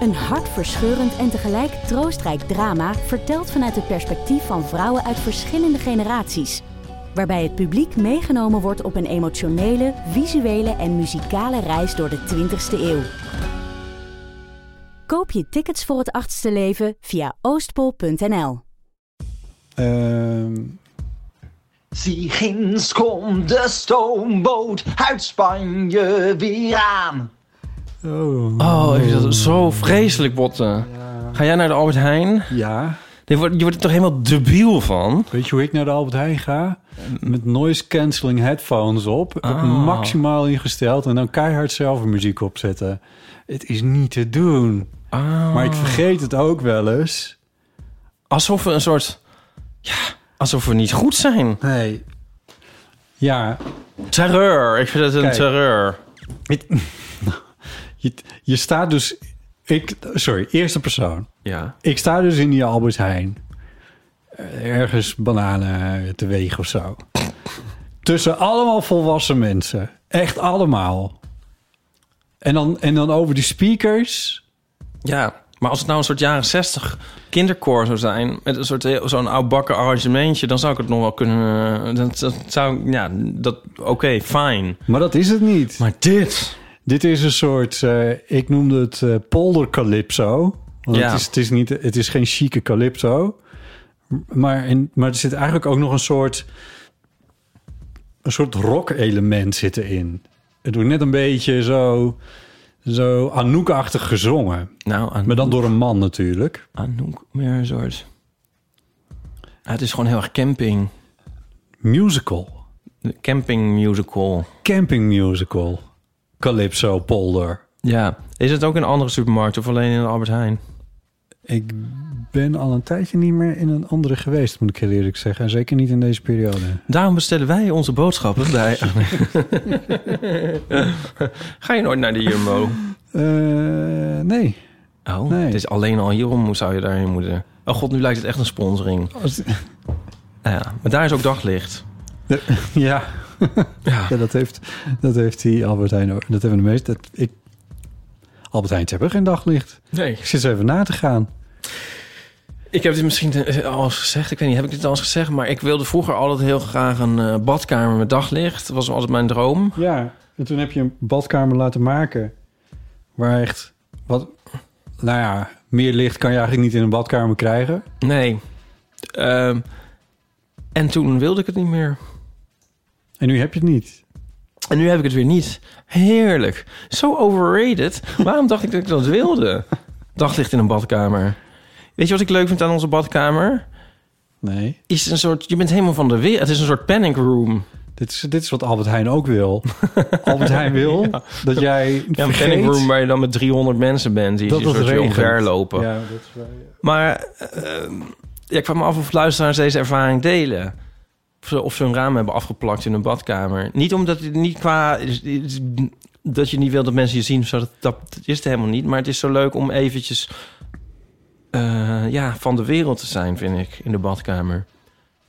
Een hartverscheurend en tegelijk troostrijk drama... verteld vanuit het perspectief van vrouwen uit verschillende generaties waarbij het publiek meegenomen wordt op een emotionele, visuele en muzikale reis door de 20ste eeuw. Koop je tickets voor het achtste leven via oostpol.nl. Ehm, Zie ginds komt de stoomboot uit Spanje weer aan. oh. Oh, ik vind dat zo vreselijk, Botte. Ga jij naar de Albert Heijn? Ja. Je wordt, je wordt er toch helemaal debiel van? Weet je hoe ik naar de Albert Heijn ga? Met noise cancelling headphones op. Ah. Maximaal ingesteld. En dan keihard zelf muziek opzetten. Het is niet te doen. Ah. Maar ik vergeet het ook wel eens. Alsof we een soort... Ja, alsof we niet goed zijn. Nee. Ja, Terreur. Ik vind het een Kijk. terreur. je, je staat dus... Ik, sorry, eerste persoon. Ja. Ik sta dus in die Albert Heijn. Eh, Ergens bananen teweeg of zo. Tussen allemaal volwassen mensen. Echt allemaal. En dan, en dan over die speakers. Ja. Maar als het nou een soort jaren 60 kinderkoor zou zijn... met een soort heel- zo'n oudbakken arrangementje... dan zou ik het nog wel kunnen... eh, Dat, dat zou... ik- Ja, dat... Oké, fijn. Maar dat is het niet. Maar dit... Dit is een soort, eh, ik noemde het eh, polder calypso. Want Ja. het, is, het, is niet, het is geen chique calypso. Maar, in, maar er zit eigenlijk ook nog een soort, een soort rock-element zit erin. Het wordt net een beetje zo, zo Anouk-achtig gezongen. Nou, aan, Maar dan door een man natuurlijk. Anouk, Ah, meer een soort... Ja, het is gewoon heel erg camping. Musical. De Camping musical. Camping musical. Calypso polder. Ja. Is het ook in andere supermarkten of alleen in de Albert Heijn? Ik ben al een tijdje niet meer in een andere geweest, moet ik heel eerlijk zeggen. En zeker niet in deze periode. Daarom bestellen wij onze boodschappen bij... Ga je nooit naar de Jumbo? Eh, nee. Oh, Nee. het is alleen al hierom zou je daarheen moeten. Oh god, nu lijkt het echt een sponsoring. Als- Nou ja, maar daar is ook daglicht. ja. Ja. ja, dat heeft, dat heeft die Albert Heijn ook. Dat hebben de meeste. dat- Ik, Albert Heijn hebben geen daglicht. Nee. Ik zit eens even na te gaan. Ik heb dit misschien eh, al eens gezegd. Ik weet niet, heb ik dit al eens gezegd? Maar ik wilde vroeger altijd heel graag een eh, badkamer met daglicht. Dat was altijd mijn droom. Ja, en toen heb je een badkamer laten maken. Waar echt, wat, nou ja, meer licht kan je eigenlijk niet in een badkamer krijgen. Nee. Ehm, en toen wilde ik het niet meer. En nu heb je het niet. En nu heb ik het weer niet. Heerlijk. Zo overrated. Waarom dacht ik dat ik dat wilde? Daglicht in een badkamer. Weet je wat ik leuk vind aan onze badkamer? Nee. Is een soort, je bent helemaal van de weer. Het is een soort panic room. Dit is, dit is wat Albert Heijn ook wil. Albert Heijn wil dat jij Ja, een vergeet panic room waar je dan met 300 mensen bent. Die dat een het soort weer regent. omverlopen. Ja, dat is waar, ja. Maar eh, eh, ja, ik kwam me af of luisteraars deze ervaring delen. Of ze, of ze hun raam hebben afgeplakt in hun badkamer. Niet omdat het niet qua. dat je niet wil dat mensen je zien. Zo, dat, dat is het helemaal niet. Maar het is zo leuk om eventjes. eh, ja, van de wereld te zijn, vind ik. In de badkamer.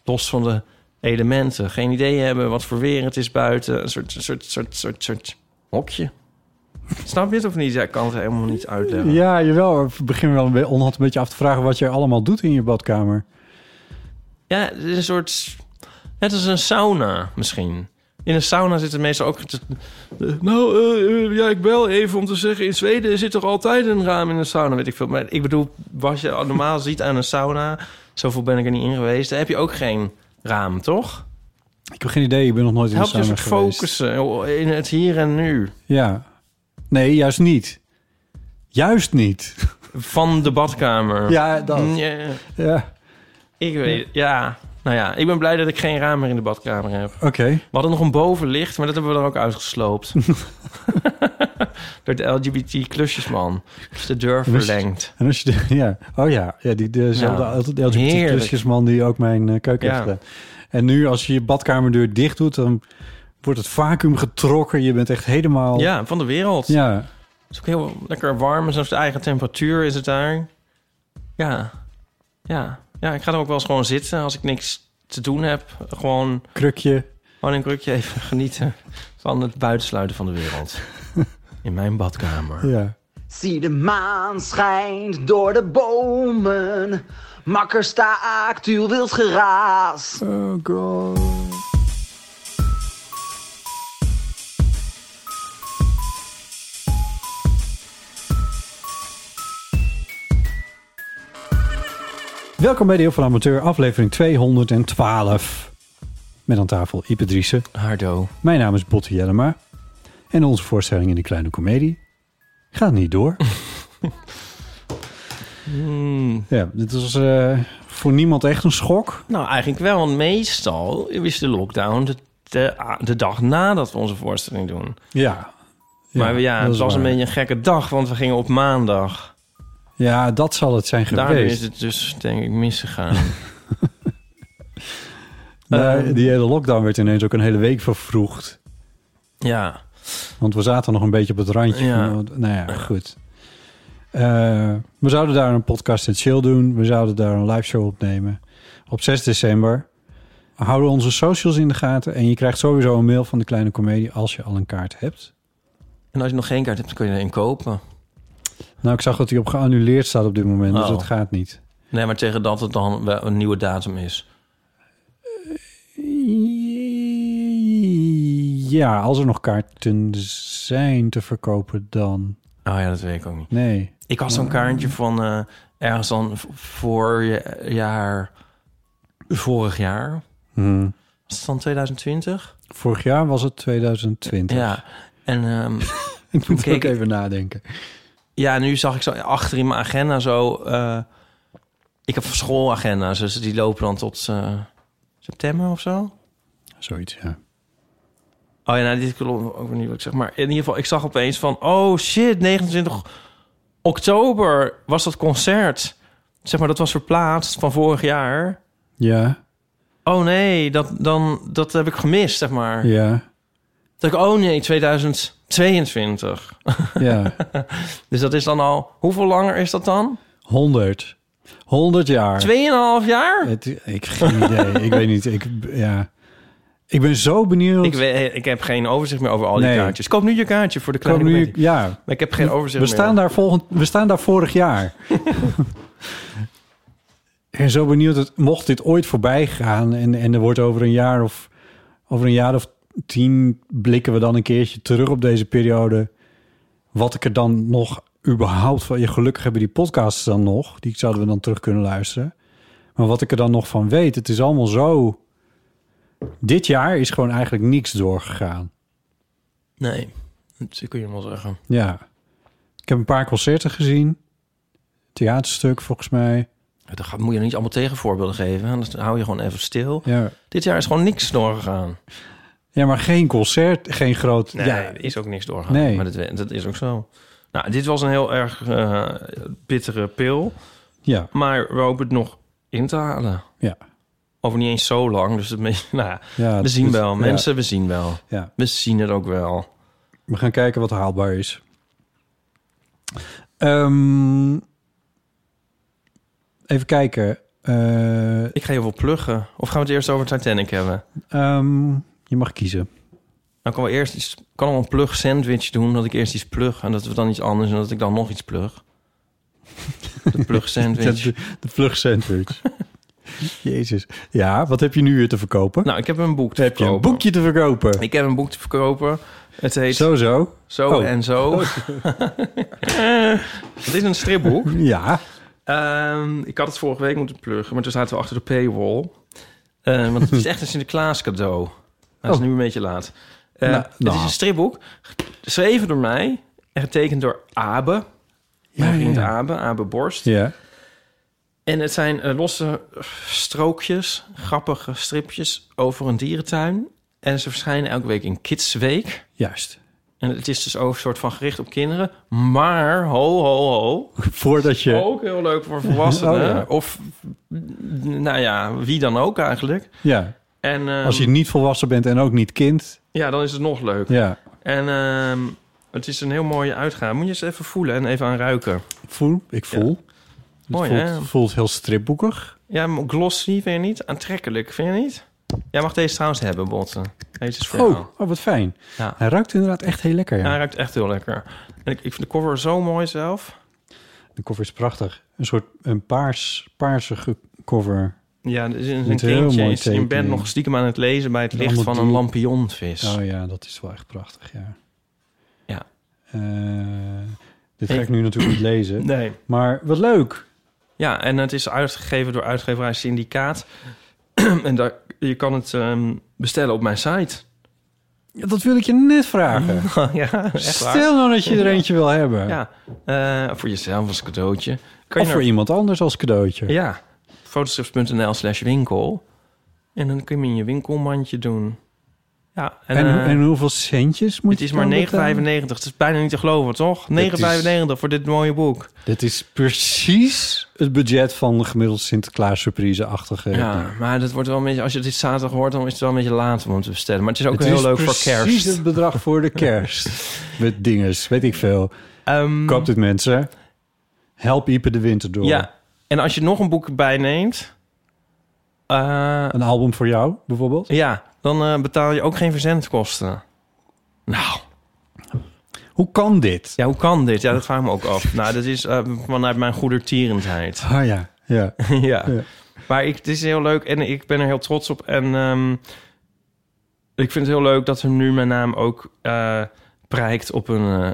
Los van de elementen. Geen idee hebben wat voor weer het is buiten. Een soort. soort, soort, soort, soort hokje. Snap je het of niet? Ja, ik kan het helemaal niet uitleggen. Ja, jawel. Ik begin wel een beetje, onhand een beetje af te vragen wat jij allemaal doet in je badkamer. Ja, het is een soort... Het is een sauna misschien. In een sauna zitten mensen ook... te- eh, nou, eh, eh, ja, ik bel even om te zeggen... in Zweden zit toch altijd een raam in een sauna, weet ik veel. Maar ik bedoel, wat je normaal ziet aan een sauna... zoveel ben ik er niet in geweest... daar heb je ook geen raam, toch? Ik heb geen idee. Ik ben nog nooit in Het helpt je de een sauna soort geweest. focussen oh, in het hier en nu. Ja. Nee, juist niet. Juist niet. Van de badkamer. Ja, dat. Mm, Ja, Ja. ik weet... Ja, nou ja, ik ben blij dat ik geen raam meer in de badkamer heb. Oké. We hadden nog een bovenlicht, maar dat hebben we er ook uitgesloopt. door de LGBT-klusjesman. Dus de deur verlengd. En als je de- ja, oh ja, ja die Ja, dezelfde heerlijk. LGBT-klusjesman die ook mijn eh, keuken Ja. heeft gedaan. En nu als je je badkamerdeur dicht doet, dan wordt het vacuüm getrokken. Je bent echt helemaal... Ja, van de wereld. ja. Het is ook heel lekker warm. en Zelfs de eigen temperatuur is het daar. Ja. Ja. Ja, ik ga er ook wel eens gewoon zitten als ik niks te doen heb. Gewoon, krukje. gewoon een krukje even genieten van het buitensluiten van de wereld. In mijn badkamer. Ja. Zie de maan schijnt door de bomen. Makker staakt uw wild geraas. Oh god. Welkom bij de Heel van Amateur, aflevering 212. Met aan tafel Ipe Driessen. Hardo. Mijn naam is Botte Jellema. En onze voorstelling in de kleine komedie gaat niet door. Hmm. ja, dit was eh, voor niemand echt een schok. Nou, eigenlijk wel. Want meestal is de lockdown de, de, de dag nadat we onze voorstelling doen. Ja. maar we- ja, dat het is was een waar. beetje een gekke dag, want we gingen op maandag. Ja, dat zal het zijn Daardoor geweest. is het dus, denk ik, misgegaan. Maar Eh, Nou, die hele lockdown werd ineens ook een hele week vervroegd. ja. Want we zaten nog een beetje op het randje. Ja. van, want- nou ja, goed. Eh, we zouden daar een podcast en chill doen. We zouden daar een live show opnemen. Op 6 december. Houden onze socials in de gaten. En je krijgt sowieso een mail van de kleine comedie als je al een kaart hebt. En als je nog geen kaart hebt, dan kun je er een kopen. Nou, ik zag dat die op geannuleerd staat op dit moment. Dus Oh. dat gaat niet. Nee, maar tegen dat het dan wel een nieuwe datum is. Ja, als er nog kaarten zijn te verkopen, dan. Oh ja, dat weet ik ook niet. Nee. Ik had zo'n kaartje van eh, ergens dan v- voor je- eh, jaar... Vorig jaar? Hm. Was het dan 2020? Vorig jaar was het 2020. Ja. En ehm, ik moet Kijk, ook even nadenken. ja, nu zag ik zo achter in mijn agenda zo... eh, ik heb schoolagenda's, dus die lopen dan tot eh, september of zo. Zoiets, ja. Oh ja, nou, dit klopt ook weer niet wat ik zeg. Maar in ieder geval, ik zag opeens van... Oh shit, 29 oktober was dat concert. Zeg maar, dat was verplaatst van vorig jaar. Ja, Oh nee, dat, dan, dat heb ik gemist, zeg maar. ja, Dat ik, oh nee, 2022. ja. Dus dat is dan al... Hoeveel langer is dat dan? 100. 100 jaar. Tweeënhalf jaar? Het, ik heb geen idee. ik weet niet. Ik, ja. ik ben zo benieuwd. Ik, weet, ik heb geen overzicht meer over al die Nee. kaartjes. Koop nu je kaartje voor de Kom kleine nu, comedie. ja, Maar ik heb geen overzicht we staan, meer. daar volgend, we staan daar vorig jaar. ik ben zo benieuwd, dat, mocht dit ooit voorbij gaan... En, en er wordt over een jaar of over een jaar of tien... blikken we dan een keertje terug op deze periode... wat ik er dan nog überhaupt van... Ja, gelukkig hebben die podcasts dan nog. Die zouden we dan terug kunnen luisteren. Maar wat ik er dan nog van weet, het is allemaal zo... Dit jaar is gewoon eigenlijk niks doorgegaan. Nee, dat kun je wel zeggen. Ja. Ik heb een paar concerten gezien. Theaterstuk, volgens mij. Dan ga- moet je niet allemaal tegenvoorbeelden geven. Anders hou je gewoon even stil. Ja, Dit jaar is gewoon niks doorgegaan. ja maar geen concert, geen groot... Nee, ja, er is ook niks doorgegaan. Nee. Maar dat, dat is ook zo. Nou, dit was een heel erg eh, bittere pil. ja, Maar we hopen het nog in te halen. ja. Over niet eens zo lang. Dus het, me- nou, ja, ja we zien dus- wel. ja, Mensen, we zien wel. Ja, We zien het ook wel. we gaan kijken wat haalbaar is. Ehm, even kijken. Eh, Ik ga heel veel pluggen. Of gaan we het eerst over Titanic hebben? ehm, je mag kiezen. Dan kan we eerst iets, kan wel een plug sandwich doen. Dat ik eerst iets plug en dat we dan iets anders en dat ik dan nog iets plug. De plug sandwich. De, de vlug sandwich. Jezus. Ja, wat heb je nu weer te verkopen? Nou, ik heb een boek te heb je een verkopen. boekje te verkopen? Ik heb een boek te verkopen. Het heet Zo, Zo, zo. Oh. en Zo. het is een stripboek. Eh. Ja. Ehm, ik had het vorige week moeten pluggen, maar toen zaten we achter de paywall. Eh, want het is echt een Sinterklaas cadeau. Dat is Oh. nu een beetje laat. Eh, Nou, Het nou. is een stripboek, geschreven door mij en getekend door Abe. Mijn Ja, vriend ja. Abe, Abe Borst. Ja. En het zijn eh, losse eh, strookjes, grappige stripjes over een dierentuin. En ze verschijnen elke week in Kidsweek. Juist. En het is dus ook een soort van gericht op kinderen. Maar, ho, ho, ho. Voordat je... Ook heel leuk voor volwassenen. Oh, ja. Of, mm, nou ja, wie dan ook eigenlijk. Ja, En ehm, als je niet volwassen bent en ook niet kind. ja, dan is het nog leuk. Ja, En ehm, het is een heel mooie uitgave. Moet je eens even voelen en even aan ruiken. ik voel. Ik voel. Het Mooi, voelt, hè? voelt heel stripboekig. Ja, maar glossy vind je niet? Aantrekkelijk vind je niet? Jij mag deze trouwens hebben, Botten. Deze is voor jou. Oh, oh, wat fijn. Ja. Hij ruikt inderdaad echt heel lekker. Ja, Ja. hij ruikt echt heel lekker. En ik, ik vind de cover zo mooi zelf. De cover is prachtig. Een soort een paars, paarsige cover. Ja, er is een Met heel kindje mooie is in bed tekening. nog stiekem aan het lezen... bij het En licht allemaal van een die- lampionvis. Oh ja, dat is wel echt prachtig, ja. Ja. Eh, dit ga Ik- ik nu natuurlijk niet lezen. Nee. Maar wat leuk. Ja, en het is uitgegeven door uitgeverij Syndicaat. en daar, je kan het ehm, bestellen op mijn site. Ja, dat wil ik je net vragen. ja, echt waar. Stel nou dat je er eentje wil hebben. Ja, eh, voor jezelf als cadeautje. Kan Of je voor er, iemand anders als cadeautje. ja, fotostrips.nl slash winkel. En dan kun je hem in je winkelmandje doen. Ja, en, En, en, eh, hoeveel centjes moet het je is maar dan eh, 9,95. betalen? Het is bijna niet te geloven, toch? 9,95 voor dit mooie boek. Dit is precies het budget van de gemiddelde Sinterklaas surprise-achtige. Ja, maar dat wordt wel een beetje... Als je dit zaterdag hoort, dan is het wel een beetje laat om het te bestellen. Maar het is ook Het heel is leuk voor Precies kerst. het bedrag voor de kerst. Met dinges, weet ik veel. Ehm, Koop dit mensen. Help Ipe de winter door. Ja, en als je nog een boek bijneemt... eh, Een album voor jou bijvoorbeeld. ja, dan eh, betaal je ook geen verzendkosten. Nou, Hoe kan dit? ja, hoe kan dit? Ja, dat vraag ik me ook af. Nou, dat is eh, vanuit mijn goedertierendheid. Ah ja, ja. ja. Ja. Maar ik, het is heel leuk en ik ben er heel trots op. En ehm, ik vind het heel leuk dat er nu mijn naam ook eh prijkt op een eh,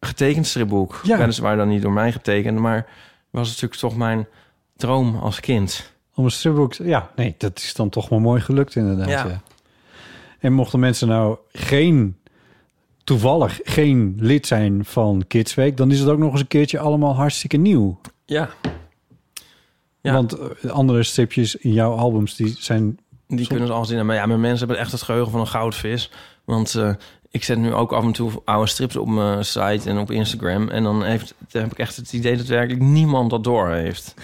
getekend stripboek. Ja. Weliswaar dan niet door mij getekend, maar was natuurlijk toch mijn droom als kind. Om een stripboek... Ja, nee, dat is dan toch wel mooi gelukt inderdaad. Ja. Ja. En mochten mensen nou geen... Toevallig geen lid zijn van Kids Week... dan is het ook nog eens een keertje allemaal hartstikke nieuw. Ja. Ja. Want eh, andere stripjes in jouw albums... die zijn Die kunnen ze al zien. Maar ja, mijn mensen hebben echt het geheugen van een goudvis. Want eh, ik zet nu ook af en toe oude strips op mijn site en op Instagram. En dan, heeft, dan heb ik echt het idee dat werkelijk niemand dat door heeft.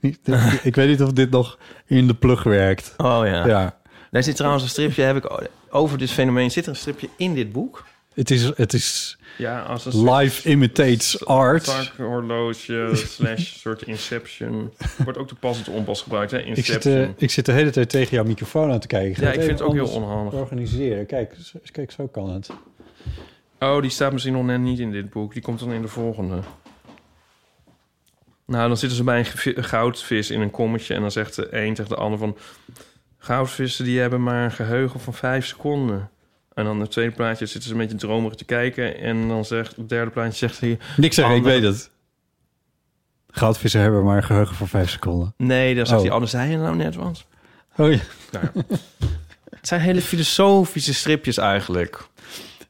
Niet- dit- ik weet niet of dit nog in de plug werkt. Oh Ja. Daar zit trouwens een stripje, heb ik o- over dit fenomeen, zit er een stripje in dit boek. Het, is, het is Ja, als een live imitates art. horloge slash soort inception. Wordt ook de passend onpas gebruikt, hè? Ik zit, eh, ik zit de hele tijd tegen jouw microfoon aan te kijken. Ga ja, ik even vind het ook heel anders onhandig. Organiseren. Kijk, z- kijk, zo kan het. Oh, die staat misschien nog net niet in dit boek. Die komt dan in de volgende. Nou, dan zitten ze bij een gevi- een goudvis in een kommetje... en dan zegt de een tegen de ander van... goudvissen die hebben maar een geheugen van vijf seconden. En dan in het tweede plaatje zitten ze een beetje dromerig te kijken... en dan zegt het derde plaatje zegt hij... Niks zeggen, ik Ander- weet het. Goudvissen hebben maar een geheugen van vijf seconden. Nee, dan zegt Oh. hij, anders zei je nou net wat. Oh ja. Nou ja. het zijn hele filosofische stripjes eigenlijk.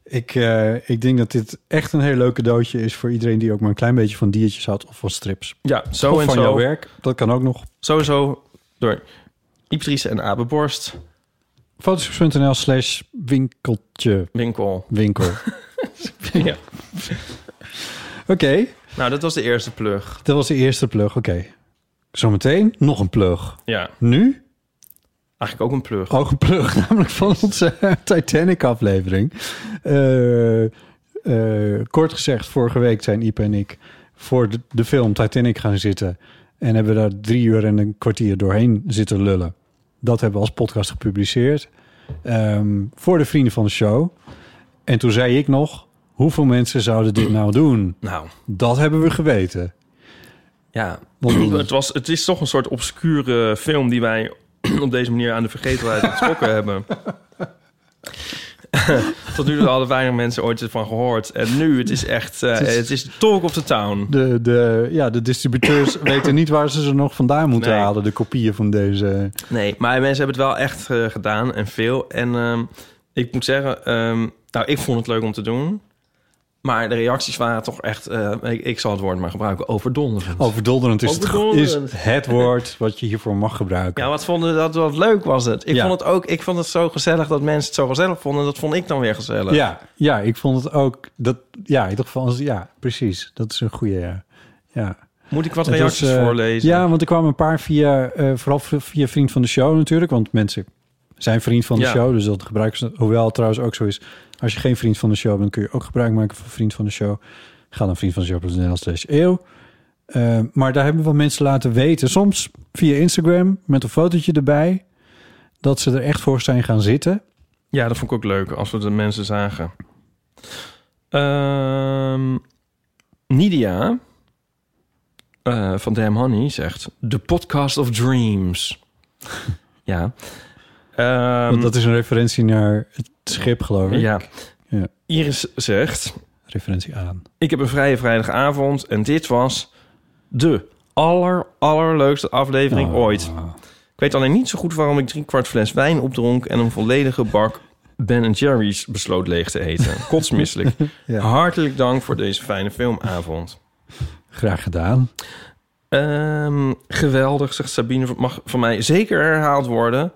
Ik, eh, ik denk dat dit echt een heel leuk cadeautje is... voor iedereen die ook maar een klein beetje van diertjes had... of van strips. Ja, zo of en van jouw zo. werk. Dat kan ook nog. Sowieso door Yptrice en Abeborst. Fotostrips.nl slash winkeltje Winkel. winkel. ja. Oké, Nou, dat was de eerste plug. dat was de eerste plug. Oké. Zometeen nog een plug. Ja, Nu eigenlijk ook een plug. ook een plug, namelijk van onze Titanic-aflevering. Eh, eh, kort gezegd, vorige week zijn Ipe en ik voor de, de film Titanic gaan zitten. En hebben daar drie uur en een kwartier doorheen zitten lullen. Dat hebben we als podcast gepubliceerd. ehm, voor de vrienden van de show. En toen zei ik nog, hoeveel mensen zouden dit nou doen? Nou, Dat hebben we geweten. ja. Want- het, was, het is toch een soort obscure film die wij op deze manier aan de vergetelheid getrokken hebben. Tot nu toe hadden weinig mensen ooit van gehoord. En nu, het is echt, eh, is- het is talk of the town. De, de, ja, de distributeurs weten niet waar ze ze nog vandaan moeten Nee. halen, de kopieën van deze. Nee, maar mensen hebben het wel echt eh, gedaan en veel. En ehm, ik moet zeggen, ehm, nou, ik vond het leuk om te doen. Maar de reacties waren toch echt, eh, ik, ik zal het woord maar gebruiken, overdonderend. Overdolderend is, Het, Overdolderend. is het woord wat je hiervoor mag gebruiken. Ja, wat vonden dat wat leuk was het? Ik Ja. vond het ook, ik vond het zo gezellig dat mensen het zo gezellig vonden. Dat vond ik dan weer gezellig. Ja, ja, ik vond het ook. Dat, ja, in ieder geval, als- ja, precies. Dat is een goede. Ja. ja. Moet ik wat Het reacties was, eh, voorlezen? Ja, want er kwamen een paar via, eh, vooral v- via vriend van de show natuurlijk. Want mensen zijn vriend van de Ja. show, dus dat gebruiken ze. Hoewel het trouwens ook zo is, als je geen vriend van de show bent, kun je ook gebruik maken van vriend van de show. Ga dan vriend van de show.nl slash eeuw. Eh, maar daar hebben we mensen laten weten, soms via Instagram met een fotootje erbij, dat ze er echt voor zijn gaan zitten. Ja, dat vond ik ook leuk als we de mensen zagen. Ehm, Nidia eh, van Damn Honey zegt: De podcast of dreams. ja. Ehm, Want dat is een referentie naar het schip, geloof ik. ja. Ja. Iris zegt: Referentie aan. Ik heb een vrije vrijdagavond en dit was de aller, allerleukste aflevering Oh. ooit. Ik weet alleen niet zo goed waarom ik drie kwart fles wijn opdronk en een volledige bak Ben Jerry's besloot leeg te eten. Kotsmisselijk. Ja. Hartelijk dank voor deze fijne filmavond. Graag gedaan. Ehm, geweldig, zegt Sabine. Mag van mij zeker herhaald worden.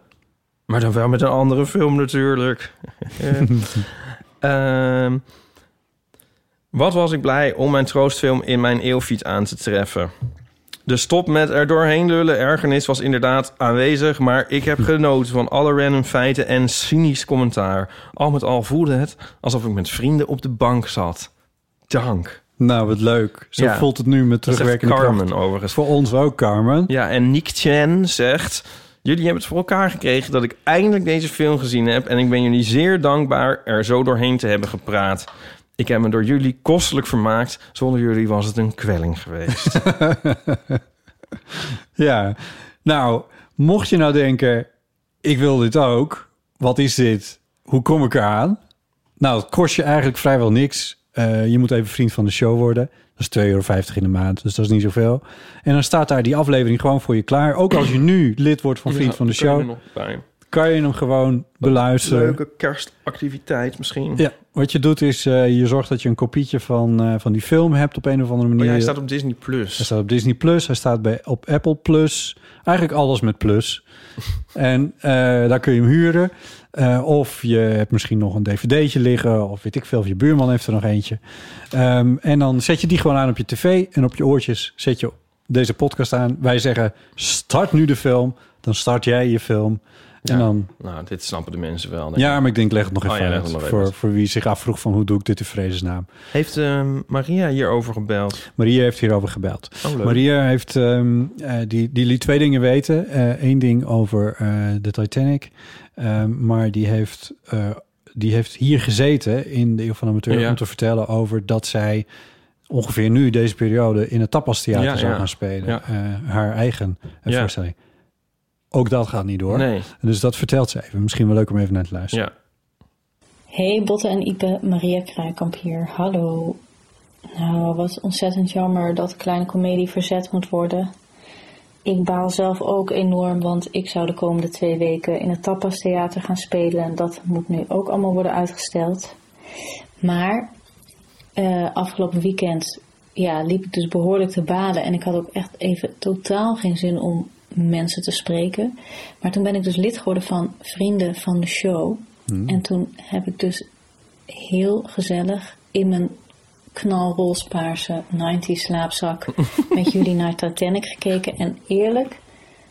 Maar dan wel met een andere film natuurlijk. Ehm, wat was ik blij om mijn troostfilm in mijn eeuwfiet aan te treffen. De stop met er doorheen lullen ergernis was inderdaad aanwezig... maar ik heb genoten van alle random feiten en cynisch commentaar. Al met al voelde het alsof ik met vrienden op de bank zat. Dank. Nou, wat leuk. Zo Ja. voelt het nu Dat met zegt terugwerkende Carmen kracht. overigens. Voor ons ook, Carmen. Ja, en Nick Chen zegt... Jullie hebben het voor elkaar gekregen dat ik eindelijk deze film gezien heb... en ik ben jullie zeer dankbaar er zo doorheen te hebben gepraat. Ik heb me door jullie kostelijk vermaakt. Zonder jullie was het een kwelling geweest. Ja. Nou, mocht je nou denken, ik wil dit ook. Wat is dit? Hoe kom ik eraan? Nou, het kost je eigenlijk vrijwel niks. Eh, je moet even vriend van de show worden. Dat is 2,50 euro in de maand, dus dat is niet zoveel. En dan staat daar die aflevering gewoon voor je klaar. Ook als je nu lid wordt van Vriend van de Kunnen we Show, nog bij. kan je hem gewoon beluisteren. Leuke kerstactiviteit misschien. Oh Ja, wat je doet is, eh, je zorgt dat je een kopietje van, eh, van die film hebt op een of andere Oh manier. ja, hij staat op Disney+. Plus. Hij staat op Disney Plus, hij staat bij, op Apple Plus. Eigenlijk alles met plus. en eh, daar kun je hem huren. Eh, of je hebt misschien nog een dvd'tje liggen, of weet ik veel, of je buurman heeft er nog eentje. Ehm, en dan zet je die gewoon aan op je tv en op je oortjes zet je deze podcast aan. Wij zeggen, start nu de film, dan start jij je film. En Ja. dan, Nou, dit snappen de mensen wel. denk ik. ja, maar ik denk, leg het nog Oh even ja, leg uit. het nog even voor, uit. voor wie zich afvroeg van hoe doe ik dit in vredesnaam. Heeft eh, Maria hierover gebeld? Maria heeft hierover gebeld. Oh, leuk. Maria heeft, ehm, eh, die, die liet twee dingen weten. Eén ding over eh, de Titanic. Ehm, maar die heeft, eh, die heeft hier gezeten in de Eeuw van de Amateur... Ja. om te vertellen over dat zij ongeveer nu deze periode... in het Tapas Theater Ja, zou ja. gaan spelen. Ja. Eh, haar eigen eh, Ja. voorstelling. Ook dat gaat niet door. Nee, Dus dat vertelt ze even. Misschien wel leuk om even naar te luisteren. ja. Hey Botte en Ipe, Maria Kraakamp hier. Hallo. Nou, wat ontzettend jammer dat Kleine Comedie verzet moet worden. Ik baal zelf ook enorm, want ik zou de komende twee weken in het Tapas Theater gaan spelen. En dat moet nu ook allemaal worden uitgesteld. Maar eh, afgelopen weekend ja, liep ik dus behoorlijk te balen. En ik had ook echt even totaal geen zin om mensen te spreken. Maar toen ben ik dus lid geworden van Vrienden van de Show. En toen heb ik dus heel gezellig in mijn knalroospaarse 90 slaapzak met jullie naar Titanic gekeken. En eerlijk,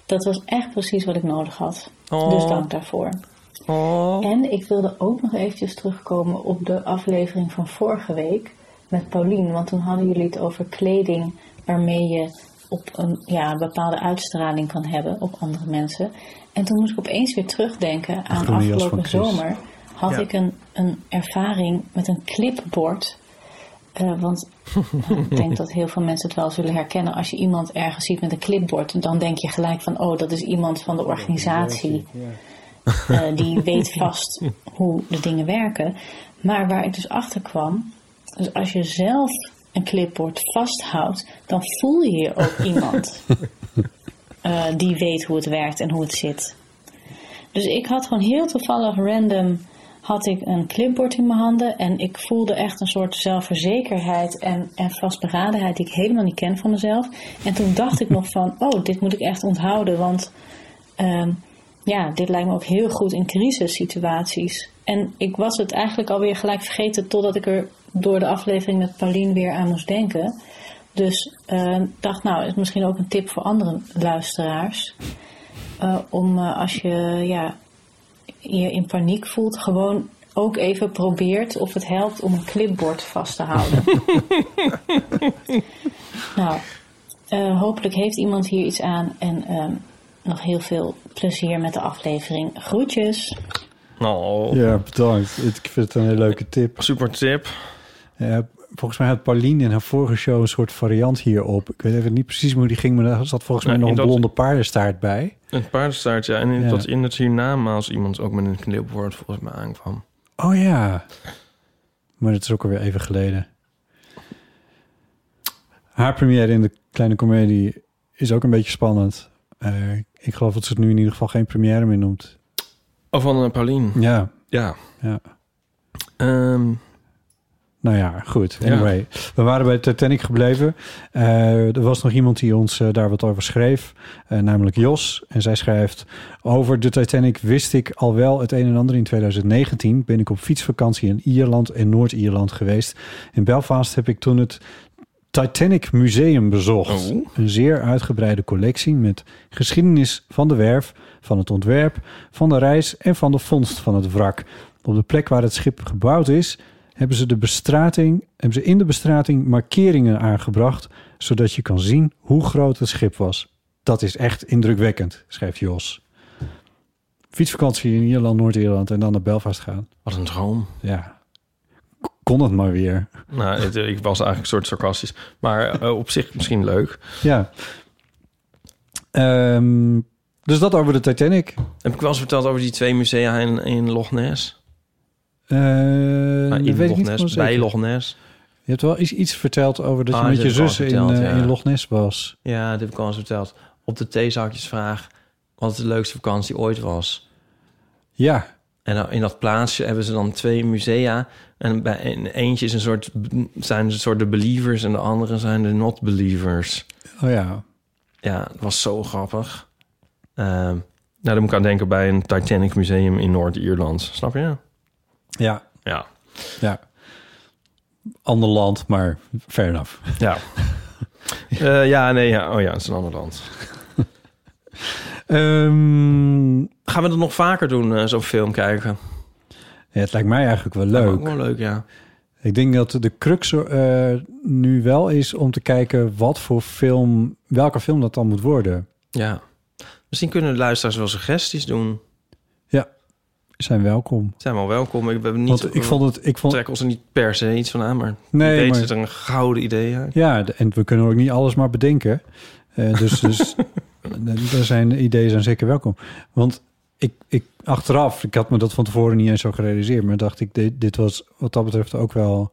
dat was echt precies wat ik nodig had. Dus Oh. dank daarvoor. Oh. En ik wilde ook nog eventjes terugkomen op de aflevering van vorige week met Paulien. Want toen hadden jullie het over kleding waarmee je op een, ja, een bepaalde uitstraling kan hebben op andere mensen. En toen moest ik opeens weer terugdenken aan groene jas van afgelopen Chris. zomer. Had Ja. ik een, een ervaring met een clipboard. Eh, want nou, ik denk dat heel veel mensen het wel zullen herkennen. Als je iemand ergens ziet met een clipboard, dan denk je gelijk van: oh, dat is iemand van de organisatie. Eh, die weet vast hoe de dingen werken. Maar waar ik dus achter kwam, dus als je zelf een clipboard vasthoudt, dan voel je ook iemand eh, die weet hoe het werkt en hoe het zit. Dus ik had gewoon heel toevallig random had ik een clipboard in mijn handen en ik voelde echt een soort zelfverzekerheid en, en vastberadenheid die ik helemaal niet ken van mezelf. En toen dacht ik nog van, oh, dit moet ik echt onthouden, want ehm, ja, dit lijkt me ook heel goed in crisissituaties. En ik was het eigenlijk alweer gelijk vergeten totdat ik er door de aflevering met Paulien weer aan moest denken. Dus ehm dacht, nou, is misschien ook een tip voor andere luisteraars. Eh, om eh, als je ja, je in paniek voelt, gewoon ook even probeert of het helpt om een clipboard vast te houden. nou, eh, hopelijk heeft iemand hier iets aan en ehm, nog heel veel plezier met de aflevering. Groetjes! Oh, Ja, bedankt. Ik vind het een hele leuke tip. super tip. Eh, volgens mij had Pauline in haar vorige show een soort variant hierop. Ik weet even niet precies hoe die ging, maar daar zat volgens mij Nou, nog in een dat- blonde paardenstaart bij. Het paardenstaart, ja. En in Ja. dat in het hiernamaals iemand ook met een knippelwoord volgens mij aankwam. Oh ja. Maar dat is ook alweer even geleden. Haar première in de kleine comedie is ook een beetje spannend. Eh, ik geloof dat ze het nu in ieder geval geen première meer noemt. Oh, van eh, Paulien. Ja, Ja. ja. Ehm, Nou ja, goed. Ja. Anyway, we waren bij Titanic gebleven. Eh, er was nog iemand die ons eh, daar wat over schreef, eh, namelijk Jos. En zij schrijft: Over de Titanic wist ik al wel het een en ander in 2019. Ben ik op fietsvakantie in Ierland en Noord-Ierland geweest. In Belfast heb ik toen het Titanic Museum bezocht. Oh. Een zeer uitgebreide collectie met geschiedenis van de werf, van het ontwerp, van de reis en van de vondst van het wrak. Op de plek waar het schip gebouwd is, hebben ze, de bestrating, hebben ze in de bestrating markeringen aangebracht, zodat je kan zien hoe groot het schip was. Dat is echt indrukwekkend, schrijft Jos. Fietsvakantie in Ierland, Noord-Ierland en dan naar Belfast gaan. wat een droom. Ja, K- kon het maar weer. Nou, het- ik was eigenlijk een soort sarcastisch. Maar eh, op zich misschien leuk. Ja. Ehm, dus dat over de Titanic. Heb ik wel eens verteld over die twee musea in, in Loch Ness? Eh, Nou, dat in weet Loch ik niet Ness, helemaal bij zeker. Loch Ness. Je hebt wel iets, iets verteld over dat Ah, je met dat je heb ik al zus in, verteld, eh, ja. in Loch Ness was. Ja, dat heb ik al eens verteld. Op de theezakjesvraag wat de leukste vakantie ooit was. Ja, En dan in dat plaatsje hebben ze dan twee musea. En bij en eentje is een soort, zijn ze een soort de believers en de andere zijn de not believers. oh ja. Ja, dat was zo grappig. Ehm, nou, daar moet ik aan denken bij een Titanic museum in Noord-Ierland. Snap je? Ja, Ja. ja. Ander land, maar fair enough. Ja. Eh, ja, nee, ja. Oh ja, het is een ander land. Ehm, Gaan we dat nog vaker doen, eh, zo'n film kijken? ja, het lijkt mij eigenlijk wel Lijkt me ook leuk. wel leuk, ja. Ik denk dat de crux eh, nu wel is om te kijken wat voor film, welke film dat dan moet worden. Ja. Misschien kunnen de luisteraars wel suggesties doen. Zijn welkom. Zijn wel welkom. Ik ben niet Want ik vond het, ik vond, trek ons er niet per se iets van aan, maar Nee, nee, weet maar- zit er een gouden idee uit. Ja, de- en we kunnen ook niet alles maar bedenken. Eh, dus dus er zijn ideeën zijn zeker welkom. Want ik, ik achteraf, ik had me dat van tevoren niet eens zo gerealiseerd, maar dacht ik, dit, dit was wat dat betreft ook wel.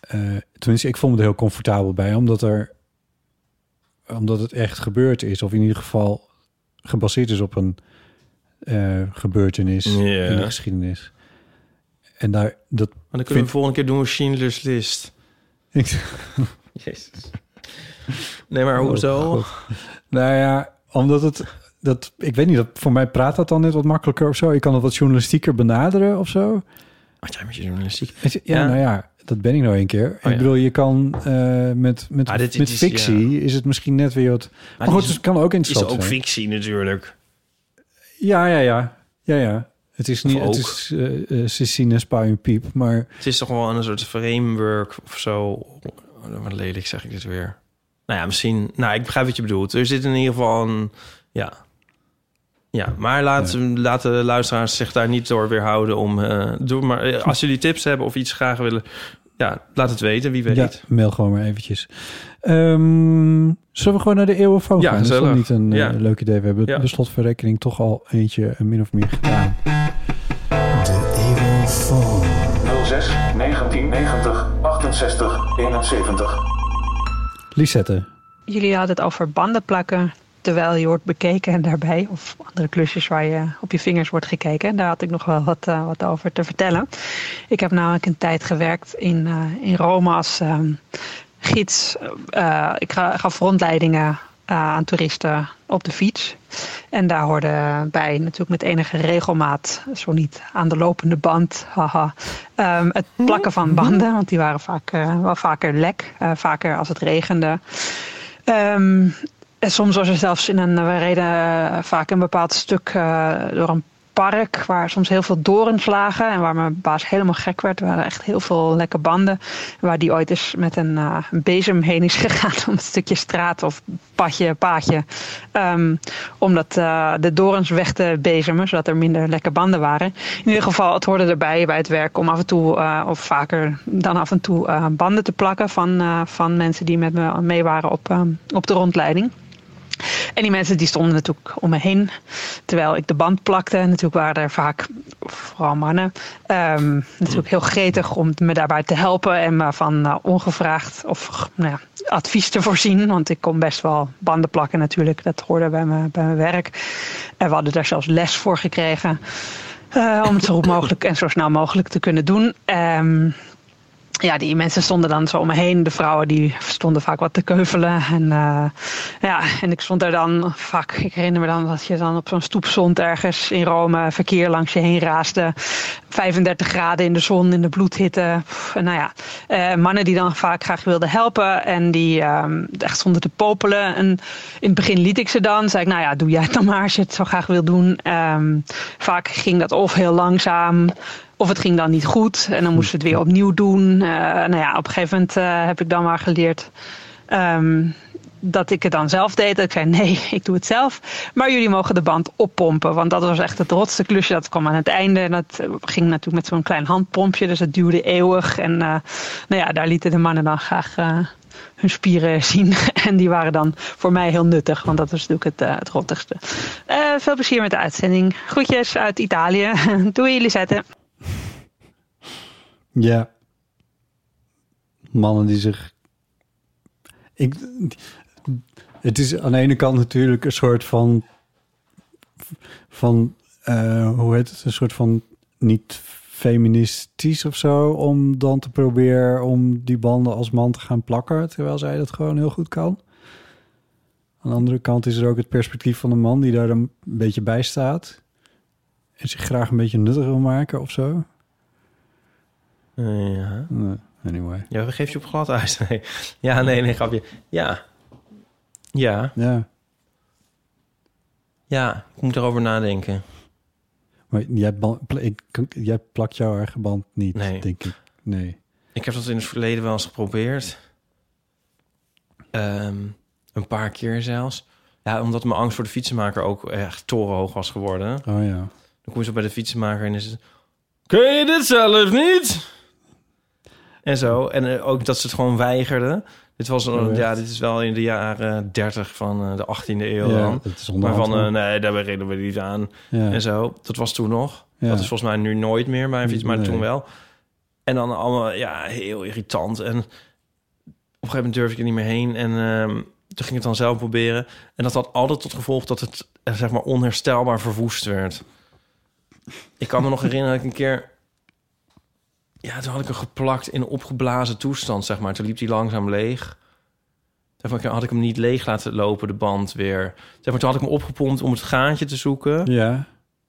eh, tenminste, ik voel me er heel comfortabel bij, omdat er omdat het echt gebeurd is, of in ieder geval gebaseerd is op een eh, gebeurtenis Ja. in de geschiedenis. En daar dat Maar dan kunnen Vind- we volgende keer doen we Schindler's List. ik, Jezus. Nee, maar hoezo? Oh, God. nou ja, omdat het... Dat, ik weet niet, dat, voor mij praat dat dan net wat makkelijker of zo. Ik kan het wat journalistieker benaderen of zo. Wat jij met je journalistiek. Ja, Ja. Oh nou ja, dat ben ik nou een keer. ja. Ik bedoel, je kan eh, met, met, Ah, dit- met dit is- fictie is het misschien net weer wat... Maar, dit goed, is- het kan ook Is interessant ook zijn. fictie natuurlijk. Ja, ja, ja. Ja, ja. Het is niet... ook. Het is eh eh, Cécine Spa en Piep, maar... Het is toch wel een soort framework of zo. Oh, Wat lelijk zeg ik dit weer. Nou ja, misschien... Nou, ik begrijp wat je bedoelt. Er zit in ieder geval een... Ja. Ja, maar laat, laat de luisteraars zich daar niet door weerhouden om... eh, doe maar, eh, als jullie tips hebben of iets graag willen... Ja, laat het weten, wie weet. Ja, mail gewoon maar eventjes. Ehm, zullen we gewoon naar de eeuwenfoon Ja, gaan? Dat is gezellig. wel niet een eh, Ja. leuk idee. We hebben Ja. de slotverrekening toch al eentje eh, min of meer gedaan. 06 1990 68 71. Lisette, Jullie hadden het over banden plakken. terwijl je wordt bekeken en daarbij. Of andere klusjes waar je op je vingers wordt gekeken. Daar had ik nog wel wat, eh, wat over te vertellen. Ik heb namelijk een tijd gewerkt in, eh, in Rome als ehm, gids. Eh, ik ga- gaf rondleidingen eh, aan toeristen op de fiets. En daar hoorde bij natuurlijk met enige regelmaat, zo niet aan de lopende band, haha, ehm, het plakken van banden. Want die waren vaak, eh, wel vaker lek, eh, vaker als het regende. Ehm, en soms was er zelfs in een, we reden eh, vaak een bepaald stuk eh, door een park waar soms heel veel dorens lagen en waar mijn baas helemaal gek werd. Er waren echt heel veel lekke banden waar die ooit eens met een eh, een bezem heen is gegaan om het stukje straat of padje, paadje, ehm, om dat, eh, de dorens weg te bezemen zodat er minder lekke banden waren. In ieder geval, het hoorde erbij bij het werk om af en toe eh, of vaker dan af en toe eh, banden te plakken van, eh, van mensen die met me mee waren op, ehm, op de rondleiding. En die mensen die stonden natuurlijk om me heen. Terwijl ik de band plakte. Natuurlijk waren er vaak, vooral mannen, ehm, natuurlijk heel gretig om me daarbij te helpen. En me van eh, ongevraagd of nou ja, advies te voorzien. Want ik kon best wel banden plakken natuurlijk. Dat hoorde bij, me, bij mijn werk. En we hadden daar zelfs les voor gekregen. eh, om het zo goed mogelijk en zo snel mogelijk te kunnen doen. Ehm ja, die mensen stonden dan zo om me heen. De vrouwen die stonden vaak wat te keuvelen. En, eh, ja, en ik stond daar dan vaak. Ik herinner me dan dat je dan op zo'n stoep stond ergens in Rome. Verkeer langs je heen raasde. 35 graden in de zon, in de bloedhitte. Pff, en nou ja, eh, mannen die dan vaak graag wilden helpen. En die ehm, echt stonden te popelen. En in het begin liet ik ze dan. Zei ik, nou ja, doe jij het dan maar als je het zo graag wil doen. Ehm, vaak ging dat of heel langzaam. Of het ging dan niet goed en dan moesten we het weer opnieuw doen. Eh, nou ja, op een gegeven moment eh, heb ik dan maar geleerd ehm, dat ik het dan zelf deed. Dat ik zei: nee, ik doe het zelf. Maar jullie mogen de band oppompen. Want dat was echt het rotste klusje. Dat kwam aan het einde. En dat eh, ging natuurlijk met zo'n klein handpompje. Dus dat duurde eeuwig. En eh, nou ja, daar lieten de mannen dan graag. eh, hun spieren zien. En die waren dan voor mij heel nuttig, want dat was natuurlijk het, eh, het rottigste. Eh, veel plezier met de uitzending. Groetjes uit Italië. Doei, Lisette. Ja. Mannen die zich. Ik, het is aan de ene kant natuurlijk een soort van. van eh, hoe heet het? Een soort van niet feministisch of zo. Om dan te proberen om die banden als man te gaan plakken. Terwijl zij dat gewoon heel goed kan. Aan de andere kant is er ook het perspectief van de man die daar een beetje bij staat. En zich graag een beetje nuttig wil maken of zo. Eh, ja. Nee, Anyway. ja, we geef je op glad ijs. Nee. Ja, nee, nee, grapje. Ja. Ja, Ja. ja, ik moet erover nadenken. Maar jij, ban- pla- ik, jij plakt jouw eigen band niet, Nee. denk ik. Nee. Ik heb dat in het verleden wel eens geprobeerd. Ehm, een paar keer zelfs. Ja, omdat mijn angst voor de fietsenmaker ook echt torenhoog was geworden. Oh ja. Dan kom je zo bij de fietsenmaker en is het... Kun je dit zelf niet? En zo. En eh, ook dat ze het gewoon weigerden. Dit was een, Oh, echt? ja, dit is wel in de jaren 30 van eh, de 18e eeuw ja dan. het is Maar van, eh, onderhand, nee, daar reden we niet aan. ja. En zo. Dat was toen nog. Ja. Dat is volgens mij nu nooit meer bij een fiets, maar Nee. toen wel. En dan allemaal, ja, heel irritant. En op een gegeven moment durfde ik er niet meer heen. En ehm, toen ging ik het dan zelf proberen. En dat had altijd tot gevolg dat het, eh, zeg maar, onherstelbaar verwoest werd. Ik kan me nog herinneren dat ik een keer... Ja, toen had ik hem geplakt in een opgeblazen toestand, zeg maar. Toen liep hij langzaam leeg. Zeg maar, had ik hem niet leeg laten lopen, de band weer. Zeg maar, toen had ik hem opgepompt om het gaatje te zoeken. ja.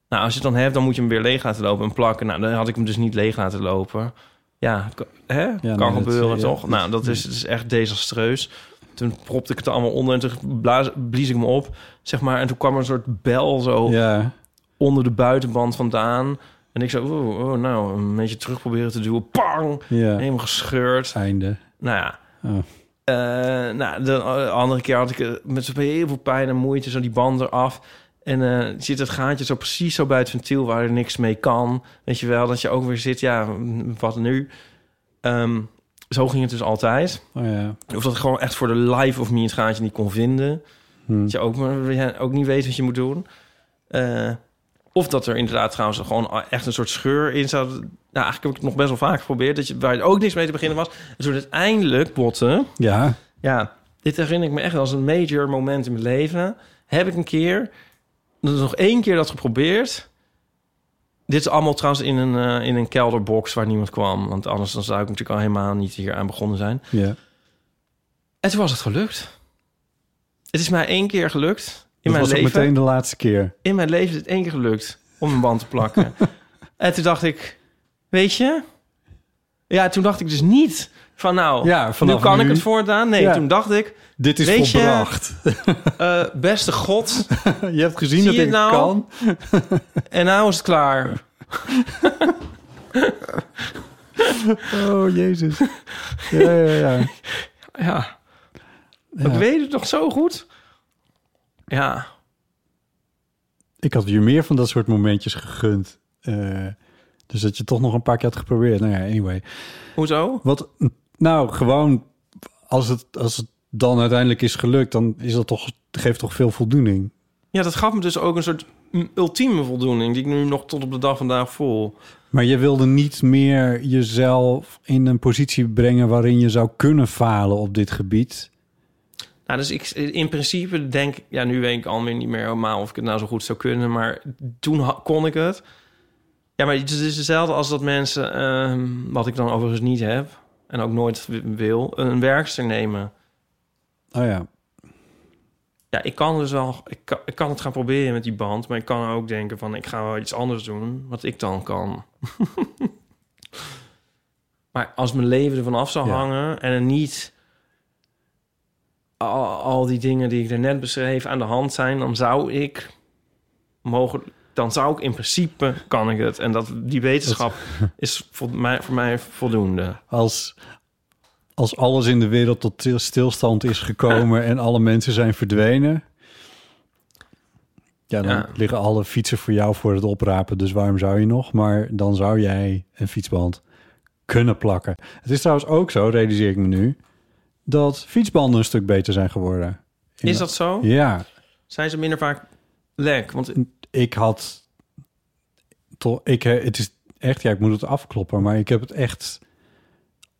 Nou, als je het dan hebt, dan moet je hem weer leeg laten lopen en plakken. Nou, dan had ik hem dus niet leeg laten lopen. Ja, k- hè? nee, kan dat- gebeuren, ja, toch? dat- nou, dat is, dat is echt desastreus. Toen propte ik het allemaal onder en toen blaas- blies ik hem op, zeg maar. En toen kwam er een soort bel zo Ja. onder de buitenband vandaan. En ik zo, oh, oh, nou, een beetje terug proberen te duwen. Pang! Ja. Helemaal gescheurd. Einde. Nou ja. Oh. Eh, nou, de eh, andere keer had ik eh, met zo'n heel veel pijn en moeite zo die band eraf. En eh, zit het gaatje zo precies zo bij het ventiel waar er niks mee kan. Weet je wel, dat je ook weer zit, ja, mm, wat nu? Ehm, zo ging het dus altijd. Oh ja. Of dat ik gewoon echt voor de life of me het gaatje niet kon vinden. Hm. Dat je ook, maar, ja, ook niet weet wat je moet doen. Eh, of dat er inderdaad trouwens gewoon echt een soort scheur in zat. Nou, eigenlijk heb ik het nog best wel vaak geprobeerd. Dat je, waar ook niks mee te beginnen was. En toen uiteindelijk botten... Ja. Ja, dit herinner ik me echt als een major moment in mijn leven. heb ik een keer, dat is nog één keer dat geprobeerd. Dit is allemaal trouwens in een, eh, in een kelderbox waar niemand kwam. Want anders dan zou ik natuurlijk al helemaal niet hier aan begonnen zijn. Ja. En toen was het gelukt. Het is mij één keer gelukt in dat mijn was leven. ook meteen de laatste keer. In mijn leven is het één keer gelukt om een band te plakken. en toen dacht ik, weet je? Ja, toen dacht ik dus niet van nou, Ja, nu vanaf kan ik nu. het voortaan. Nee, Ja. toen dacht ik, Dit is Weet je- volbracht. eh, beste god, Je, hebt gezien Zie dat je ik het nou? kan. en nou is het klaar. Oh, jezus. Ja, ja, ja. Ja, ik Ja. weet het nog zo goed. Ja, Ik had je meer van dat soort momentjes gegund. Eh, dus dat je toch nog een paar keer had geprobeerd. Nou ja, anyway. hoezo? Wat, nou, gewoon als het, als het dan uiteindelijk is gelukt, dan is dat toch, geeft toch veel voldoening. Ja, dat gaf me dus ook een soort mm, ultieme voldoening... die ik nu nog tot op de dag vandaag voel. Maar je wilde niet meer jezelf in een positie brengen waarin je zou kunnen falen op dit gebied. Nou, dus ik in principe denk, ja, nu weet ik alweer niet meer helemaal of ik het nou zo goed zou kunnen, maar toen ha- kon ik het. Ja, maar het is hetzelfde als dat mensen, ehm, wat ik dan overigens niet heb en ook nooit w- wil, een werkster nemen. Oh ja. Ja, ik kan dus wel, ik kan, ik kan het gaan proberen met die band, maar ik kan ook denken van, ik ga wel iets anders doen, wat ik dan kan. maar als mijn leven ervan af zou Ja. hangen en er niet al, al die dingen die ik daarnet beschreef aan de hand zijn, dan zou ik mogen, dan zou ik in principe kan ik het. En dat die wetenschap is voor mij, voor mij voldoende. Als, als alles in de wereld tot til- stilstand is gekomen en alle mensen zijn verdwenen. Ja, dan Ja. liggen alle fietsen voor jou voor het oprapen. Dus waarom zou je nog? Maar dan zou jij een fietsband kunnen plakken. Het is trouwens ook zo, realiseer ik me nu, dat fietsbanden een stuk beter zijn geworden. In Is de- dat zo? Ja, Zijn ze minder vaak lek? Want ik had toch ik eh, het is echt ja ik moet het afkloppen maar ik heb het echt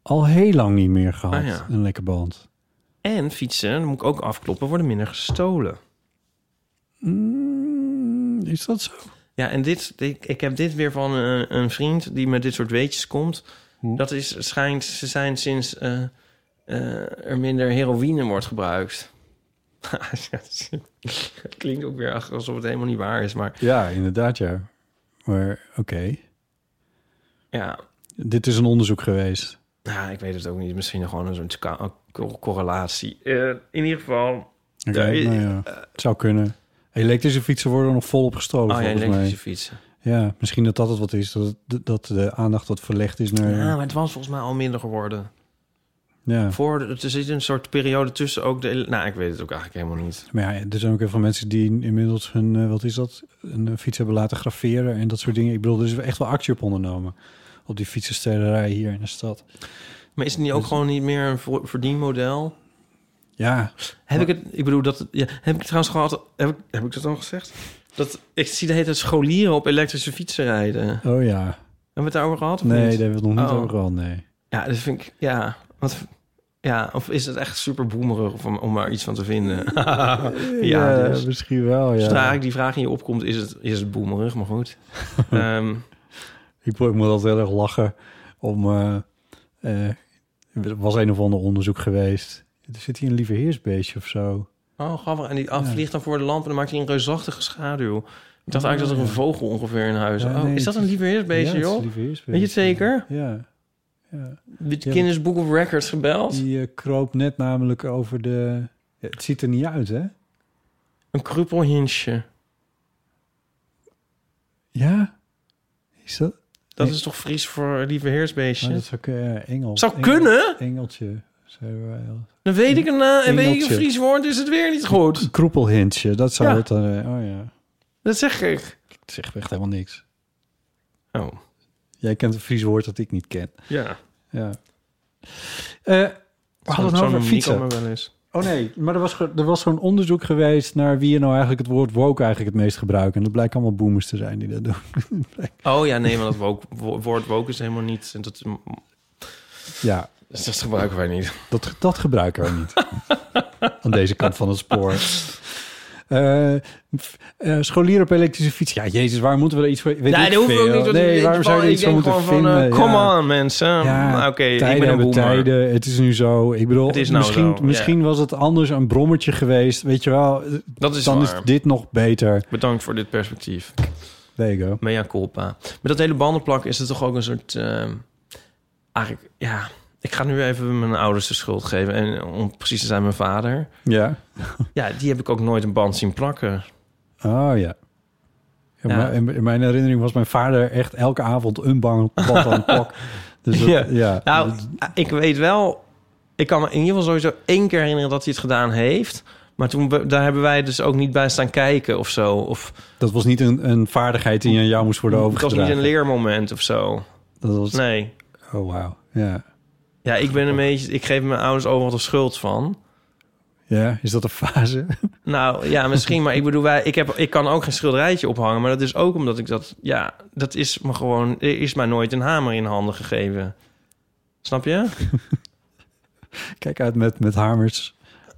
al heel lang niet meer gehad Ah, ja. een lekker band En fietsen, dat moet ik ook afkloppen, worden minder gestolen. Mm, is dat zo Ja, en dit, ik, ik heb dit weer van een, een vriend die met dit soort weetjes komt. Hm. Dat is, schijnt, ze zijn sinds eh, eh, er minder heroïne wordt gebruikt. Het klinkt ook weer alsof het helemaal niet waar is, maar ja inderdaad ja maar oké ja, dit is een onderzoek geweest nou, ik weet het ook niet. Misschien gewoon een soort ka- co- correlatie. Eh, in ieder geval, Oké, Ja, i- nou ja, het zou kunnen elektrische fietsen worden nog volop gestolen oh ja, volgens mij elektrische fietsen. ja misschien dat dat het wat is dat, het- dat de aandacht wat verlegd is naar Ja, ja, maar het was volgens mij al minder geworden. Voor, de- er zit een soort periode tussen ook de... ele- Nou, ik weet het ook eigenlijk helemaal niet. Maar ja, er zijn ook heel veel mensen die inmiddels hun, eh, wat is dat, een eh, fiets hebben laten graveren en dat soort dingen. Ik bedoel, er is echt wel actie op ondernomen op die fietsenstelerij hier in de stad. Maar is het niet ook Dus- gewoon niet meer een vo- verdienmodel? Ja, Heb ik het, ik bedoel, dat, ja, heb ik trouwens gehad, heb ik, heb ik dat al gezegd? Dat, ik zie de hele tijd scholieren op elektrische fietsen rijden. Hebben oh ja. we het daarover gehad? Of Nee, daar niet? hebben we het nog niet Oh. over gehad, nee. Ja, dat vind ik, ja. Wat, ja, of is het echt super boemerig om, om daar iets van te vinden? ja, dus. misschien wel, oh, ja. Zodra ik die vraag in je opkomt, is het, is het boemerig, maar goed. Ehm, Ik, mo- ik moet altijd heel erg lachen om... eh, eh, er was een of ander onderzoek geweest. Er zit hier een lieve heersbeestje of zo. oh, grappig. En die af, vliegt dan voor de lamp en dan maakt hij een reusachtige schaduw. Ik dacht eigenlijk dat er een vogel ongeveer in huis. Oh, Ja, oh, nee, is dat het een lieveheersbeestje, ja, het is een joh? lieve heersbeestje. Weet je het zeker? Ja. ja. Met Ja. Guinness Book of Records gebeld? Die eh, kroop net namelijk over de... Ja, het ziet er niet uit, hè? Een kruppelhinsje. Ja? Is dat? Dat Nee. is toch Fries voor lieve heersbeestje? Maar dat zou kunnen. Engels. Zou kunnen? Engeltje. zeiden wij al. Dan weet ik een, eh, en weet ik een Engeltje. Fries woord, is het weer niet goed. Een Kroepelhintje. Dat zou Ja. het dan... eh, Oh ja. Dat zeg ik. Het zegt echt helemaal niks. Oh, Jij kent een Fries woord dat ik niet ken. ja. Ja. Eh we hadden nou het over fietsen. maar wel eens. Oh nee, maar er was, ge- er was zo'n onderzoek geweest naar wie je nou eigenlijk het woord woke eigenlijk het meest gebruikt. En dat blijkt allemaal boomers te zijn die dat doen. Oh ja, nee, maar dat woke, wo- woord woke is helemaal niet... en Dat, Ja, dus dat gebruiken wij niet. Dat, dat gebruiken wij niet. Aan deze kant van het spoor. Eh, eh, f- eh, scholieren op elektrische fiets. Ja, jezus, waar moeten we er iets voor... Weet nee, ik dat hoeft ook veel. niet. want Nee, ik- waarom zou je er ik iets van denk moeten gewoon vinden? Van, eh, come Ja. on, mensen. Ja, Oké, ik tijden ben een hebben boomer. tijden. Het is nu zo. Ik bedoel, Het is nou misschien, zo, ja. misschien was het anders een brommertje geweest. Weet je wel, Dat is dan waar. is dit nog beter. Bedankt voor dit perspectief. There you go. Mea culpa. Met dat hele bandenplak is het toch ook een soort... ehm, eigenlijk, ja... Ik ga nu even mijn ouders de schuld geven. En om precies te zijn, mijn vader. Ja. Ja, die heb ik ook nooit een band zien plakken. Oh ja. In, Ja. mijn- in mijn herinnering was mijn vader echt elke avond een bang pad aan het pak. Dus dat- Ja. ja. Dus- Nou, ik weet wel... Ik kan me in ieder geval sowieso één keer herinneren dat hij het gedaan heeft. Maar toen, we- daar hebben wij dus ook niet bij staan kijken of zo. Of dat was niet een, een vaardigheid die aan jou moest worden het was overgedragen. niet een leermoment of zo. Dat was, Nee. Oh wauw. Ja. Ja, ik ben een beetje... Ik geef mijn ouders overal de schuld van. ja, is dat een fase? Nou ja, misschien, maar ik bedoel, wij, ik, heb, ik kan ook geen schilderijtje ophangen. Maar dat is ook omdat ik dat, ja, dat is me gewoon, er is mij nooit een hamer in handen gegeven. Snap je? Kijk uit met, met hamers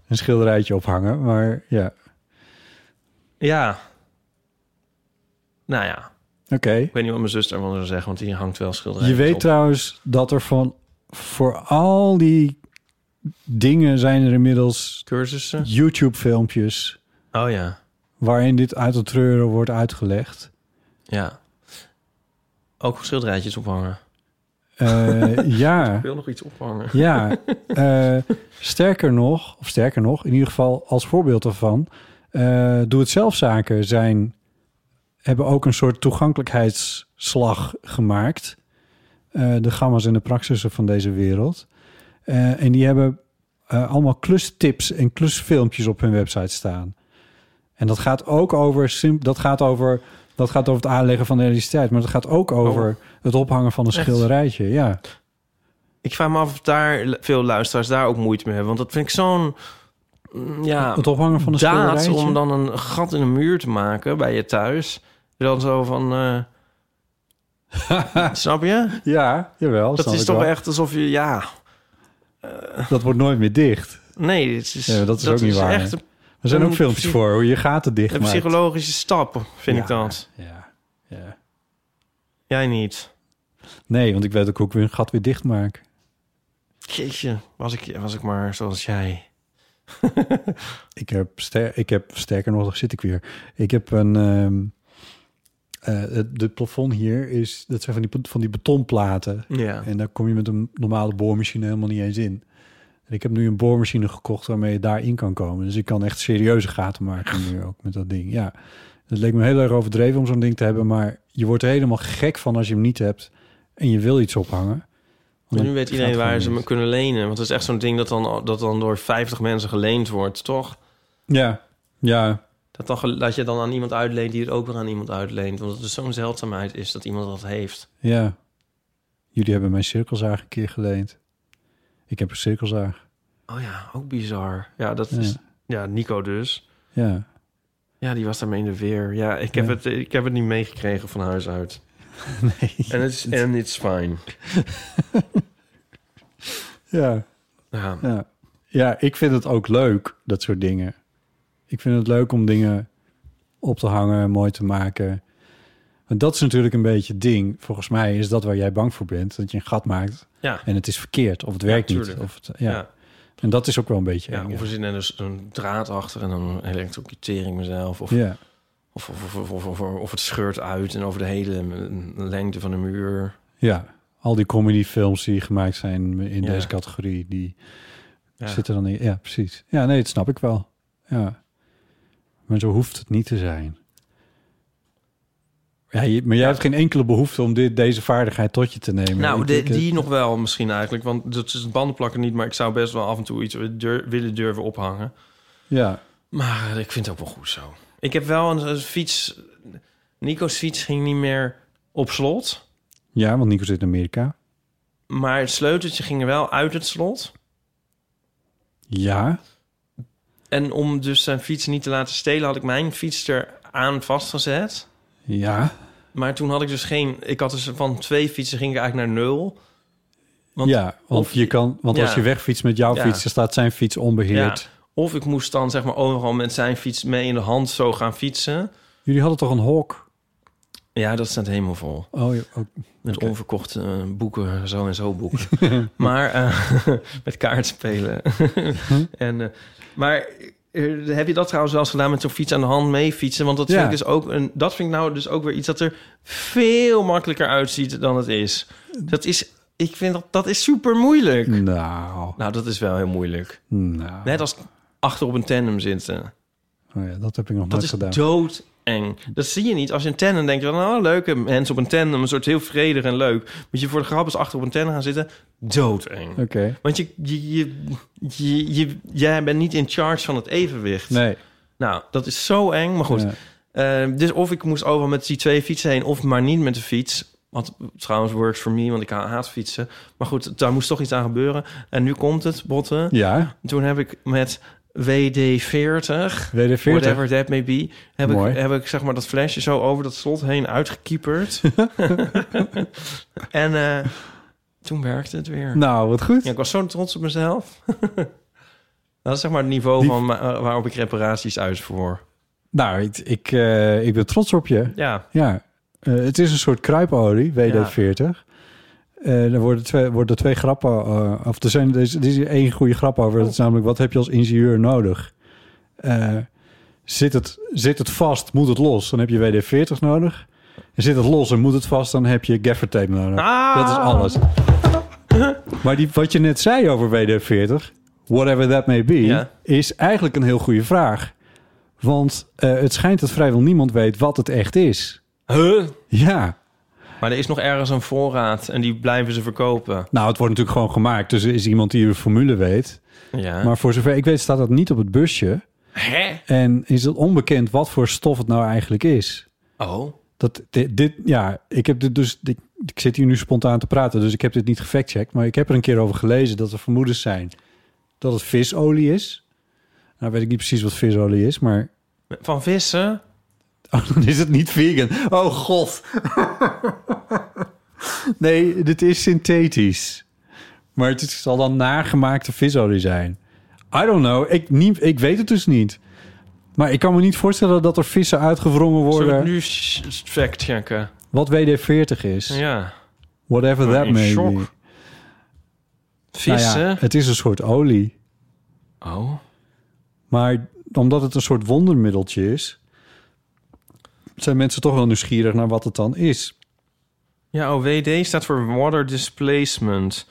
een schilderijtje ophangen. Maar ja, Ja. Nou ja, oké. ik weet niet wat mijn zus daarvan zou zeggen, want die hangt wel Je schilderijtjes weet op. trouwens dat er van voor al die dingen zijn er inmiddels Cursussen? YouTube filmpjes Oh ja, waarin dit uit het treuren wordt uitgelegd. ja. Ook schilderijtjes ophangen. Eh, ja, Ik wil nog iets ophangen. ja. Eh, sterker nog, of sterker nog, in ieder geval als voorbeeld daarvan, eh doe het zelfzaken zijn hebben ook een soort toegankelijkheidsslag gemaakt. Eh, de gamma's en de praxissen van deze wereld. Eh, en die hebben eh, allemaal klustips en klusfilmpjes op hun website staan. En dat gaat ook over, sim- dat gaat over, dat gaat over het aanleggen van de elektriciteit. Maar dat gaat ook over het ophangen van een Oh. Echt? schilderijtje. Ja. Ik vraag me af of daar veel luisteraars daar ook moeite mee hebben. Want dat vind ik zo'n, mm, ja... het ophangen van een daad schilderijtje. om dan een gat in een muur te maken bij je thuis. Dan zo van... eh, snap je? Ja, jawel. Dat snap is ik toch wel. echt alsof je... Ja, Dat wordt nooit meer dicht. nee, dit is, Ja, dat is ook niet waar, echt een, Er zijn Dan ook filmpjes moet- voor hoe je gaten dicht een maakt. psychologische stap, vind ik Ja, dat. Ja, ja. Jij niet. Nee, want ik weet ook hoe ik weer een gat weer dicht maak. Jeetje, was ik, was ik maar zoals jij. Ik heb, ster ik heb sterker nog, daar zit ik weer. Ik heb een. ehm eh, het de plafond hier is. Dat zijn van die, van die betonplaten. Ja. En daar kom je met een normale boormachine helemaal niet eens in. En ik heb nu een boormachine gekocht waarmee je daarin kan komen. Dus ik kan echt serieuze gaten maken nu ook met dat ding. Ja, het leek me heel erg overdreven om zo'n ding te hebben. Maar je wordt er helemaal gek van als je hem niet hebt. En je wil iets ophangen. Want Maar nu dan weet gaat iedereen het waar gewoon ze me niet. kunnen lenen. Want dat is echt zo'n ding dat dan, dat dan door 50 mensen geleend wordt, toch? Ja, ja, Dat, dan, gel- dat je dan aan iemand uitleent die het ook weer aan iemand uitleent. Want het dus zo'n zeldzaamheid is dat iemand dat heeft. Ja. Jullie hebben mijn cirkelzaag een keer geleend. Ik heb een cirkelzaag. Oh ja, ook bizar. Ja, dat Ja. is. Ja, Nico dus. Ja. Ja, die was daarmee in de weer. Ja, ik heb, Ja. Het, ik heb het niet meegekregen van huis uit. Nee. En it's, and it's fine. Ja, Ja. ja. Ja, ik vind het ook leuk, dat soort dingen. Ik vind het leuk om dingen op te hangen, mooi te maken. Want dat is natuurlijk een beetje het ding. Volgens mij is dat waar jij bang voor bent. Dat je een gat maakt Ja. en het is verkeerd. Of het werkt niet. tuurlijk. Of het, ja. Ja. ja. En dat is ook wel een beetje eng, of er zit net dus een draad achter en dan elektrocuteer ik mezelf. Of, ja. of, of, of, of, of, of het scheurt uit en over de hele mm, lengte van de muur. ja, al die comedyfilms die gemaakt zijn in Ja. deze categorie... die Ja. Zit er dan in. Ja, precies. Ja, nee, dat snap ik wel. Ja. Maar zo hoeft het niet te zijn. Ja, je- maar jij hebt geen enkele behoefte om dit, deze vaardigheid tot je te nemen. Nou, Ik- eh, de- ik- die nog wel misschien eigenlijk. Want dat is het bandenplakken niet, maar ik zou best wel af en toe iets dur- willen durven ophangen. Ja, Maar eh, ik vind het ook wel goed zo. Ik heb wel een, een fiets. Nico's fiets ging niet meer op slot. ja, want Nico zit in Amerika. Maar het sleuteltje ging er wel uit het slot. Ja, En om dus zijn fiets niet te laten stelen, had ik mijn fiets er aan vastgezet. ja, Maar toen had ik dus geen. Ik had dus van twee fietsen ging ik eigenlijk naar nul. Want ja. Want, of- je kan, want ja. als je wegfietst met jouw Ja. fiets, dan staat zijn fiets onbeheerd. Of ik moest dan zeg maar overal met zijn fiets mee in de hand zo gaan fietsen. Jullie hadden toch een hok? Ja, dat staat helemaal vol. Oh, ja, ook. Met Oké. onverkochte eh, boeken, zo en zo boeken. maar eh, met kaartspelen. en, eh, maar eh, heb je dat trouwens wel eens gedaan met zo'n fiets aan de hand mee fietsen? Want dat Ja. vind ik dus ook een, dat vind ik nou dus ook weer iets dat er veel makkelijker uitziet dan het is. Dat is, ik vind dat, dat is super moeilijk. nou, Nou, dat is wel heel moeilijk. nou. Net als achter op een tandem zitten. Oh ja, dat heb ik nog Dat nooit is gedaan. doodeng. Dat zie je niet. Als je een tandem denkt, van, oh, leuke mensen op een tandem, een soort heel vredig en leuk. Moet je voor de grap eens achter op een tandem gaan zitten, doodeng. Oké. Want je, je, je, je, je- jij bent niet in charge van het evenwicht. Nee. Nou, dat is zo eng, maar goed. Ja. Eh, dus of ik moest overal met die twee fietsen heen, of maar niet met de fiets. Wat trouwens works for me, want ik ha- haat fietsen. Maar goed, daar moest toch iets aan gebeuren. En nu komt het, botten. Ja, Toen heb ik met WD-40 WD-40. whatever that may be, heb Mooi. ik, heb ik zeg maar dat flesje zo over dat slot heen uitgekieperd. en eh, toen werkte het weer. Nou, wat goed. Ja, ik was zo trots op mezelf. dat is zeg maar het niveau Die- van ma- waarop ik reparaties uitvoer. Nou, ik, ik, eh, ik ben trots op je. Ja, Ja, eh, het is een soort kruipolie, WD-40. Eh er worden twee, worden twee grappen, eh, of er, zijn, er, is, er is één goede grap over. Dat is Oh. namelijk, wat heb je als ingenieur nodig? Eh, zit, het, zit het vast, moet het los, dan heb je WD-40 nodig. En zit het los en moet het vast, dan heb je gaffer tape nodig. Ah! Dat is alles. maar die, wat je net zei over WD-40, whatever that may be, Ja. is eigenlijk een heel goede vraag. Want eh, het schijnt dat vrijwel niemand weet wat het echt is. Huh? Ja, maar er is nog ergens een voorraad en die blijven ze verkopen. nou, het wordt natuurlijk gewoon gemaakt. Dus er is iemand die de formule weet. Ja. Maar voor zover ik weet staat dat niet op het busje. Hè? En is het onbekend wat voor stof het nou eigenlijk is. Oh. Dat dit, dit- ja, ik heb dit dus... Ik, ik zit hier nu spontaan te praten, dus ik heb dit niet gefactcheckt. Maar ik heb er een keer over gelezen dat er vermoedens zijn dat het visolie is. Nou weet ik niet precies wat visolie is, maar... Van vissen? Oh, dan is het niet vegan. Oh, god. nee, dit is synthetisch. Maar het is- zal dan nagemaakte visolie zijn. I don't know. Ik, niet, ik weet het dus niet. Maar ik kan me niet voorstellen dat er vissen uitgewrongen Zullen we worden... het nu s- s- fact-checken? wat WD-40 is. Ja. Whatever Maar that in may shock. be. Nou ja, Vissen? het is een soort olie. Oh. Maar omdat het een soort wondermiddeltje is... zijn mensen toch wel nieuwsgierig naar wat het dan is. Ja, OWD staat voor Water Displacement.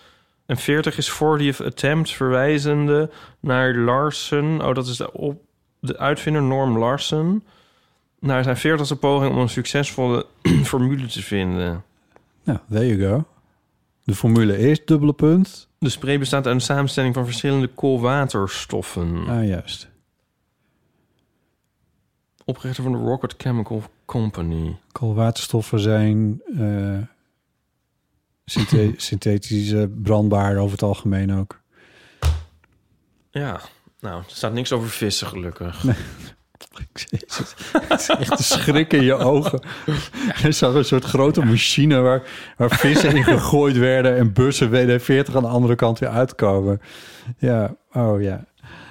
En 40 is 40th attempt, verwijzende naar Larsen. Oh, dat is de, op, de uitvinder Norm Larsen. Naar zijn 40ste poging om een succesvolle formule te vinden. Nou, there you go. De formule is dubbele punt. De spray bestaat uit een samenstelling van verschillende koolwaterstoffen. Ah, juist. Oprichter van de Rocket Chemical Company. Koolwaterstoffen zijn eh, synthe- synthetisch eh, brandbaar over het algemeen ook. Ja, nou, er staat niks over vissen gelukkig. Jezus, het is echt een schrik in je ogen. Er zag een soort grote machine waar, waar vissen in gegooid werden... en bussen WD-40 aan de andere kant weer uitkomen. Ja, oh ja.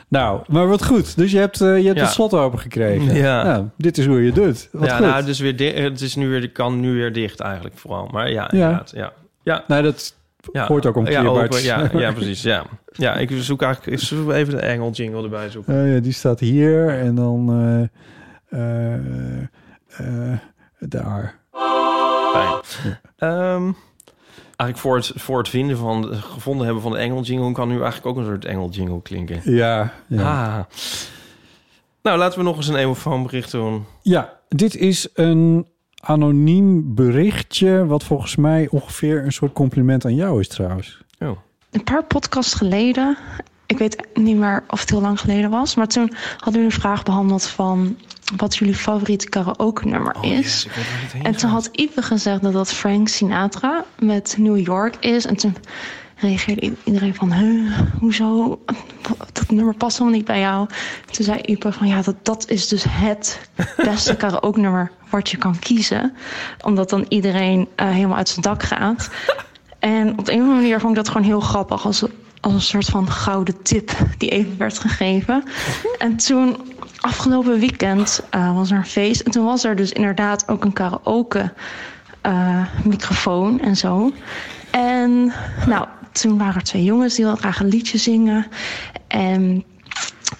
Nou, maar wat goed. Dus je hebt, eh, je hebt Ja. het slot open gekregen. Ja. Nou, dit is hoe je het doet. Wat ja, goed. nou, dus weer di- het is nu weer, de kan nu weer dicht eigenlijk vooral. Maar ja, inderdaad, ja. ja. nou, dat Ja, Hoort ook om ja, keerbaar open, te ja, zijn. ja, precies. Ja. ja, ik zoek eigenlijk ik zoek even de Engel jingle erbij zoeken. Eh, ja, die staat hier en dan eh, eh, eh, daar. Fijn. Ehm, eigenlijk voor het, voor het vinden van, gevonden hebben van de Engel jingle kan nu eigenlijk ook een soort Engel jingle klinken. Ja, ja. Ah. Nou, laten we nog eens een emofoonbericht doen. ja, dit is een anoniem berichtje... wat volgens mij ongeveer een soort compliment aan jou is trouwens. Oh. een paar podcasts geleden. Ik weet niet meer of het heel lang geleden was. Maar toen hadden we een vraag behandeld van wat jullie favoriete karaoke nummer is. en toen had Ipe gezegd dat dat Frank Sinatra met New York is. En toen reageerde i- iedereen van, huh, hoezo? Dat nummer past helemaal niet bij jou. Toen zei Ipe van, ja, dat, dat is dus het beste karaoke nummer wat je kan kiezen. Omdat dan iedereen eh, helemaal uit zijn dak gaat. En op de een of andere manier vond ik dat gewoon heel grappig. Als als een soort van gouden tip die even werd gegeven. En toen, afgelopen weekend, eh, was er een feest. En toen was er dus inderdaad ook een karaoke eh, microfoon en zo. En nou, toen waren er twee jongens die wilden graag een liedje zingen. En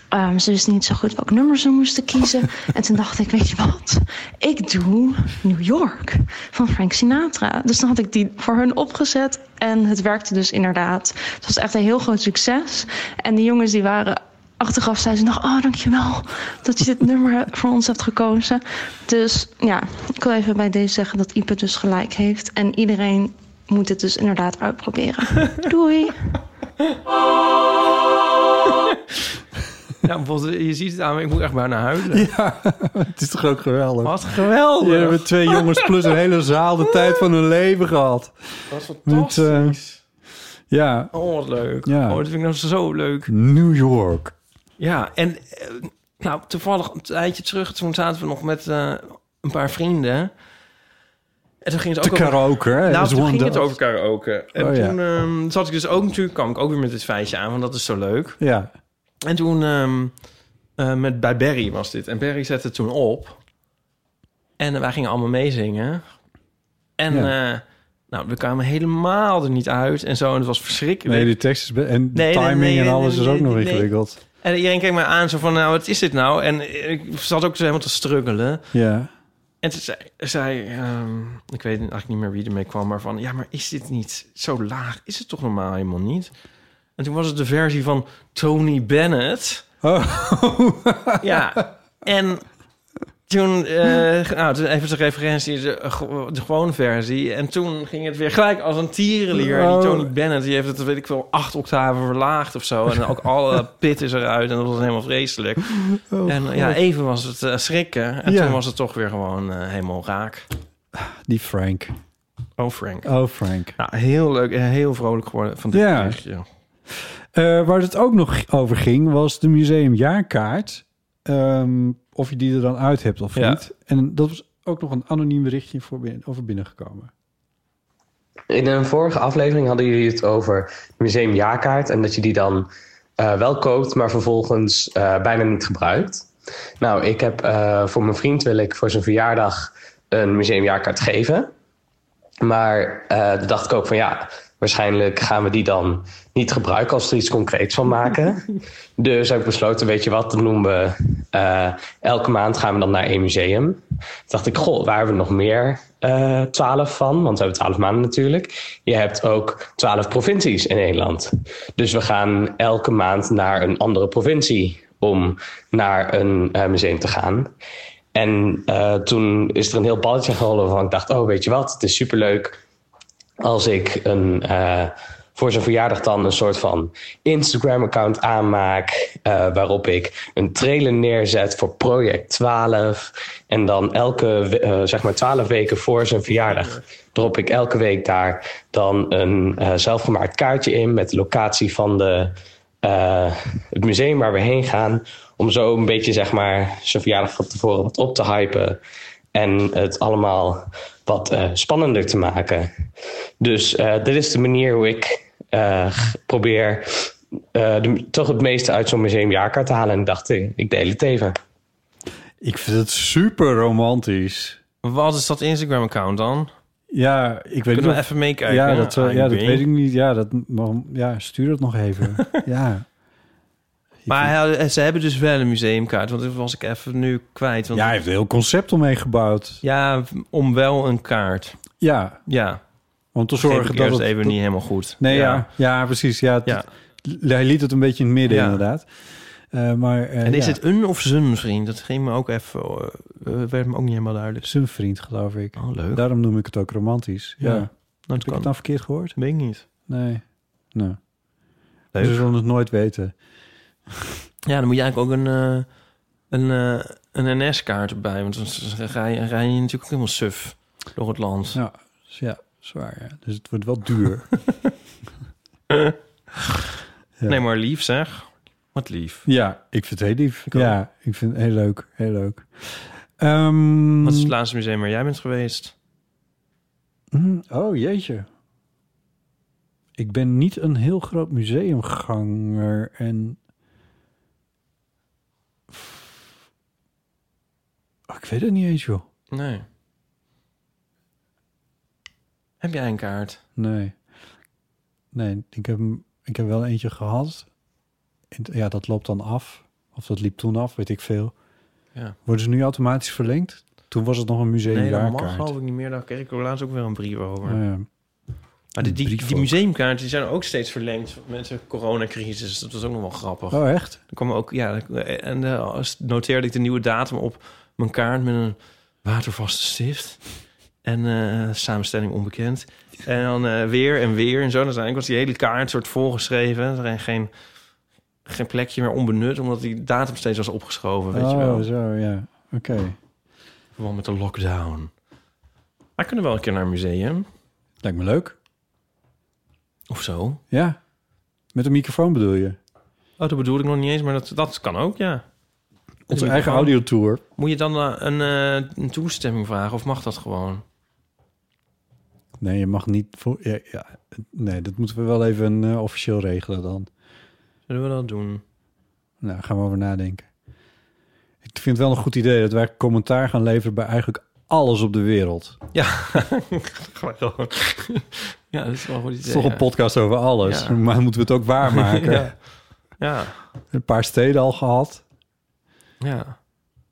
ehm, ze wisten niet zo goed welk nummer ze moesten kiezen. En toen dacht ik, weet je wat? Ik doe New York van Frank Sinatra. Dus dan had ik die voor hun opgezet. En het werkte dus inderdaad. Het was echt een heel groot succes. En die jongens die waren achteraf, zeiden ze nog... Oh, dankjewel dat je dit nummer voor ons hebt gekozen. Dus ja, ik wil even bij deze zeggen dat Ipe dus gelijk heeft. En iedereen moet het dus inderdaad uitproberen. Doei! Ja, bijvoorbeeld, je ziet het aan me, ik moet echt bijna huilen. Ja, het is toch ook geweldig. Wat geweldig. Hier hebben twee jongens plus een hele zaal de tijd van hun leven gehad. Dat is Met, fantastisch. eh, ja, Oh, wat leuk. Ja. Oh, dat vind ik nou zo leuk. New York. Ja, en eh, nou, toevallig een tijdje terug, toen zaten we nog met eh, een paar vrienden. En toen ging het De ook over... karaoke, hè? Nou, Dat is toen one ging het dance. over karaoke. En Oh, ja. toen ehm, zat ik dus ook natuurlijk, kwam ik ook weer met dit feitje aan, want dat is zo leuk. Ja, En toen ehm, eh, met, bij Barry was dit. En Barry zette het toen op. En eh, wij gingen allemaal meezingen. En eh, nou, we kwamen helemaal er niet uit en zo. En het was verschrikkelijk. nee, die tekst is... be- En de Nee, nee, timing nee, en nee, alles nee, is ook nee, nog nee. ingewikkeld. En iedereen keek mij aan zo van, nou, wat is dit nou? En ik zat ook zo helemaal te struggelen. Ja. En toen zei, zei ehm, ik weet eigenlijk niet meer wie ermee kwam, maar van, ja, maar is dit niet zo laag? Is het toch normaal helemaal niet? En toen was het de versie van Tony Bennett. Oh. Ja, en toen, eh, nou, toen even de referentie, de, eh, de gewone versie. En toen ging het weer gelijk als een tierenlier. En Die Oh. Tony Bennett, die heeft het, weet ik wel, acht octaven verlaagd of zo. En ook alle pit is eruit en dat was helemaal vreselijk. Oh, En ja, even was het eh, schrikken. En Ja. toen was het toch weer gewoon eh, helemaal raak. die Frank. Oh, Frank. Oh, Frank. Nou, heel leuk en heel vrolijk geworden van dit Ja. berichtje. Eh, waar het ook nog over ging, was de museumjaarkaart. Ehm, of je die er dan uit hebt of Ja. niet. En dat was ook nog een anoniem berichtje voor binnen, over binnengekomen. In een vorige aflevering hadden jullie het over museum jaarkaart en dat je die dan eh, wel koopt, maar vervolgens eh, bijna niet gebruikt. Nou, ik heb eh, voor mijn vriend wil ik voor zijn verjaardag een museumjaarkaart geven. Maar eh toen dacht ik ook van ja, waarschijnlijk gaan we die dan niet gebruiken als we er iets concreets van maken. dus heb ik besloten, weet je wat, dan noemen we eh, elke maand gaan we dan naar één museum. Toen dacht ik, goh, waar hebben we nog meer eh, twaalf van? Want we hebben twaalf maanden natuurlijk. Je hebt ook twaalf provincies in Nederland. Dus we gaan elke maand naar een andere provincie om naar een eh, museum te gaan. En eh, toen is er een heel balletje geholpen van ik dacht, oh weet je wat, het is superleuk als ik een, eh, voor zijn verjaardag dan een soort van Instagram-account aanmaak. eh, waarop ik een trailer neerzet voor project 12. En dan elke, we- eh, zeg maar 12 weken voor zijn verjaardag drop ik elke week daar dan een eh, zelfgemaakt kaartje in met de locatie van de, eh, het museum waar we heen gaan. Om zo een beetje zeg maar, zijn verjaardag van tevoren wat op te hypen. En het allemaal wat eh, spannender te maken. Dus eh, dit is de manier hoe ik eh, g- probeer eh, de- toch het meeste uit zo'n museumjaarkaart te halen. En ik dacht, eh, ik deel het even. Ik vind het super romantisch. Wat is dat Instagram-account dan? Ja, ik weet Kunnen we niet. of- even meekijken? ja, dat, eh, Ah, ja, dat weet. weet ik niet. Ja, dat, maar- ja, stuur dat nog even. ja. Maar hij had- ze hebben dus wel een museumkaart, want dat was ik even nu kwijt. Want ja, hij heeft een heel concept omheen gebouwd. Ja, om wel een kaart. Ja, Ja, om te Zorg zorgen ik dat eerst het... even dat- niet helemaal goed. Nee, ja. Ja, precies. Ja, het- Ja. Hij liet het een beetje in het midden, Ja. inderdaad. Eh, maar, eh, En is ja. het een of zijn vriend? Dat ging me ook even, eh, eh, werd me ook niet helemaal duidelijk. Zijn vriend, geloof ik. Oh, leuk. Daarom noem ik het ook romantisch. Ja. Ja. Heb nou, dat ik kan. het dan verkeerd gehoord? weet ik niet. Nee. Nou, Leuk. we zullen het nooit weten. Ja, dan moet je eigenlijk ook een, eh, een, eh, een NS-kaart erbij. Want dan rij, je- rij je natuurlijk ook helemaal suf door het land. Ja, dus ja zwaar. Ja. Dus het wordt wel duur. Ja. Nee, maar lief zeg. Wat lief. ja, ik vind het heel lief. ook. ja, ik vind het heel leuk. Heel leuk. Ehm, Wat is het laatste museum waar jij bent geweest? mm, oh, jeetje. hm, ik ben niet een heel groot museumganger en... Oh, ik weet het niet eens, joh. Nee. Heb jij een kaart? Nee. Nee, ik heb, hem- ik heb wel eentje gehad. En t- Ja, dat loopt dan af. Of dat liep toen af, weet ik veel. Ja. Worden ze nu automatisch verlengd? Toen was het nog een nee, dat mag museumjaarkaart. geloof ik niet meer. Daar kreeg ik laatst ook weer een brief over. Nou ja. Maar die, die, brief die ook. museumkaarten die zijn ook steeds verlengd met de coronacrisis. Dat was ook nog wel grappig. Oh, echt? Er kwam ook, ja, en eh, als- noteerde ik de nieuwe datum op mijn kaart met een watervaste stift. En eh, samenstelling onbekend. En dan eh, weer en weer en zo. Dan zijn was die hele kaart soort volgeschreven. Er was geen, geen plekje meer onbenut, omdat die datum steeds was opgeschoven. Weet je wel. oh, zo, ja. Oké. In verband met de lockdown. Maar kunnen we wel een keer naar een museum. Lijkt me leuk. Of zo. Ja. Met een microfoon bedoel je? Oh, dat bedoel ik nog niet eens, maar dat, dat kan ook, ja. Onze eigen audiotour. Moet je dan eh, een, eh, een toestemming vragen of mag dat gewoon? Nee, je mag niet... Voor, ja, ja, nee, dat moeten we wel even eh, officieel regelen dan. Zullen we dat doen? Nou, daar gaan we over nadenken. Ik vind het wel een goed idee dat wij commentaar gaan leveren bij eigenlijk alles op de wereld. Ja, Gewoon. ja dat is wel een goed Het idee. is toch een ja. podcast over alles, Ja. maar moeten we het ook waarmaken? ja. ja, Een paar steden al gehad. ja.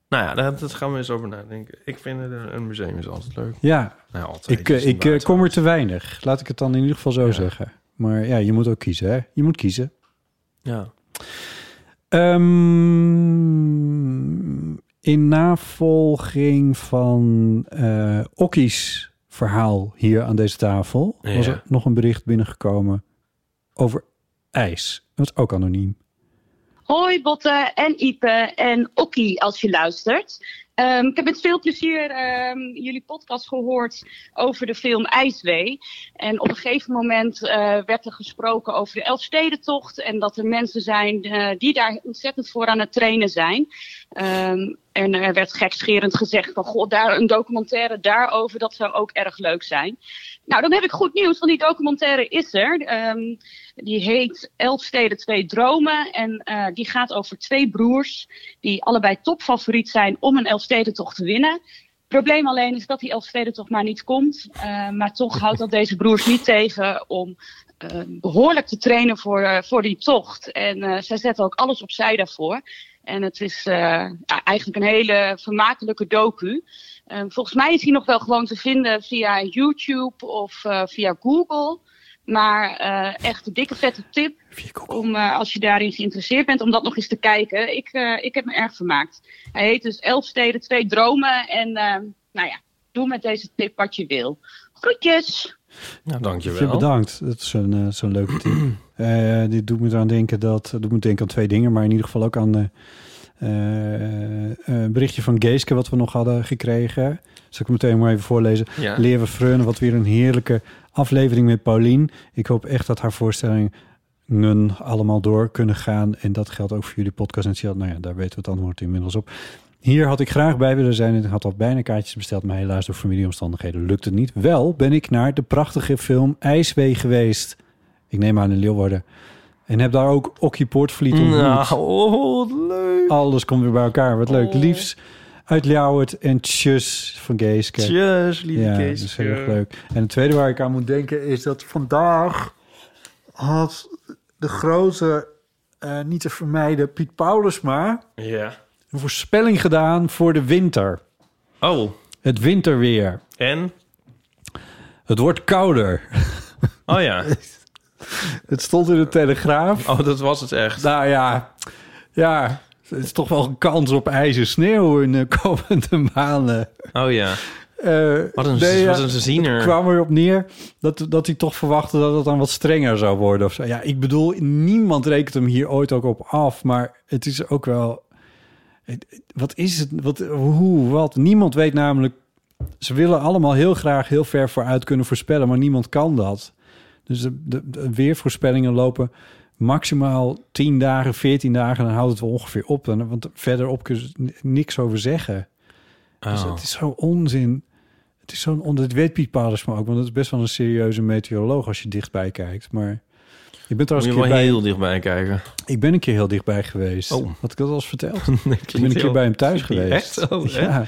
Nou ja, daar dat gaan we eens over nadenken. Ik vind het een, een museum is altijd leuk. Ja, Nou, altijd. ik, eh, is ik eh, kom er te weinig. Laat ik het dan in ieder geval zo zeggen. Maar ja, je moet ook kiezen, hè? Je moet kiezen. Ja. Ehm, in navolging van eh Okkie's verhaal hier aan deze tafel... was Ja. er nog een bericht binnengekomen over ijs. Dat is ook anoniem. Hoi Botte en Ipe en Okkie als je luistert. Ehm, ik heb met veel plezier ehm, jullie podcast gehoord over de film IJswee. En op een gegeven moment eh, werd er gesproken over de Elfstedentocht. En dat er mensen zijn eh, die daar ontzettend voor aan het trainen zijn. Ehm, en er werd gekscherend gezegd van, god, daar, een documentaire daarover, dat zou ook erg leuk zijn. Nou, dan heb ik goed nieuws, want die documentaire is er. Ehm, die heet Elf Steden, Twee Dromen. En eh, die gaat over twee broers die allebei topfavoriet zijn om een Elfstedentocht te winnen. Probleem alleen is dat die Elfstedentocht maar niet komt. Eh, maar toch houdt dat deze broers niet tegen om eh, behoorlijk te trainen voor, eh, voor die tocht. En eh, zij zetten ook alles opzij daarvoor. En het is eh, ja, eigenlijk een hele vermakelijke docu. Eh, volgens mij is die nog wel gewoon te vinden via YouTube of eh, via Google. Maar eh, echt een dikke vette tip om, eh, als je daarin geïnteresseerd bent, om dat nog eens te kijken. Ik, eh, ik heb me erg vermaakt. Hij heet dus Elf Steden, Twee Dromen. En eh, nou ja, doe met deze tip wat je wil. Groetjes! Nou, dankjewel. Ja, bedankt. Dat is een, eh, zo'n leuke tip. Eh, dit doet me eraan denken dat doet me denken aan twee dingen, maar in ieder geval ook aan eh, eh, een berichtje van Geeske wat we nog hadden gekregen. Zal ik hem meteen maar even voorlezen. Ja. Leer we freunen, wat weer een heerlijke aflevering met Paulien. Ik hoop echt dat haar voorstellingen allemaal door kunnen gaan. En dat geldt ook voor jullie podcast. En Sjeld. nou ja, daar weten we het antwoord inmiddels op. Hier had ik graag bij willen zijn. Ik had al bijna kaartjes besteld, maar helaas door familieomstandigheden lukt het niet. Wel ben ik naar de prachtige film IJswee geweest. Ik neem aan in Leeuwarden. En heb daar ook Okkie Poortvliet ontmoet. Nou, oh, leuk. Oh. Alles komt weer bij elkaar. Wat leuk. Liefs uit Ljouwert en tjus van Geeske. Tjus, lieve ja, Geeske. dat is heel erg leuk. En het tweede waar ik aan moet denken is dat vandaag had de grote, eh, niet te vermijden, Piet Paulusma Ja. een voorspelling gedaan voor de winter. Oh, Het winterweer. en? Het wordt kouder. Oh ja. Het stond in de Telegraaf. Oh, dat was het echt. Nou ja, ja, het is toch wel een kans op ijs en sneeuw in de komende maanden. Oh ja. Eh, Wat een- ja, wat een ziener. Het kwam erop neer dat, dat hij toch verwachtte dat het dan wat strenger zou worden. Of zo. Ja, ik bedoel, niemand rekent hem hier ooit ook op af. Maar het is ook wel... het- Wat is het? Wat, hoe? Wat? Niemand weet namelijk... Ze willen allemaal heel graag heel ver vooruit kunnen voorspellen, maar niemand kan dat. Dus de, de, de weervoorspellingen lopen maximaal 10 dagen, 14 dagen, dan houdt het wel ongeveer op. En, want verderop kun je niks over zeggen. Dus Oh. het is zo onzin. Het Het is zo'n onder... Dat weet Piet Padersma ook, want dat is best wel een serieuze meteoroloog als je dichtbij kijkt. Maar je bent Moet trouwens je een keer wel bij... heel dichtbij kijken. Ik ben een keer heel dichtbij geweest. Oh. Had ik dat al eens verteld? ik ben klinkt een keer heel- bij hem thuis klinkt geweest. echt? Oh, hè? ja,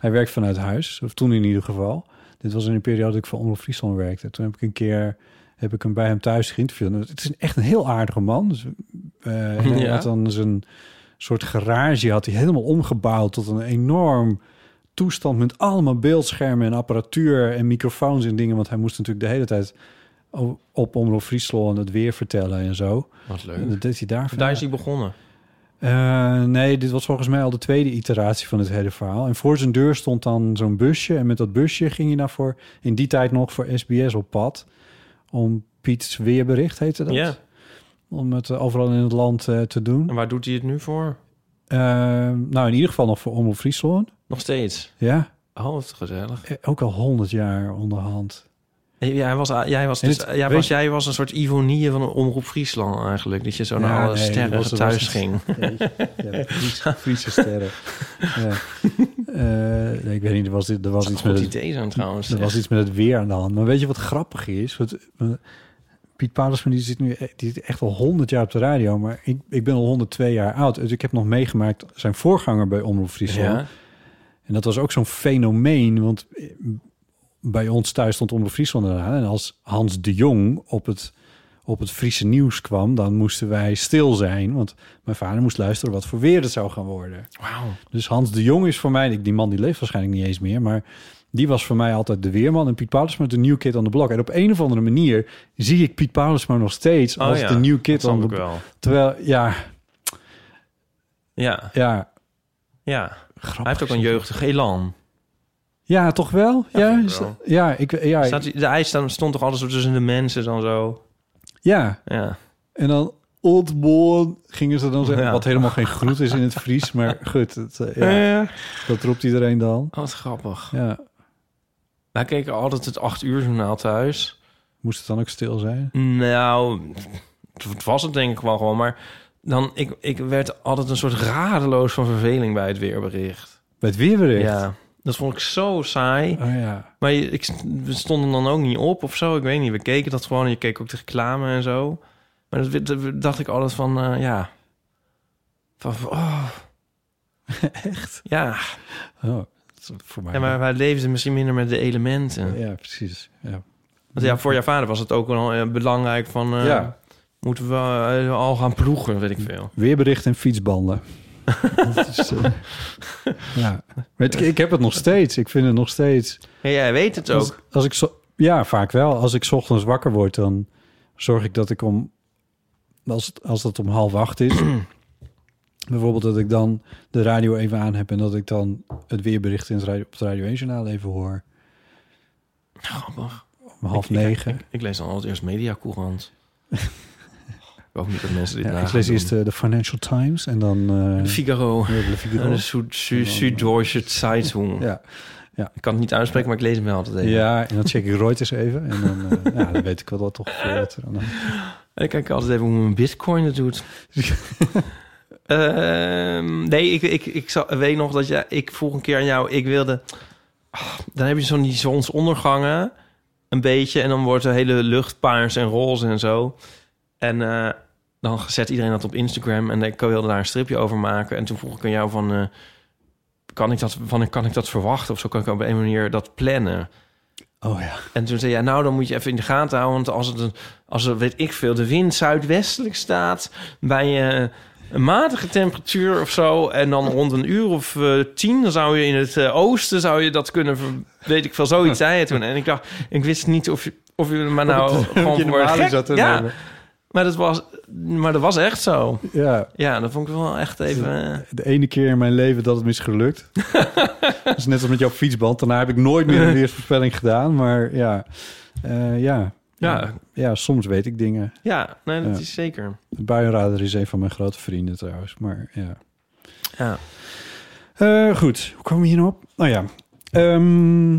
hij werkt vanuit huis, of toen in ieder geval. Dit was in een periode dat ik voor Omroep Friesland werkte. Toen heb ik een keer heb ik hem bij hem thuis geïnterviewd. En Het is een- echt een heel aardige man. Dus, eh, hij Ja. had dan zijn soort garage had hij helemaal omgebouwd tot een enorm toestand met allemaal beeldschermen en apparatuur en microfoons en dingen. Want hij moest natuurlijk de hele tijd op- op Omroep Friesland het weer vertellen en zo. Wat leuk. En dat deed hij daar. Daar is hij begonnen. Eh, nee, dit was volgens mij al de tweede iteratie van het hele verhaal. En voor zijn deur stond dan zo'n busje. En met dat busje ging hij daarvoor in die tijd nog voor SBS op pad. Om Piet's weerbericht heette dat. Ja. Om het eh, overal in het land eh, te doen. En waar doet hij het nu voor? Eh, nou, in ieder geval nog voor Omroep Friesland. Nog steeds. Ja, Oh, wat gezellig. Eh, ook al honderd jaar onderhand. Ja, hij was, jij, was En dus, het- jij, weet was, je- jij was een soort Ivonie van een omroep Friesland eigenlijk. Dat je zo naar Ja, alle nee, sterren dat was- dat thuis was- ging. Nee, ja, Friese, Friese sterren. ja. Eh, nee, ik weet niet, er was, er was iets een met goed het- idee zijn trouwens, Er was echt. iets met het weer aan de hand. Maar weet je wat grappig is? Wat, eh, Piet Padersma die zit nu e- die zit echt al 100 jaar op de radio, maar ik, ik ben al 102 jaar oud. Dus ik heb nog meegemaakt zijn voorganger bij Omroep Friesland. Ja. En dat was ook zo'n fenomeen, want eh, bij ons thuis stond Omroep Friesland eraan. En als Hans de Jong op het, op het Friese nieuws kwam, dan moesten wij stil zijn. Want mijn vader moest luisteren wat voor weer het zou gaan worden. Wauw. Dus Hans de Jong is voor mij, ik- die man die leeft waarschijnlijk niet eens meer, maar die was voor mij altijd de weerman. En Piet Paulus met de new kid on the block. En op een of andere manier zie ik Piet Paulus maar nog steeds Oh als ja, de new kid dat on snap the ik wel. Terwijl, ja, Ja. ja, ja. hij heeft ook een jeugdig elan. ja, toch wel? Ja, vind ik is- wel. ja, ik, ja, ik- Staat, hij- de ijs staan- stond toch altijd zo tussen de mensen dan zo. ja. Ja. En dan old boy gingen ze dan zeggen, Ja. wat helemaal geen groet is in het Fries, maar goed, het, eh, ja, Ja. dat roept iedereen dan. Wat grappig. Ja, Wij keken altijd het acht uur journaal thuis. moest het dan ook stil zijn? Nou, het was het denk ik wel gewoon. Maar dan, ik, ik werd altijd een soort radeloos van verveling bij het weerbericht. Bij het weerbericht? Ja, dat vond ik zo saai. Oh ja. Maar je- ik, we stonden dan ook niet op of zo. Ik weet niet, we keken dat gewoon. en Je keek ook de reclame en zo. Maar dat, werd- dat dacht ik altijd van, eh, ja... Van, oh. Echt? Ja. Oh, dat is voor mij. ja, maar wij leefden misschien minder met de elementen. Ja, precies. Ja. Want ja, voor jouw vader was het ook wel eh, belangrijk van... eh, Ja. Moeten we eh, al gaan ploegen, weet ik veel. Weerbericht en fietsbanden. dat is, eh, ja. Maar het- ik heb het nog steeds. Ik vind het nog steeds. Ja, jij weet het Als, ook. als ik zo, ja, vaak wel. Als ik 's ochtends wakker word, dan zorg ik dat ik om. Als, het- als dat om half acht is. bijvoorbeeld dat ik dan de radio even aan heb en dat ik dan het weerbericht in het radio, op het Radio 1 Journaal even hoor. Grappig. Om half Ik- ik- negen. Ik, ik lees dan altijd eerst Mediacourant. ik hoop niet dat mensen dit Ja, nagaan ik lees doen. eerst de, de Financial Times en dan... eh, De Figaro. Ja, de Figaro. En de Su- Su- Süddeutsche Zeitung. Ja. Ja. Ik kan het niet uitspreken, maar ik lees hem wel altijd even. Ja, en dan check ik Reuters even. En dan, eh, ja, dan weet ik wel dat toch veel wat er aan de hand is. En ik kijk altijd even hoe mijn bitcoin het doet. Ehm, nee, ik, ik, ik, zal- weet nog dat jij, ik vroeg een keer aan jou, ik wilde... Ah, dan heb je zo'n die zonsondergangen, een beetje... en dan wordt de hele lucht paars en roze en zo. En eh, dan zet iedereen dat op Instagram... en ik wilde daar een stripje over maken. En toen vroeg ik aan jou van... eh, kan, ik dat, van kan ik dat verwachten? Of zo kan ik op een manier dat plannen? Oh ja. En toen zei jij, nou, dan moet je even in de gaten houden. Want als het, een- als er, weet ik veel, de wind zuidwestelijk staat... bij eh, een matige temperatuur of zo... en dan rond een uur of eh, tien... dan zou je in het eh, oosten zou je dat kunnen... ver- weet ik veel, zoiets zei je toen. En ik dacht, ik wist niet of je, of je me nou Of gewoon je de voor maling gek- zat te ja, nemen. maar dat, was, maar dat was echt zo. Ja, Ja, dat vond ik wel echt even... eh, de ene keer in mijn leven dat het mis gelukt. dat is net als met jouw fietsband. Daarna heb ik nooit meer een weersvoorspelling gedaan. Maar ja, eh, ja. Ja. Ja, soms weet ik dingen. ja, nee, dat Ja. is zeker. De buienrader is een van mijn grote vrienden trouwens. Maar ja. Ja. Eh, goed, hoe komen we hier nou op? Nou ja. Ehm,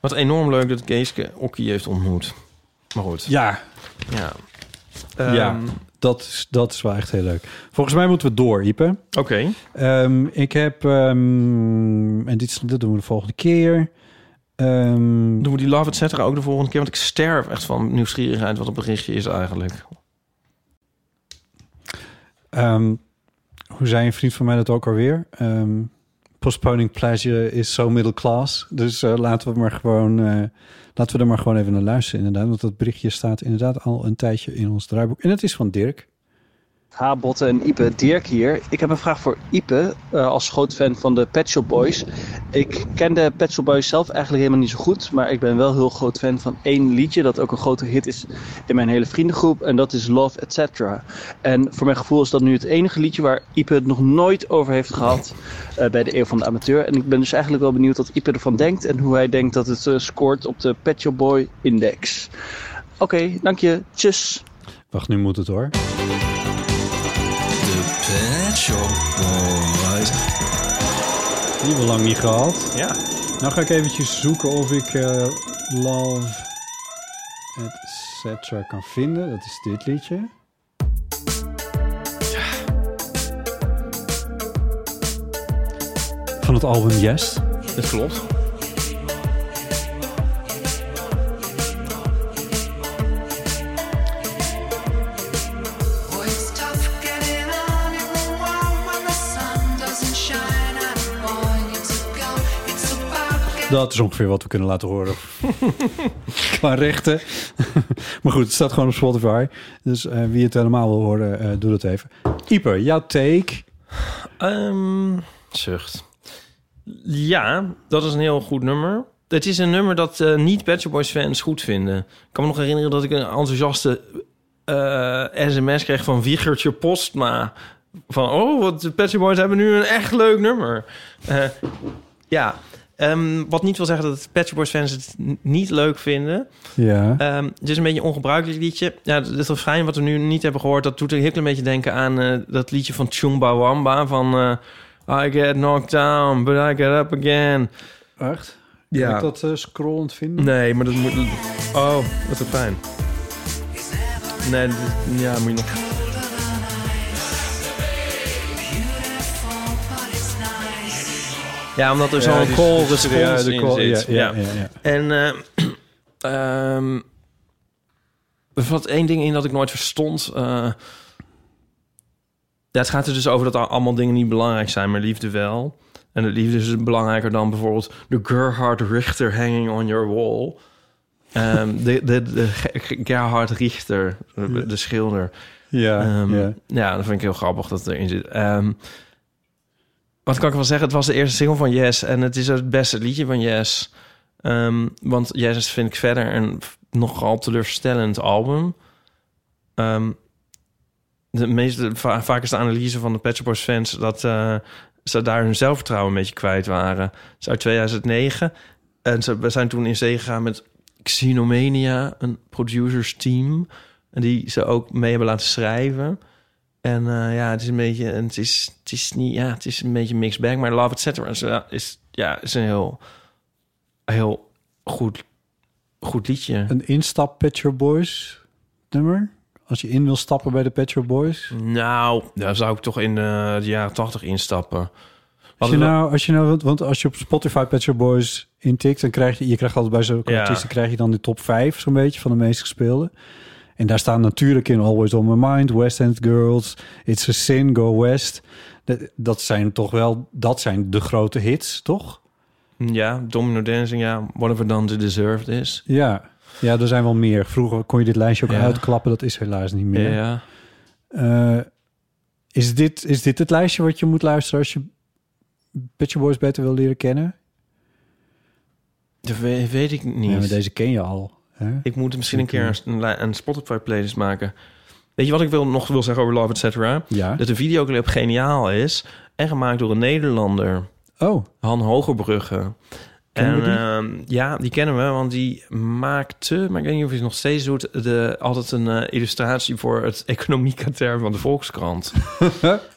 Wat enorm leuk dat Geeske Okkie heeft ontmoet. Maar goed. ja, Ja. ja. Ehm, Dat is, dat is wel echt heel leuk. Volgens mij moeten we door, Ipe. Oké. Ehm, ik heb, ehm, en dit, is- dat doen we de volgende keer. Ehm, Doen we die Love et cetera ook de volgende keer? Want ik sterf echt van nieuwsgierigheid wat het berichtje is eigenlijk. Ehm, hoe zei een vriend van mij dat ook alweer? Ehm, postponing pleasure is zo middle class. Dus eh, laten, we maar gewoon, eh, laten we er maar gewoon even naar luisteren inderdaad. Want dat berichtje staat inderdaad al een tijdje in ons draaiboek. En het is van Dirk. Ha, Botte en Ipe, Dirk hier. Ik heb een vraag voor Ipe, eh, als groot fan van de Pet Shop Boys. Ik ken de Pet Shop Boys zelf eigenlijk helemaal niet zo goed, maar ik ben wel heel groot fan van één liedje dat ook een grote hit is in mijn hele vriendengroep en dat is Love Etc. En voor mijn gevoel is dat nu het enige liedje waar Ipe het nog nooit over heeft gehad eh, bij de Eeuw van de Amateur. En ik ben dus eigenlijk wel benieuwd wat Ipe ervan denkt en hoe hij denkt dat het eh, scoort op de Pet Shop Boy Index. Oké, dank je. Tjus. Wacht, nu moet het hoor. Pet Shop Boys. Die hebben we lang niet gehad. Ja. Nou ga ik eventjes zoeken of ik eh, Love et cetera kan vinden. Dat is dit liedje. Van het album Yes. Dat klopt. Dat is ongeveer wat we kunnen laten horen. Qua rechten. maar goed, het staat gewoon op Spotify. Dus eh, wie het helemaal wil horen, eh, doe dat even. Ieper, jouw take. Ehm, zucht. Ja, dat is een heel goed nummer. Het is een nummer dat eh, niet Pet Shop Boys fans goed vinden. Ik kan me nog herinneren dat ik een enthousiaste eh, sms kreeg van Wiegertje Postma. Van, oh, wat de Pet Shop Boys hebben nu een echt leuk nummer. Eh, ja, Ehm, wat niet wil zeggen dat Pet Shop Boys fans het n- niet leuk vinden. Ja. Ehm, het is een beetje een ongebruikelijk liedje. Ja, het het refrein wat we nu niet hebben gehoord... dat doet een heel klein beetje denken aan eh, dat liedje van Chumba Wamba... van eh, I get knocked down, but I get up again. Echt? Ja. Kan ik dat eh, scrollend vinden? Nee, maar dat moet... Oh, wat een pijn. Nee, dat- ja, moet je nog... Ja, omdat er Ja, zo'n die- call die- response ja, de in call- zit. ja, ja, ja, ja. En eh, ehm, er valt één ding in dat ik nooit verstond. eh. ja, het gaat er dus over dat al- allemaal dingen niet belangrijk zijn, maar liefde wel. En de liefde is dus belangrijker dan bijvoorbeeld de Gerhard Richter hanging on your wall. Ehm, de, de, de Ge- Gerhard Richter, de, de schilder. Ja, Ehm, ja. ja, dat vind ik heel grappig dat het erin zit. Ehm, wat kan ik wel zeggen? Het was de eerste single van Yes. En het is het beste liedje van Yes. Ehm, want Yes is, vind ik verder een f- nogal teleurstellend album. Ehm, de meeste, va- vaak is de analyse van de Pet Shop Boys fans... dat eh, ze daar hun zelfvertrouwen een beetje kwijt waren. Het is uit 2009. En ze, we zijn toen in zee gegaan met Xenomania, een producers team... die ze ook mee hebben laten schrijven... En eh, ja, het is een beetje, en het is, het is niet, ja, het is een beetje mixed bag, maar Love Etc. is, eh, is, ja, is een heel, heel goed, goed liedje. Een instap Pet Shop Boys nummer. Als je in wil stappen bij de Pet Shop Boys. Nou, daar zou ik toch in eh, de jaren tachtig instappen. Als je, Hadden we- nou, als je nou, want- want als je op Spotify Pet Shop Boys intikt, dan krijg je, je krijgt altijd bij zo'n Ja. artiesten, krijg je dan de top 5 zo'n beetje van de meest gespeelde. En daar staan natuurlijk in Always On My Mind, West End Girls, It's a Sin, Go West. Dat, dat zijn toch wel, dat zijn de grote hits, toch? Ja, Domino Dancing, ja, Whatever Done to Deserve This. Ja. ja, er zijn wel meer. Vroeger kon je dit lijstje ook Ja. uitklappen, dat is helaas niet meer. Ja. Eh, is, dit, is dit het lijstje wat je moet luisteren als je Pet Shop Boys beter wil leren kennen? Dat we- weet ik niet. Ja, maar deze ken je al. Hè? Ik moet misschien een keer een, li- een Spotify playlist maken. Weet je wat ik wil, nog wil zeggen over Love et cetera? Ja. Dat de videoclip geniaal is en gemaakt door een Nederlander. Oh. Han Hogerbrugge. Kennen we die? ehm, ja, die kennen we, want die maakte, maar ik weet niet of hij het nog steeds doet, de, altijd een eh, illustratie voor het economiekatern van de Volkskrant.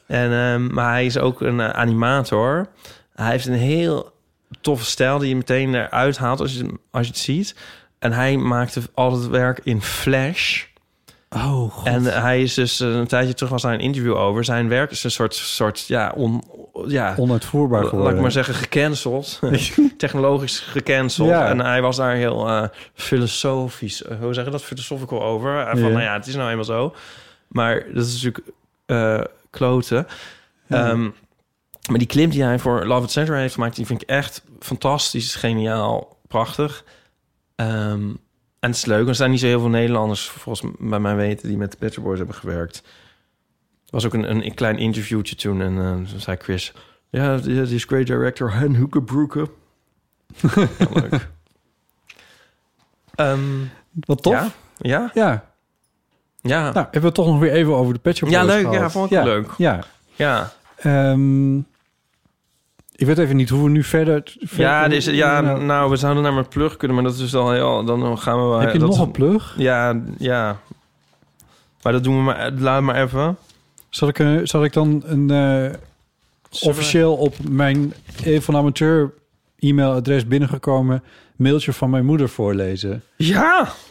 en, ehm, maar hij is ook een eh, animator. Hij heeft een heel toffe stijl die je meteen eruit haalt als je, hem- als je het ziet. En hij maakte altijd werk in Flash. Oh, En hij is dus eh, een tijdje terug was daar een interview over. Zijn werk is een soort, soort ja, on, ja, Onuitvoerbaar Laat geworden. ik maar zeggen, gecanceld. Technologisch gecanceld. Ja. En hij was daar heel eh, filosofisch, eh, hoe zeg je dat, philosophical over. En van, Ja. nou ja, het is nou eenmaal zo. Maar dat is natuurlijk eh kloten. Ja. Ehm, maar die clip die hij voor Love at Center heeft gemaakt... die vind ik echt fantastisch, geniaal, prachtig. Ehm, en het is leuk. Er zijn niet zo heel veel Nederlanders, volgens m- bij mij weten... die met de Pet Shop Boys hebben gewerkt. Er was ook een, een, klein interviewtje toen en eh, toen zei Chris... Ja, die die is great director Han Hoekenbroeke. ja, leuk. Ehm, Wat tof. Ja. Ja. ja. Ja. Nou, hebben we het toch nog weer even over de Pet Shop Ja, Boys leuk. Ja, gehad. vond ik wel leuk. Ja. Ja. Ehm, ik weet even niet hoe we nu verder... Ja, verder- dus, ja nou, nou, we zouden naar mijn plug kunnen, maar dat is al heel... Dan gaan we wel... Heb je dat- nog een plug? Ja, ja. Maar dat doen we maar... Laat maar even. Zal ik, eh, zal ik dan een, eh, officieel op mijn E van Amateur e-mailadres binnengekomen mailtje van mijn moeder voorlezen? Ja!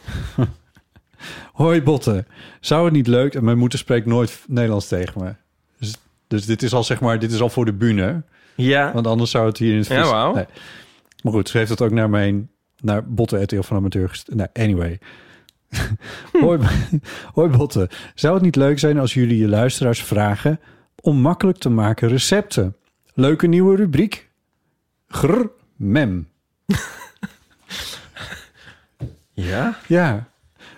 Hoi Botte, zou het niet leuk... En mijn moeder spreekt nooit Nederlands tegen me. Dus, dus dit is al zeg maar, dit is al voor de bühne. Ja. Want anders zou het hier in het Ja, wauw. Nee. Maar goed, ze heeft het ook naar mijn... Naar Botte, het Eeuw van Amateur gestuurd. Nou, anyway. Hoi, hoi Botte, zou het niet leuk zijn als jullie je luisteraars vragen... om makkelijk te maken recepten? Leuke nieuwe rubriek. Grr, mem. Ja? Ja.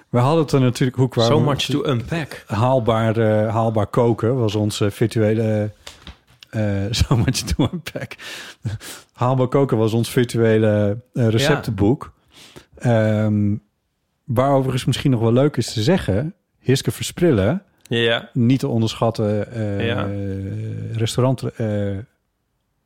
We hadden het er natuurlijk... Hoe kwamen So we- much to unpack. Haalbaar, eh, haalbaar koken was onze virtuele... eh so much to unpack. haalbaar koken was ons virtuele eh, receptenboek. Ehm, waar overigens misschien nog wel leuk is te zeggen... Hiske Versprillen, Ja. niet te onderschatten eh, Ja. restaurant... eh,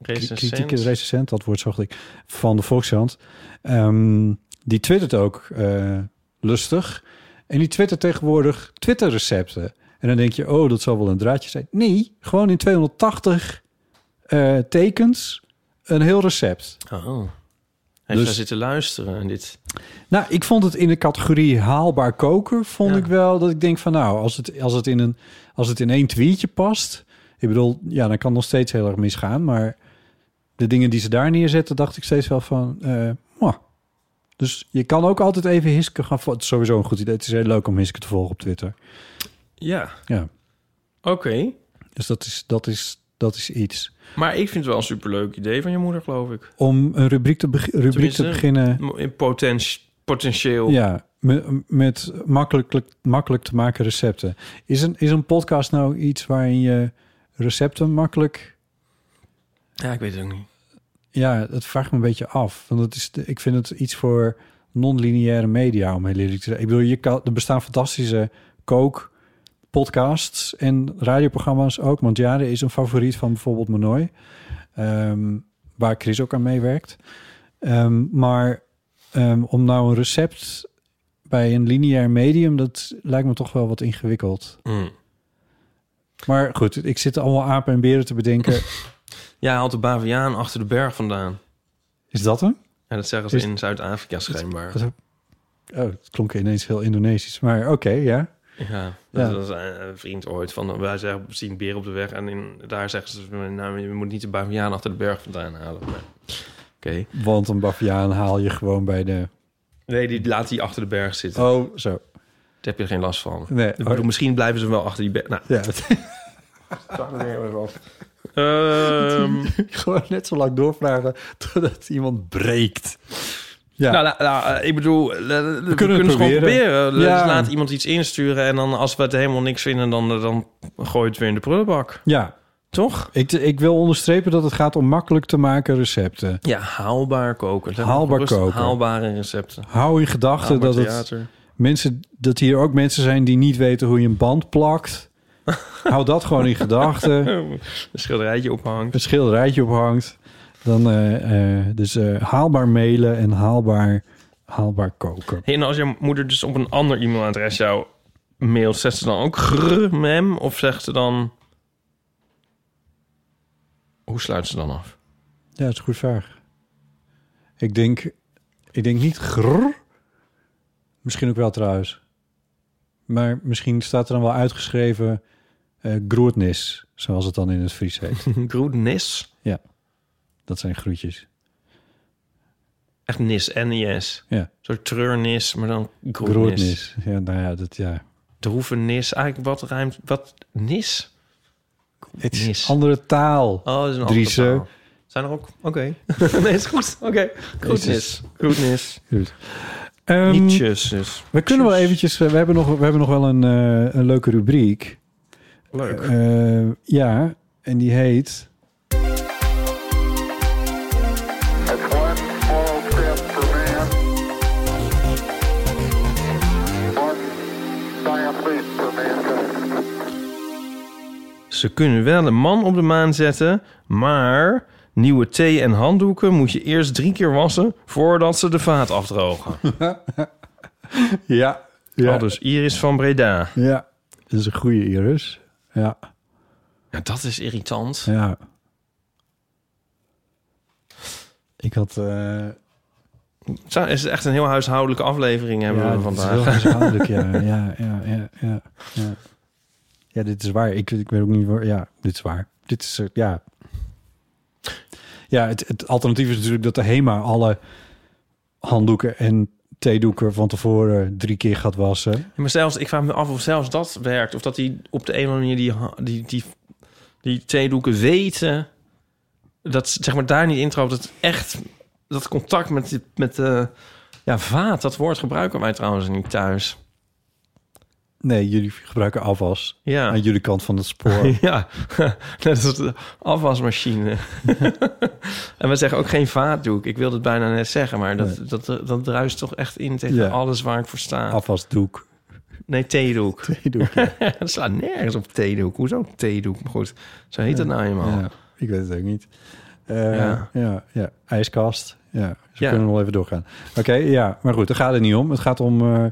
Kritieke recensent, dat woord zocht ik, van de Volkskrant. Ehm, die twittert ook eh, lustig. En die twittert tegenwoordig Twitter-recepten. En dan denk je, oh, dat zal wel een draadje zijn. Nee, gewoon in 280 eh, tekens een heel recept. Oh. Hij heeft Dus- daar zitten luisteren en dit... Nou, ik vond het in de categorie haalbaar koken, vond ik wel dat ik denk van nou, als het, als het, in, een, als het in één tweetje past, ik bedoel, ja, dan kan het nog steeds heel erg misgaan, maar de dingen die ze daar neerzetten, dacht ik steeds wel van, eh, mwah. dus je kan ook altijd even Hiske gaan volgen. Het is sowieso een goed idee. Het is heel leuk om Hiske te volgen op Twitter. Ja, Ja, oké. dus dat is, dat is, dat is iets. Maar ik vind het wel een superleuk idee van je moeder, geloof ik. Om een rubriek te, beg- rubriek te Tenminste, beginnen. mo- In potent- potentieel. Ja, me- met makkelijk, makkelijk te maken recepten. Is een, is een podcast nou iets waarin je recepten makkelijk... Ja, ik weet het ook niet. Ja, dat vraagt me een beetje af. Want het is, de- ik vind het iets voor non-lineaire media, om heel eerlijk te zijn. Ik bedoel, je kan, er bestaan fantastische kook podcasts en radioprogramma's ook. Mondiale is een favoriet van bijvoorbeeld Manoy. ehm, waar Chris ook aan meewerkt. Ehm, maar ehm, om nou een recept bij een lineair medium... dat lijkt me toch wel wat ingewikkeld. Mm. Maar goed, ik zit allemaal apen en beren te bedenken. Ja, haalt de baviaan achter de berg vandaan. Is dat hem? En dat zeggen ze Is- in Zuid-Afrika schijnbaar. Wat heb- Oh, het klonk ineens heel Indonesisch. Maar oké, ja. Ja, dat Ja. was eh, een een vriend ooit van... Wij zeggen, we zien beren op de weg en in, daar zeggen ze... Nou, je moet niet de baviaan achter de berg vandaan halen. Maar- Oké. Want een baviaan haal je gewoon bij de... Nee, die laat die achter de berg zitten. Oh, zo. Daar heb je geen last van. Nee, Ik bedoel, oh. misschien blijven ze wel achter die berg. Nou, Ja. Ehm. gewoon net zo lang doorvragen totdat iemand breekt. Ja. Nou, la- la- eh, ik bedoel, eh, we, kunnen het gewoon proberen. proberen. Dus Ja. laat iemand iets insturen en dan als we het helemaal niks vinden, dan, eh, dan gooi je het weer in de prullenbak. Ja. Toch? Ik, ik wil onderstrepen dat het gaat om makkelijk te maken recepten. Ja, haalbaar koken. Zeg maar Haalbaar gerust koken. Haalbare recepten. Hou in gedachten Haalbaar dat, het, theater. mensen, dat hier ook mensen zijn die niet weten hoe je een band plakt. Hou dat gewoon in gedachten. Een schilderijtje ophangt. een schilderijtje ophangt. Dan, eh, eh, dus eh, haalbaar mailen en haalbaar, haalbaar koken. Hey, en als je moeder dus op een ander e-mailadres jou mailt, zegt ze dan ook grr, mem? Of zegt ze dan... Hoe sluit ze dan af? Ja, dat is een goede vraag. Ik denk, ik denk niet grrr. Misschien ook wel trouwens. Maar misschien staat er dan wel uitgeschreven eh groetnis, zoals het dan in het Fries heet. Groetnis? Ja, dat zijn groetjes. Echt nis, N-I-S. Ja. Een soort treurnis, maar dan groetnis. Groetnis. Ja, nou ja, dat ja. Droevenis, eigenlijk wat ruimt... Wat? Nis? Het is andere taal. Oh, dat is een Driese. andere taal. Zijn er ook? Oké. nee, is goed. Oké. Groetnis. Jezus. Groetnis. Goed. Ehm, Nietjes dus. We kunnen wel eventjes... eh, We hebben nog, we hebben nog wel een, eh, een leuke rubriek. Leuk. Eh, ja, en die heet... Ze kunnen wel een man op de maan zetten, maar nieuwe thee en handdoeken moet je eerst drie keer wassen voordat ze de vaat afdrogen. ja. ja. dus Iris van Breda. Ja, dat is een goede Iris. Ja, Ja, dat is irritant. ja. Ik had... eh, Zo, is het echt een heel huishoudelijke aflevering hebben ja, we dit is vandaag. wel huishoudelijk, ja. Ja, ja, ja, ja, ja. Ja, dit is waar. Ik, ik weet ook niet waar... Ja, dit is waar. Dit is... eh, Ja. Ja, het, het alternatief is natuurlijk dat de HEMA alle handdoeken en theedoeken van tevoren drie keer gaat wassen. Ja, maar zelfs, ik vraag me af of zelfs dat werkt. Of dat die op de een of andere manier die, ha- die, die, die theedoeken weten. Dat ze, zeg maar daar niet intrapt. Dat echt dat contact met, die- met de ja, vaat. Dat woord gebruiken wij trouwens niet thuis. Nee, jullie gebruiken afwas Ja. aan jullie kant van het spoor. ja, net als de afwasmachine. en we zeggen ook geen vaatdoek. Ik wilde het bijna net zeggen. Maar dat, Nee. dat, dat, druist toch echt in tegen Ja. alles waar ik voor sta. Afwasdoek. Nee, theedoek. Theedoek, Dat slaat nergens op theedoek. Hoezo theedoek? Maar goed, zo heet dat nou eenmaal. Ja, ik weet het ook niet. Eh, Ja. ja. ja, ijskast. Ja, dus we Ja. kunnen wel even doorgaan. Oké, ja, maar goed, daar gaat het niet om. Het gaat om... eh,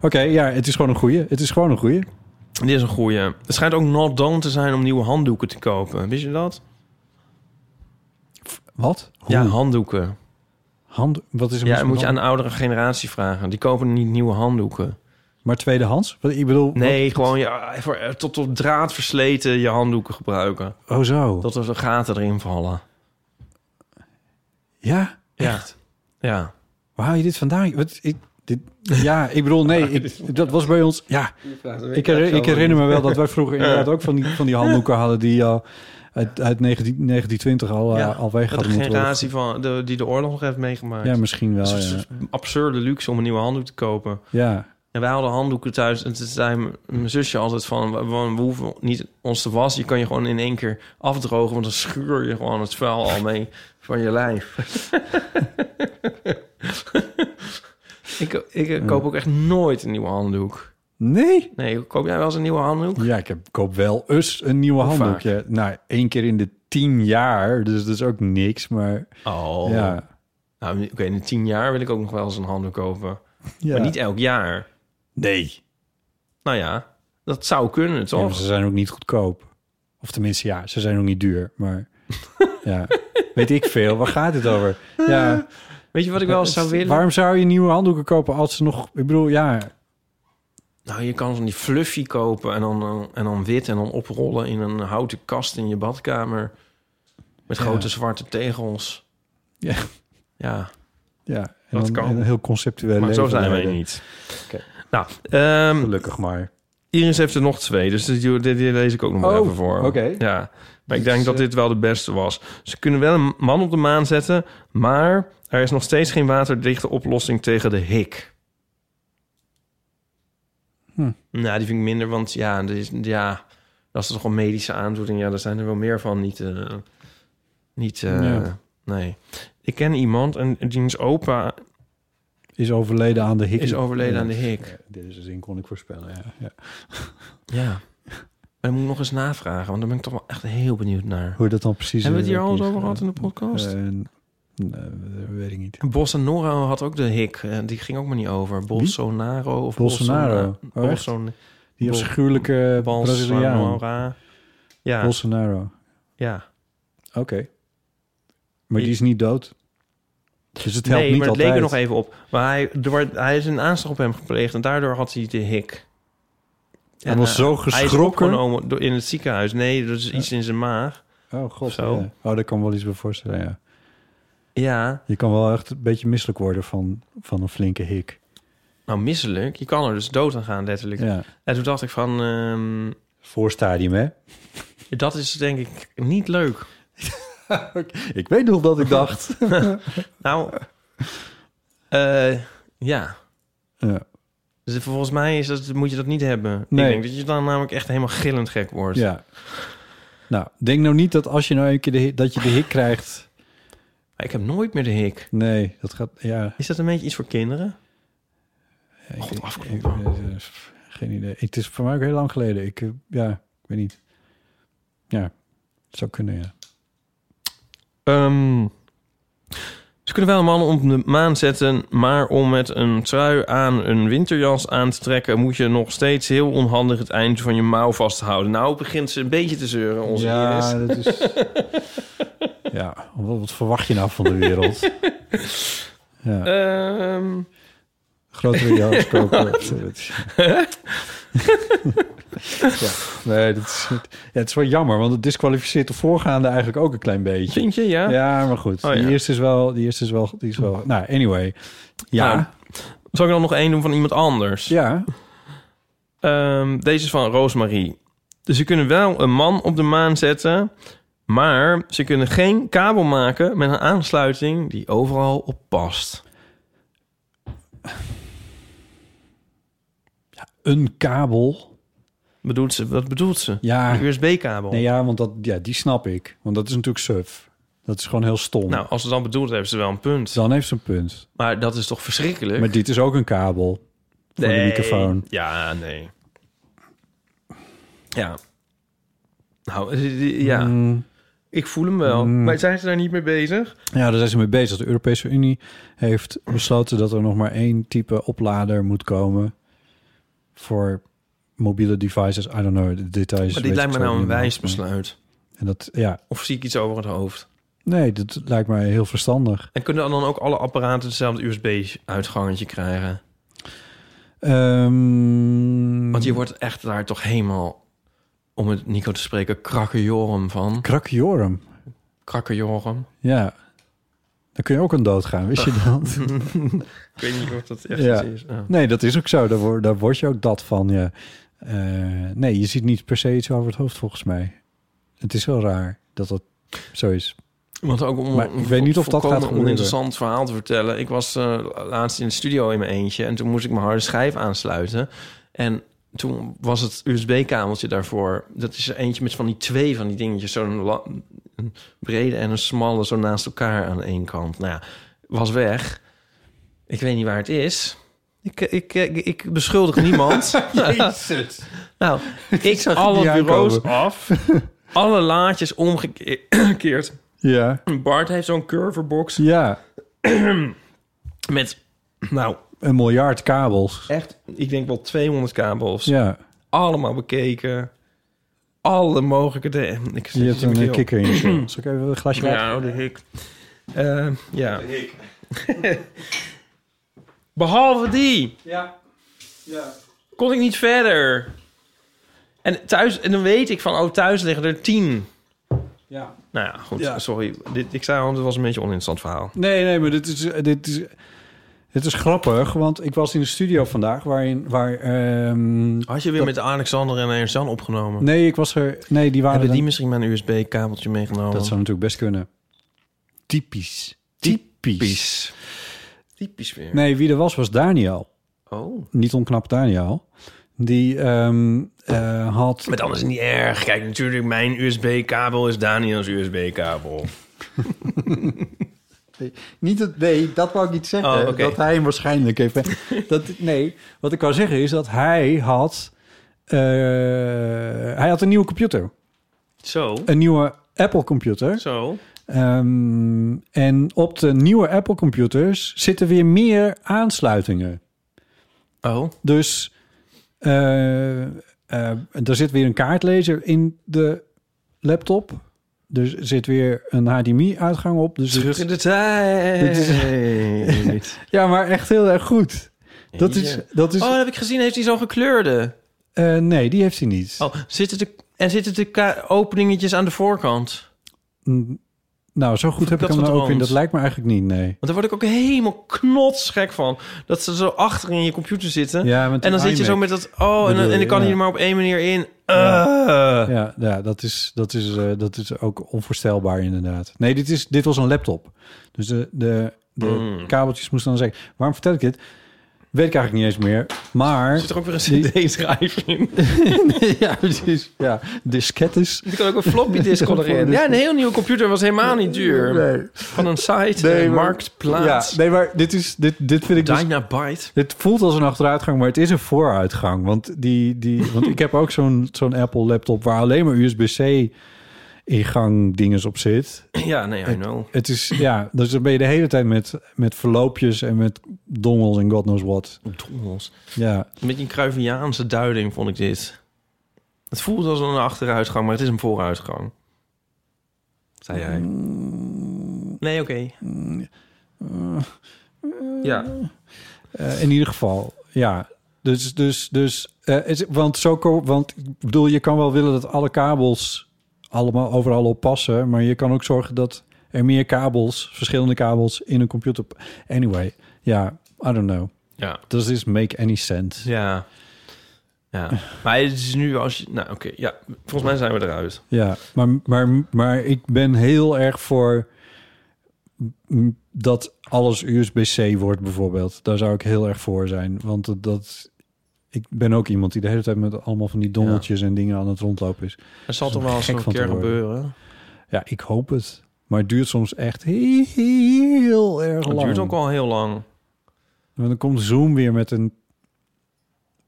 Oké, ja, het is gewoon een goeie. Het is gewoon een goeie. Dit is een goeie. Het schijnt ook not done te zijn om nieuwe handdoeken te kopen. Wist je dat? Wat? Ja, handdoeken. Hand, wat is er Ja, mis dat met moet je aan hand- de oudere generatie vragen. Die kopen niet nieuwe handdoeken. Maar tweedehands? Wat, ik bedoel... Nee, gewoon ja, voor, eh, tot op draad versleten je handdoeken gebruiken. Oh zo. Tot er de gaten erin vallen. Ja? Echt? Ja. Waar haal je dit vandaan? Wat, ik, dit, ja, ik bedoel, nee, ik, dat was bij ons... Ja, ik, her- ik herinner me wel dat wij vroeger inderdaad ook van die, van die handdoeken hadden... die al uit, uit 19, 1920 al, Ja, eh, al Dat weg de hadden moeten worden generatie van, de, die de oorlog nog heeft meegemaakt. Ja, misschien wel, Het is een soort absurde luxe om een nieuwe handdoek te kopen. Ja. En wij hadden handdoeken thuis. En toen zei m- mijn zusje altijd van... we- we we hoeven niet ons te wassen. Je kan je gewoon in één keer afdrogen. Want dan schuur je gewoon het vuil al mee van je lijf. ik ik eh, koop ook echt nooit een nieuwe handdoek. Nee? Nee, koop jij wel eens een nieuwe handdoek? Ja, ik heb, koop wel eens een nieuwe Hoe handdoek. Ja, nou, één keer in de tien jaar. Dus dat is ook niks, maar... Oh. Ja. Nou, oké, in de tien jaar wil ik ook nog wel eens een handdoek kopen. Ja. Maar niet elk jaar. Nee. Nou ja, dat zou kunnen, Ja, maar toch? ze zijn ook niet goedkoop. Of tenminste, ja, ze zijn ook niet duur. Maar ja, weet ik veel. Waar gaat het over? Ja. Weet je wat ik wel eens zou willen? Waarom zou je nieuwe handdoeken kopen als ze nog... Ik bedoel, ja... Nou, je kan van die fluffy kopen en dan, eh, en dan wit en dan oprollen in een houten kast in je badkamer. Met Ja. grote zwarte tegels. Ja. Ja. ja en Dat dan- kan. en Een heel conceptueel Maar zo leven zijn wij leiden. niet. Nou, ehm, Gelukkig maar. Iris heeft er nog twee, dus die, die, die lees ik ook nog maar Oh, even voor. oké. Dus, eh, Ja, maar ik denk dat dit wel de beste was. Ze kunnen wel een man op de maan zetten, maar er is nog steeds geen waterdichte oplossing tegen de hik. Hm. Nou, die vind ik minder, want ja, er is, ja als het toch een medische aandoening, ja, daar zijn er wel meer van. Niet, eh, niet eh, Ja. nee. Ik ken iemand en diens opa Is overleden aan de hik. is overleden aan de Ja, hik. Deze zin kon ik voorspellen, ja. ja. Ja. Maar dan moet ik nog eens navragen, want daar ben ik toch wel echt heel benieuwd naar. Hoe dat dan precies... Hebben we het hier eh, al eens is, over gehad eh, in de podcast? eh, nee, weet ik niet. Bolsonaro had ook de hik. eh, Die ging ook maar niet over. Bolsonaro of Bolsonaro. Bolsona- Oh, echt? Bolson- Die Bol- afschuwelijke Braziliaan. Bolsonaro. Ja, Bolsonaro. ja. Oké. Maar die is niet dood. Dus het helpt nee, niet maar het altijd. leek er nog even op. Maar hij, er werd- hij is een aanslag op hem gepleegd en daardoor had hij de hik. Hij was eh, zo Hij is geschrokken. opgenomen door- in het ziekenhuis. Nee, dat is iets in zijn maag. Oh god. Zo. Ja. Oh, daar kan ik wel iets bij voorstellen, ja. Ja. Je kan wel echt een beetje misselijk worden van, van een flinke hik. Nou, misselijk. Je kan er dus dood aan gaan, letterlijk. Ja. En toen dacht ik van... ehm, Voorstadium, hè? dat is denk ik niet leuk. Ik weet nog dat ik dacht. nou, eh, ja. Ja. Dus volgens mij is dat, moet je dat niet hebben. Nee. Ik denk dat je dan namelijk echt helemaal gillend gek wordt. ja. Nou, denk nou niet dat als je nou een keer de, hi- dat je de hik krijgt... Ik heb nooit meer de hik. Nee, dat gaat... Ja. Is dat een beetje iets voor kinderen? God, afkloppen. Geen idee. Het is voor mij ook heel lang geleden. Ik, eh, ja, ik weet niet. Ja, het zou kunnen, ja. Ehm, ze kunnen wel een man op de maan zetten, maar om met een trui aan een winterjas aan te trekken, moet je nog steeds heel onhandig het eind van je mouw vasthouden. Nou begint ze een beetje te zeuren, onze ja, Iris. dat is... ja, wat, wat verwacht je nou van de wereld? ja, Ehm, grote video's kopen. Dat is- ja, nee, dat is, ja, het is wel jammer, want het disqualificeert de voorgaande eigenlijk ook een klein beetje. Vind je, ja? Ja, maar goed. Oh, die, ja. Eerste is wel, die eerste is wel... Die is wel nou, anyway. Ja, Nou, zal ik dan nog één doen van iemand anders? Ehm, Ja. deze is van Roosmarie. Dus ze kunnen wel een man op de maan zetten... maar ze kunnen geen kabel maken met een aansluiting die overal op past. een kabel... Bedoelt ze, wat bedoelt ze? Ja. Een USB-kabel. Nee, ja, want dat, ja, die snap ik. Want dat is natuurlijk suf. Dat is gewoon heel stom. Nou, als ze dan bedoelt, hebben ze wel een punt. Dan heeft ze een punt. Maar dat is toch verschrikkelijk? Maar dit is ook een kabel voor Nee. de microfoon. Ja, nee. Ja. Nou, eh, eh, ja. Ik voel hem wel. Mm. Maar zijn ze daar niet mee bezig? Ja, daar zijn ze mee bezig. De Europese Unie heeft besloten dat er nog maar één type oplader moet komen voor mobiele devices. I don't know, de details. Maar weet dit lijkt ik me zo nou een niet meer. wijs besluit. En dat, ja, Of zie ik iets over het hoofd? nee, dat lijkt mij heel verstandig. En kunnen dan ook alle apparaten hetzelfde USB-uitgangetje krijgen? Ehm, Want je wordt echt daar toch helemaal, om het Nico te spreken, krakkejorum van. Krakiorum, Krakkejorum. ja. Dan kun je ook aan dood gaan, wist je dat? Ik weet niet of dat echt ja. iets is. Ja. Nee, dat is ook zo. Daar word, daar word je ook dat van. Ja. Eh, nee, je ziet niet per se iets over het hoofd volgens mij. Het is wel raar dat dat zo is. Want ook om maar om ik weet niet of dat volkomen gaat gebeuren. oninteressant verhaal te vertellen. Ik was eh, laatst in de studio in mijn eentje en toen moest ik mijn harde schijf aansluiten. En toen was het USB-kabeltje daarvoor. Dat is er eentje met van die twee van die dingetjes. Zo'n la- een brede en een smalle zo naast elkaar aan één kant. Nou ja, was weg. Ik weet niet waar het is. Ik, ik, ik, ik beschuldig niemand. Jezus. nou, ik zag zag het alle niet bureaus aankomen. af. Alle laadjes omgekeerd. Ja, Bart heeft zo'n curverbox ja met, nou, een miljard kabels. echt, ik denk wel 200 kabels. Ja, Allemaal bekeken. Alle mogelijke... De, ik je hebt een eh, kikker in je keel. Zal ik even een glasje water? Ja, oh, de hik. Eh, ja. Behalve die. Ja. ja. Kon ik niet verder. En, thuis, en dan weet ik van, oh, thuis liggen er 10. Ja. Nou ja, goed, Ja. sorry. Dit, ik zei al, het was een beetje een oninteressant verhaal. Nee, nee, maar dit is, dit is, dit is grappig. Want ik was in de studio vandaag waarin... Waar, ehm, Had je weer met Alexander en Ernst-Jan opgenomen? nee, ik was er... Nee, die waren Hebben die dan- misschien mijn USB-kabeltje meegenomen? Dat zou natuurlijk best kunnen. Typisch. Typisch. Typisch weer. Nee, wie er was, was Daniel. Oh. Niet onknap Daniel. Die ehm, eh, had... Maar dan is het niet erg. Kijk, natuurlijk, mijn USB-kabel is Daniels USB-kabel. Niet dat, nee, dat wou ik niet zeggen. Oh, oké. Dat hij hem waarschijnlijk heeft. dat, nee, wat ik wou zeggen is dat hij had... eh, hij had een nieuwe computer. Zo. Een nieuwe Apple-computer. Zo. Ehm, en op de nieuwe Apple-computers zitten weer meer aansluitingen. Oh. Dus eh, eh, er zit weer een kaartlezer in de laptop. Er zit weer een HDMI-uitgang op. Dus Terug het- in de tijd. Dit ja, maar echt heel erg goed. Dat is, dat is, Oh, dat heb ik gezien. Heeft hij zo'n gekleurde? Eh, nee, die heeft hij niet. Oh, zitten de, en zitten de ka- openingetjes aan de voorkant? Mm, Nou, zo goed heb ik Verpest hem wat nou ook in. rond. Dat lijkt me eigenlijk niet, nee. Want daar word ik ook helemaal knotsgek van. Dat ze zo achter in je computer zitten. Ja, met en dan die zit je zo met iMac dat... Oh, en, bedoel dan- en je, ik kan ja. hier maar op één manier in. Ah. Eh. Ja, ja, ja, dat, is, dat, is, eh, dat is ook onvoorstelbaar inderdaad. Nee, dit, is, dit was een laptop. Dus de, de, de Mm. kabeltjes moesten dan zeggen... Waarom vertel ik dit? Weet ik eigenlijk niet eens meer. Maar... Er zit er ook weer een cd-schrijver in. ja, precies. Ja, diskettes. Er kan ook een floppy disk erin. Ja, een heel nieuwe computer was helemaal niet duur. Nee. Van een site, Nee, een maar- marktplaats. Ja, nee, maar dit, is, dit, dit vind ik... dus- Dynabyte. Het voelt als een achteruitgang, maar het is een vooruitgang. Want, die, die, want ik heb ook zo'n zo'n Apple laptop waar alleen maar USB-C ingang dinges op zit. Ja, nee, I know. Het is, ja, dus dan ben je de hele tijd met, met verloopjes en met dongels en god knows what. Dongels. Ja, Een beetje een Cruyffiaanse duiding vond ik dit. Het voelt als een achteruitgang, maar het is een vooruitgang. Zei jij. Nee, oké. Mm. Ja. Eh, in ieder geval, ja. Dus, dus, dus, eh, is, want zo, ko- want ik bedoel, je kan wel willen dat alle kabels allemaal overal op passen, maar je kan ook zorgen dat er meer kabels, verschillende kabels in een computer. p- Anyway, ja, I don't know. Ja. Does this make any sense? Ja. Ja. Maar het is nu als je... Nou, oké. Ja, volgens mij zijn we eruit. Ja, maar, maar, maar ik ben heel erg voor m- dat alles USB-C wordt bijvoorbeeld. Daar zou ik heel erg voor zijn. Want dat- dat, ik ben ook iemand die de hele tijd met allemaal van die dongeltjes en dingen aan het rondlopen is. Het zal Is toch om wel eens gek een van te keer worden. gebeuren? Ja, ik hoop het. Maar het duurt soms echt heel erg lang. Het duurt ook al heel lang. Want dan komt Zoom weer met een...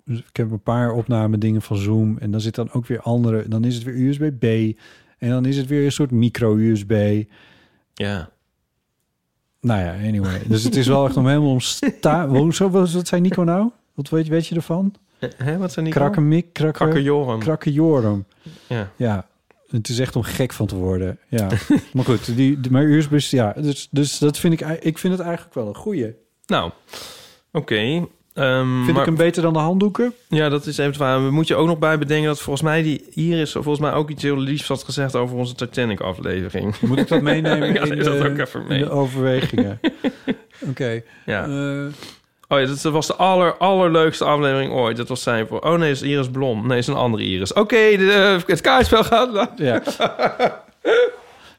dus Ik heb een paar opname dingen van Zoom. En dan zit dan ook weer andere. En dan is het weer USB-B. En dan is het weer een soort micro-USB. Ja. Nou ja, anyway. Dus het is wel echt om helemaal om sta... Hoezo, wat wat zei Nico nou? Wat weet, weet je ervan? Eh, Hè, wat zijn die? Krakkemik, krakken... Krakkejorum. Krakkejorum. Ja. Ja. Het is echt om gek van te worden. Ja. maar goed, die, die, maar USB... Ja, dus, dus dat vind ik... ei- Ik vind het eigenlijk wel een goeie. Nou, oké. Ehm, Vind maar- ik hem beter dan de handdoeken? Ja, dat is even waar. We moeten je ook nog bij bedenken dat volgens mij die hier is volgens mij ook iets heel liefs had gezegd over onze Titanic aflevering. Moet ik dat meenemen ja, in, neem dat de, ook even in mee. de overwegingen? Oké. Ja. Eh, Oh ja, dat was de aller, allerleukste aflevering ooit. Dat was zijn voor. Oh nee, is Iris Blom. Nee, is een andere Iris. Oké, de- eh, het kaartspel gaat. Ja.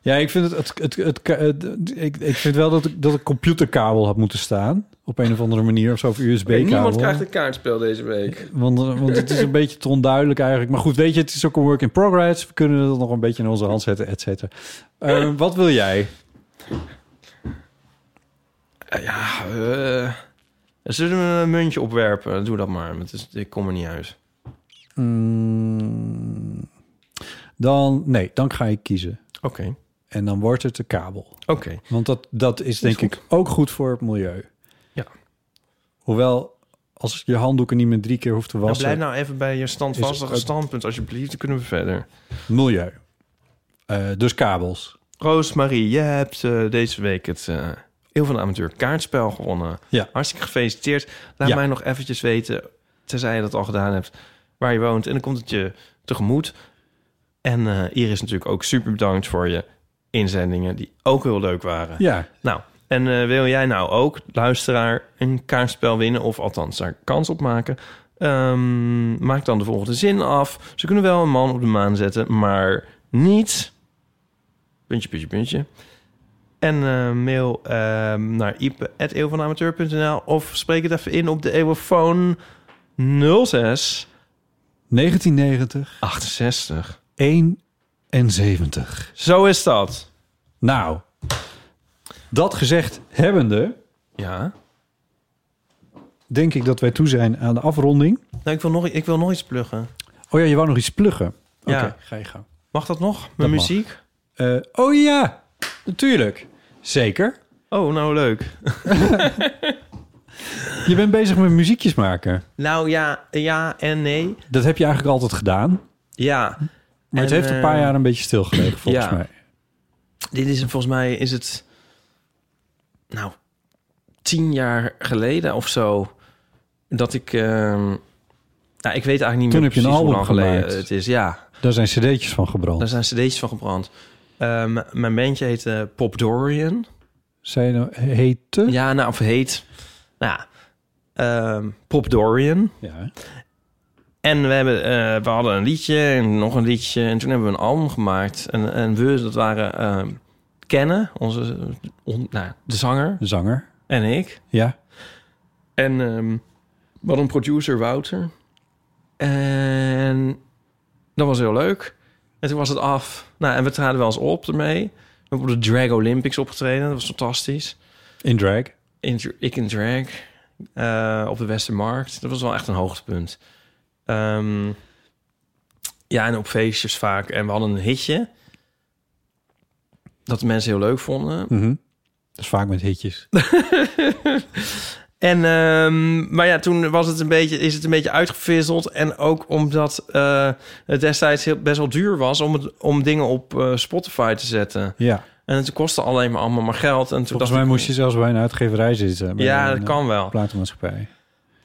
Ja, ik vind het, het, het, het, het- ik, ik vind wel dat ik, dat een computerkabel had moeten staan. Op een of andere manier, of zo, of USB-kabel. niemand krijgt een kaartspel deze week. Want, eh, want het is een beetje te onduidelijk eigenlijk. Maar goed, weet je, het is ook een work in progress. We kunnen dat nog een beetje in onze hand zetten, et cetera. Eh, wat wil jij? Ja, eh, zullen we een muntje opwerpen? Doe dat maar. want het is- ik kom er niet uit. Mm, dan, nee, dan ga ik kiezen. Oké. En dan wordt het de kabel. Oké. Want dat, dat is denk ik ook goed voor het milieu. Ja. Hoewel, als je handdoeken niet meer drie keer hoeft te Nou, wassen... blijf nou even bij je standvastige Is- standpunt, alsjeblieft. Dan kunnen we verder. Milieu. Eh, dus kabels. Roosmarie, je hebt eh, deze week het eh Eeuw van de Amateur kaartspel gewonnen. Ja. Hartstikke gefeliciteerd. Laat Ja. mij nog eventjes weten, tenzij je dat al gedaan hebt, waar je woont. En dan komt het je tegemoet. En eh, Iris natuurlijk ook super bedankt voor je inzendingen, die ook heel leuk waren. Ja. Nou, en eh, wil jij nou ook, luisteraar, een kaartspel winnen... of althans daar kans op maken... Ehm, maak dan de volgende zin af. Ze kunnen wel een man op de maan zetten, maar niet Puntje, puntje, puntje. En eh, mail ehm, naar ipe.eeuwvanamateur.nl of spreek het even in op de eeuwofoon 06 1990. 68. 71. Zo is dat. Nou, dat gezegd hebbende... Ja. denk ik dat wij toe zijn aan de afronding. Nou, ik wil nog, ik wil nog iets pluggen. Oh ja, je wou nog iets pluggen. Oké, Ja. ga je gang. Mag dat nog? Met mag. muziek? Eh, oh ja, natuurlijk. Zeker. Oh, nou leuk. Je bent bezig met muziekjes maken. Nou ja, ja en nee. Dat heb je eigenlijk altijd gedaan. Ja. Maar het En, heeft een paar eh, jaar een beetje stilgelegen, volgens ja. mij. Dit is volgens mij is het nou tien jaar geleden of zo dat ik ehm, Nou, ik weet eigenlijk niet Toen meer heb je een precies hoe album lang geleden gemaakt. het is. Ja, Daar zijn cd'tjes van gebrand. daar zijn cd'tjes van gebrand. Ehm, mijn bandje heet eh, Pop Dorian. Zij nou heten? Ja, nou, of heet. Nou, ehm, Pop Dorian. Ja. En we, hebben, eh, we hadden een liedje en nog een liedje. En toen hebben we een album gemaakt. En, en we, dat waren ehm, Kennen, onze, on- nou, de zanger. De zanger. En ik. Ja. En ehm we hadden een producer, Wouter. En dat was heel leuk. En toen was het af. Nou, en we traden wel eens op ermee. We hebben op de Drag Olympics opgetreden. Dat was fantastisch. In drag? In, dr- ik in drag. Eh, op de Westermarkt. Dat was wel echt een hoogtepunt. Ehm, ja, en op feestjes vaak. En we hadden een hitje. Dat de mensen heel leuk vonden. Mhm. Dat is vaak met hitjes. En, ehm, maar ja, toen was het een beetje, is het een beetje uitgevisseld. En ook omdat eh, het destijds heel, best wel duur was om, het, om dingen op eh, Spotify te zetten. Ja. En het kostte alleen maar allemaal maar geld. En toen Volgens dacht mij ik, moest je zelfs bij een uitgeverij zitten. bij Ja, een, dat kan eh, wel. Platenmaatschappij.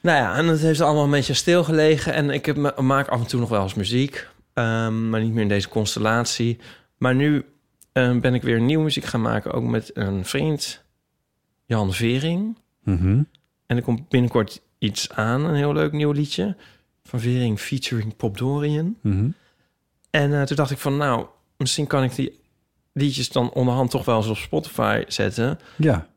Nou ja, en het heeft allemaal een beetje stilgelegen. En ik heb, me- maak af en toe nog wel eens muziek. ehm, maar niet meer in deze constellatie. Maar nu ehm, ben ik weer nieuwe muziek gaan maken. Ook met een vriend, Jan Vering. Mhm. En er komt binnenkort iets aan. Een heel leuk nieuw liedje. Van Vering featuring Pop Dorian. Mhm. En eh, toen dacht ik van, nou, misschien kan ik die liedjes dan onderhand toch wel eens op Spotify zetten. Ja.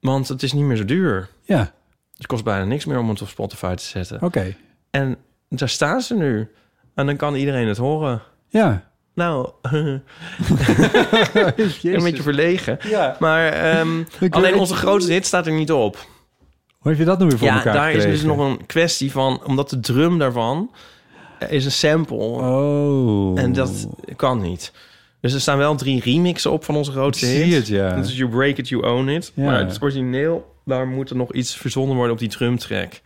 Want het is niet meer zo duur. Ja. Het kost bijna niks meer om het op Spotify te zetten. Oké. En daar staan ze nu. En dan kan iedereen het horen. Ja. Nou, een beetje verlegen. Maar ehm, weet alleen het. onze grootste hit staat er niet op. Hoe heb je dat nou weer voor ja, elkaar daar is dus gekregen? nog een kwestie van... omdat de drum daarvan eh, is een sample. Oh. En dat kan niet. Dus er staan wel drie remixen op van onze grootste Ik hit. zie het, ja. Dat is You Break It, You Own It. Ja. Maar het origineel, daar moet er nog iets verzonnen worden op die drumtrack.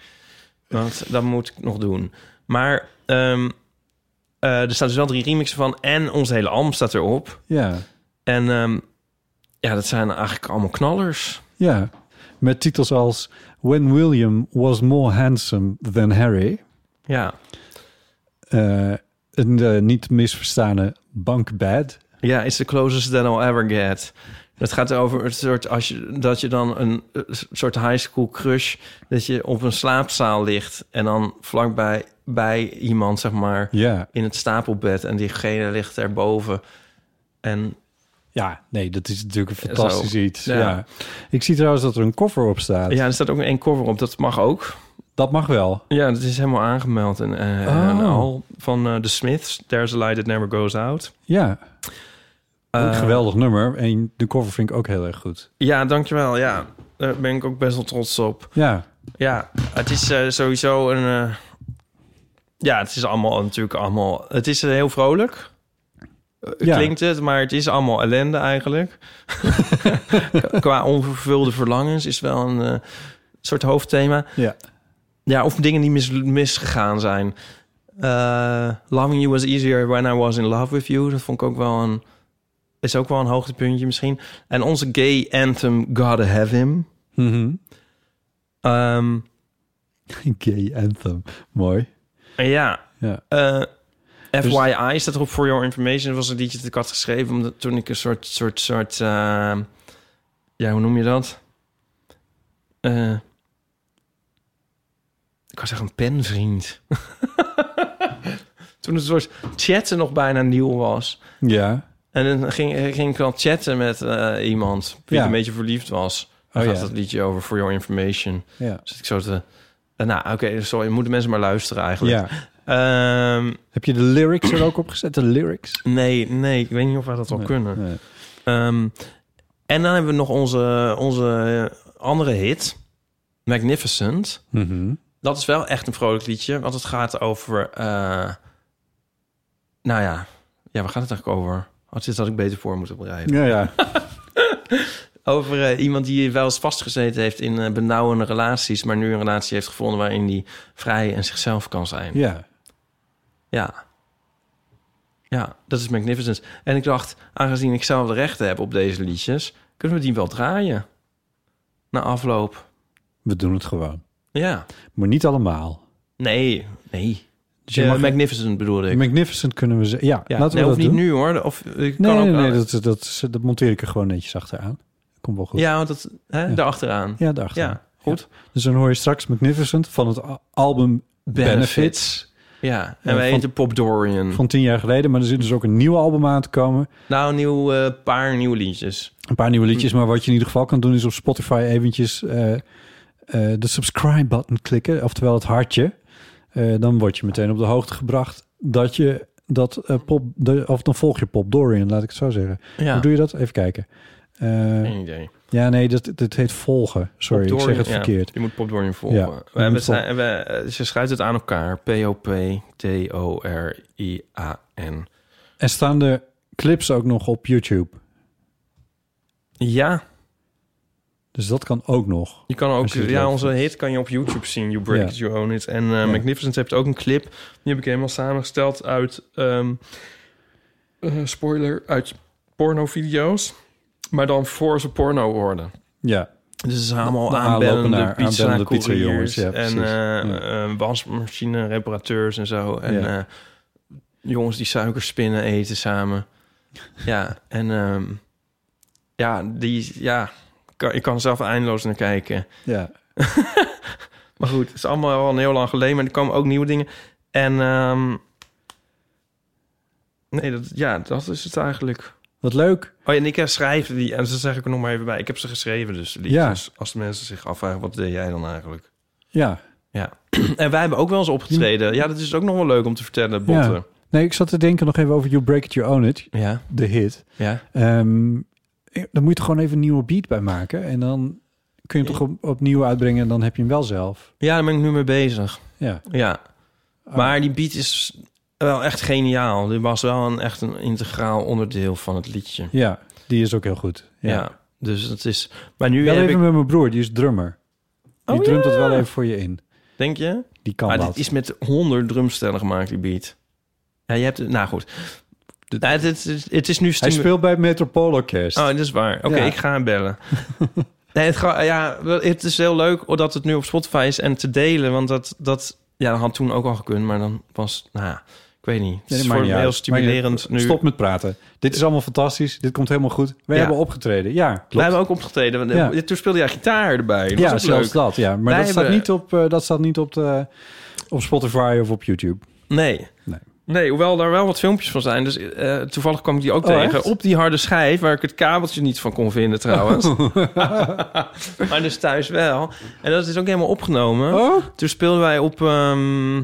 Dat, dat moet ik nog doen. Maar ehm, eh, er staan dus wel drie remixen van. En ons hele album staat erop. Ja. En ehm, ja, dat zijn eigenlijk allemaal knallers. Ja, met titels als When William Was More Handsome Than Harry. Ja. Eh, een eh, niet misverstane bankbed. Ja, it's the closest that I'll ever get. Dat gaat over het soort als je, dat je dan een eh, soort high school crush dat je op een slaapzaal ligt en dan vlakbij bij iemand zeg maar Ja. in het stapelbed en diegene ligt erboven en ja, nee, dat is natuurlijk een Fantastisch iets. Ja. Ja. Ik zie trouwens dat er een koffer op staat. Ja, er staat ook een cover op. Dat mag ook. Dat mag wel. Ja, dat is helemaal aangemeld en, eh, en Oh. al van eh, The Smiths. There's a light that never goes out. Ja. Ook een Eh, geweldig nummer. En de cover vind ik ook heel erg goed. Ja, dankjewel. Ja, daar ben ik ook best wel trots op. Ja. Ja, het is eh, sowieso een. eh, ja, het is allemaal natuurlijk allemaal. Het is eh, heel vrolijk. Eh, Ja. Klinkt het, maar het is allemaal ellende eigenlijk. Qua onvervulde verlangens is wel een eh, soort hoofdthema. Ja. Ja, of dingen die mis, misgegaan zijn. Eh, Loving You Was Easier When I Was In Love With You. Dat vond ik ook wel een... Is ook wel een hoogtepuntje misschien. En onze gay anthem Gotta Have Him. Mhm. Ehm, Gay anthem. Mooi. ja. Ja. Eh, Dus- FYI staat erop For Your Information. Dat was een liedje dat ik had geschreven omdat toen ik een soort... soort, soort eh, ja, hoe noem je dat? Eh, ik was echt een penvriend. toen het soort chatten nog bijna nieuw was. Ja. En dan ging, ging ik wel chatten met eh, iemand die Ja. een beetje verliefd was. Dan Oh, gaat ja. dat liedje over For Your Information. Ja. Dus ik zo te... eh, nou, oké, sorry. Moeten mensen maar luisteren eigenlijk. Ja. Ja. Heb je de lyrics er ook op gezet? De lyrics? Nee, nee, ik weet niet of we dat wel Nee, kunnen. Ehm, en dan hebben we nog onze, onze eh, andere hit, Magnificent. Mhm. Dat is wel echt een vrolijk liedje, want het gaat over... eh, nou ja, ja, waar gaat het eigenlijk over? Wat is dat ik beter voor moet bereiden? Ja, ja. Over eh, iemand die wel eens vastgezeten heeft in eh, benauwende relaties... maar nu een relatie heeft gevonden waarin die vrij en zichzelf kan zijn. Ja. Ja. Ja, dat is Magnificent. En ik dacht, aangezien ik zelf de rechten heb op deze liedjes... kunnen we die wel draaien. Na afloop. We doen het gewoon. Ja. Maar niet allemaal. Nee, nee. Dus je Eh, mag- Magnificent bedoelde ik. Magnificent kunnen we zeggen. Ja, Ja, laten nee, we hoeft dat niet doen. nu hoor. Of, eh, ik kan nee, ook nee, nee, later. dat, dat, is- dat monteer ik er gewoon netjes achteraan. Komt wel goed. Ja, want dat, hè, Ja. daarachteraan. Ja, daarachteraan. Ja, goed. Dus dan hoor je straks Magnificent van het a- album Benefits. Ja, Eh, en wij van- heten Pop Dorian. Van tien jaar geleden. Maar er zit dus ook een nieuw album aan te komen. Nou, een nieuw, eh, paar nieuwe liedjes. Een paar nieuwe Hm. liedjes. Maar wat je in ieder geval kan doen is op Spotify eventjes eh, eh, de subscribe button klikken. Oftewel het hartje. Eh, dan word je meteen op de hoogte gebracht dat je dat eh, pop... De, of dan volg je Pop Dorian, laat ik het zo zeggen. Ja. Hoe doe je dat? Even kijken. Eh, Geen idee. Ja, nee, dat, dat heet volgen. Sorry, Pop ik zeg Dorian, het ja, verkeerd. je moet Pop Dorian volgen. Ja, we je moet hebben, volgen. zijn, we, eh, ze schrijft het aan elkaar. P-O-P-T-O-R-I-A-N. En staan er clips ook nog op YouTube? Ja, Dus dat kan ook nog. je kan ook, Als je het ja, leuk onze hit kan je op YouTube zien. You Break Ja. It, You Own It. En eh, Magnificent heeft ook een clip. Die heb ik helemaal samengesteld uit, ehm, eh, spoiler, uit pornovideo's. Maar dan voor ze porno worden. Ja. Dus het zijn allemaal De aanlopen aanbellende naar- pizza, aanbellende couriers pizzajongens, ja, en precies. eh, eh, wasmachine reparateurs en zo. En Ja. eh, jongens die suikerspinnen eten samen. Ja, en ehm, ja, die, ja, kan, ik kan er zelf eindeloos naar kijken. Ja. Maar goed, het is allemaal al een heel lang geleden, maar er komen ook nieuwe dingen. En ehm, nee, dat, ja, dat is het eigenlijk. Wat leuk. Oh, en ik eh, schrijf die, en ze zeg ik er nog maar even bij. Ik heb ze geschreven, dus die, Ja. dus als de mensen zich afvragen, wat deed jij dan eigenlijk? Ja. Ja. en wij hebben ook wel eens opgetreden. Ja, dat is ook nog wel leuk om te vertellen, Botten. ja. Nee, ik zat te denken nog even over You Break It, You Own It. Ja. De hit. Ja. Ehm, dan moet je er gewoon even een nieuwe beat bij maken. En dan kun je hem toch op- opnieuw uitbrengen. En dan heb je hem wel zelf. Ja, daar ben ik nu mee bezig. Ja. Ja. Maar die beat is wel echt geniaal. Die was wel een, echt een integraal onderdeel van het liedje. Ja, die is ook heel goed. Ja. Ja. Dus het is... Maar nu wel heb even ik... met mijn broer, die is drummer. Die Oh, drumt het ja. wel even voor je in. Denk je? Die kan maar dat. dit is met 100 drumstellen gemaakt, die beat. Ja, je hebt het... Nou, goed. Nou, het, het, het- het is nu... Hij stimu- speelt bij het Metropoolorkest. Oh, dat is waar. Oké, Ja. ik ga hem bellen. nee, het, gra- ja, wel, het is heel leuk dat het nu op Spotify is en te delen. Want dat, dat, ja, dat had toen ook al gekund, maar dan was... Nou, ja, ik weet niet. Het Nee, is dat voor maakt niet me heel uit. stimulerend Maakt niet nu. uit. Stop met praten. Dit is allemaal fantastisch. Dit komt helemaal goed. Wij Ja. hebben opgetreden. Ja, klopt. Wij hebben ook opgetreden. want, eh, Ja. Toen speelde jij gitaar erbij. Dat was ja, ook zelfs leuk. dat. Ja. Maar Wij dat staat, hebben- niet op, eh, dat staat niet op, de, op Spotify of op YouTube. Nee. Nee. hoewel daar wel wat filmpjes van zijn. Dus eh, toevallig kwam ik die ook Oh, tegen. echt? Op die harde schijf, waar ik het kabeltje niet van kon vinden trouwens. Oh. maar dus thuis wel. En dat is ook helemaal opgenomen. Oh? Toen speelden wij op... ehm,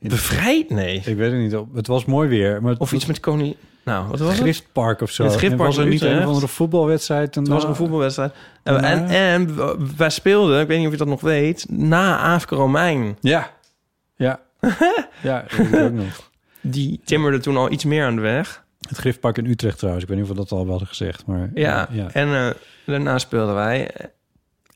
Bevrijd? Nee. Ik weet het niet. Het was mooi weer. Maar of iets met Koning... Nou, wat was het? Griftpark of zo. Het Griftpark En was er in niet een Utrecht. of andere voetbalwedstrijd? En eh, Het was een voetbalwedstrijd. En, Nou. en, en w- wij speelden, ik weet niet of je dat nog weet, na AFK Romein. Ja. Ja. ja, dat weet ik ook nog. Die timmerde toen al iets meer aan de weg. Het Griftpark in Utrecht trouwens. Ik weet niet of we dat al hadden gezegd. Maar, Ja, en eh, daarna speelden wij. Eh,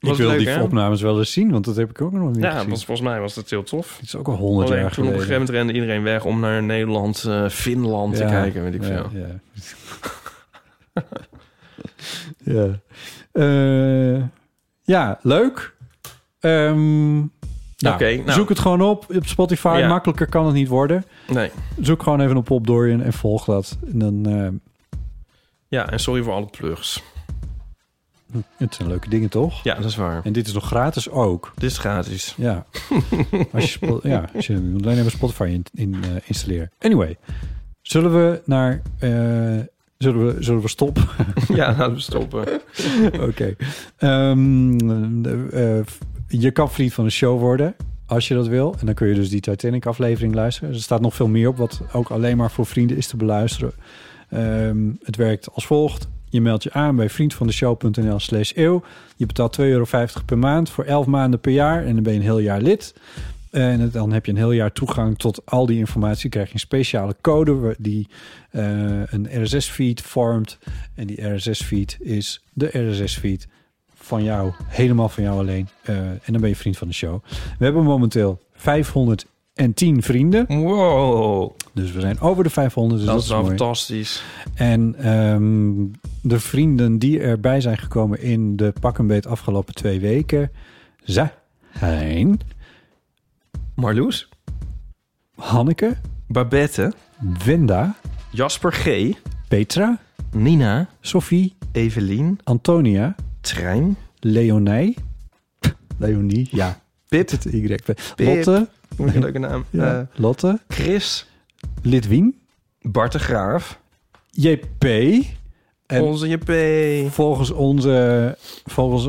Ik Was wil leuk, die hè? opnames wel eens zien, want dat heb ik ook nog niet Ja, gezien. want volgens mij was dat heel tof. Het is ook al 100 Alleen jaar toen op een geleden. gegeven moment rende iedereen weg om naar Nederland, eh, Finland Ja, te kijken, weet ik ja, veel. ja. Ja. Eh, ja, leuk. Ehm, nou, Oké, nou. Zoek het gewoon op op Spotify. Ja. Makkelijker kan het niet worden. Nee. Zoek gewoon even op Pop Dorian en volg dat. En dan, eh, Ja, en sorry voor alle plugs. het zijn leuke dingen, toch? Ja, dat is waar. En dit is nog gratis ook. Dit is gratis. Ja. als je, Spo- ja, als je moet alleen even Spotify in, in, eh, installeren. Anyway, zullen we naar... eh, zullen, we, zullen we stoppen? Ja, laten we stoppen. Oké. Ehm, eh, eh, je kan vriend van de show worden als je dat wil. En dan kun je dus die Titanic-aflevering luisteren. Er staat nog veel meer op, wat ook alleen maar voor vrienden is te beluisteren. Ehm, het werkt als volgt. Je meldt je aan bij vriendvandeshow.nl slash eeuw. Je betaalt 2,50 euro per maand voor 11 maanden per jaar. En dan ben je een heel jaar lid. En het- dan heb je een heel jaar toegang tot al die informatie. Dan krijg je een speciale code waar- die eh, een RSS-feed vormt. En die RSS-feed is de RSS-feed van jou. Helemaal van jou alleen. Eh, en dan ben je vriend van de show. We hebben momenteel 510 vrienden. Wow. Dus we zijn over de 500. Dus dat, dat, is mooi. wel fantastisch. En ehm, de vrienden die erbij zijn gekomen in de pak een beet afgelopen twee weken zijn... Marloes? Hanneke. Babette. Wenda. Jasper G. Petra. Nina. Sophie. Evelien. Antonia. Trein. Leonie. Leonie, ja. Pip. Het Y. Lotte. Lotte. Een leuke naam. Ja. Eh, Lotte. Chris. Lidwien. Bart de Graaf. JP. En Onze JP. volgens onze... Volgens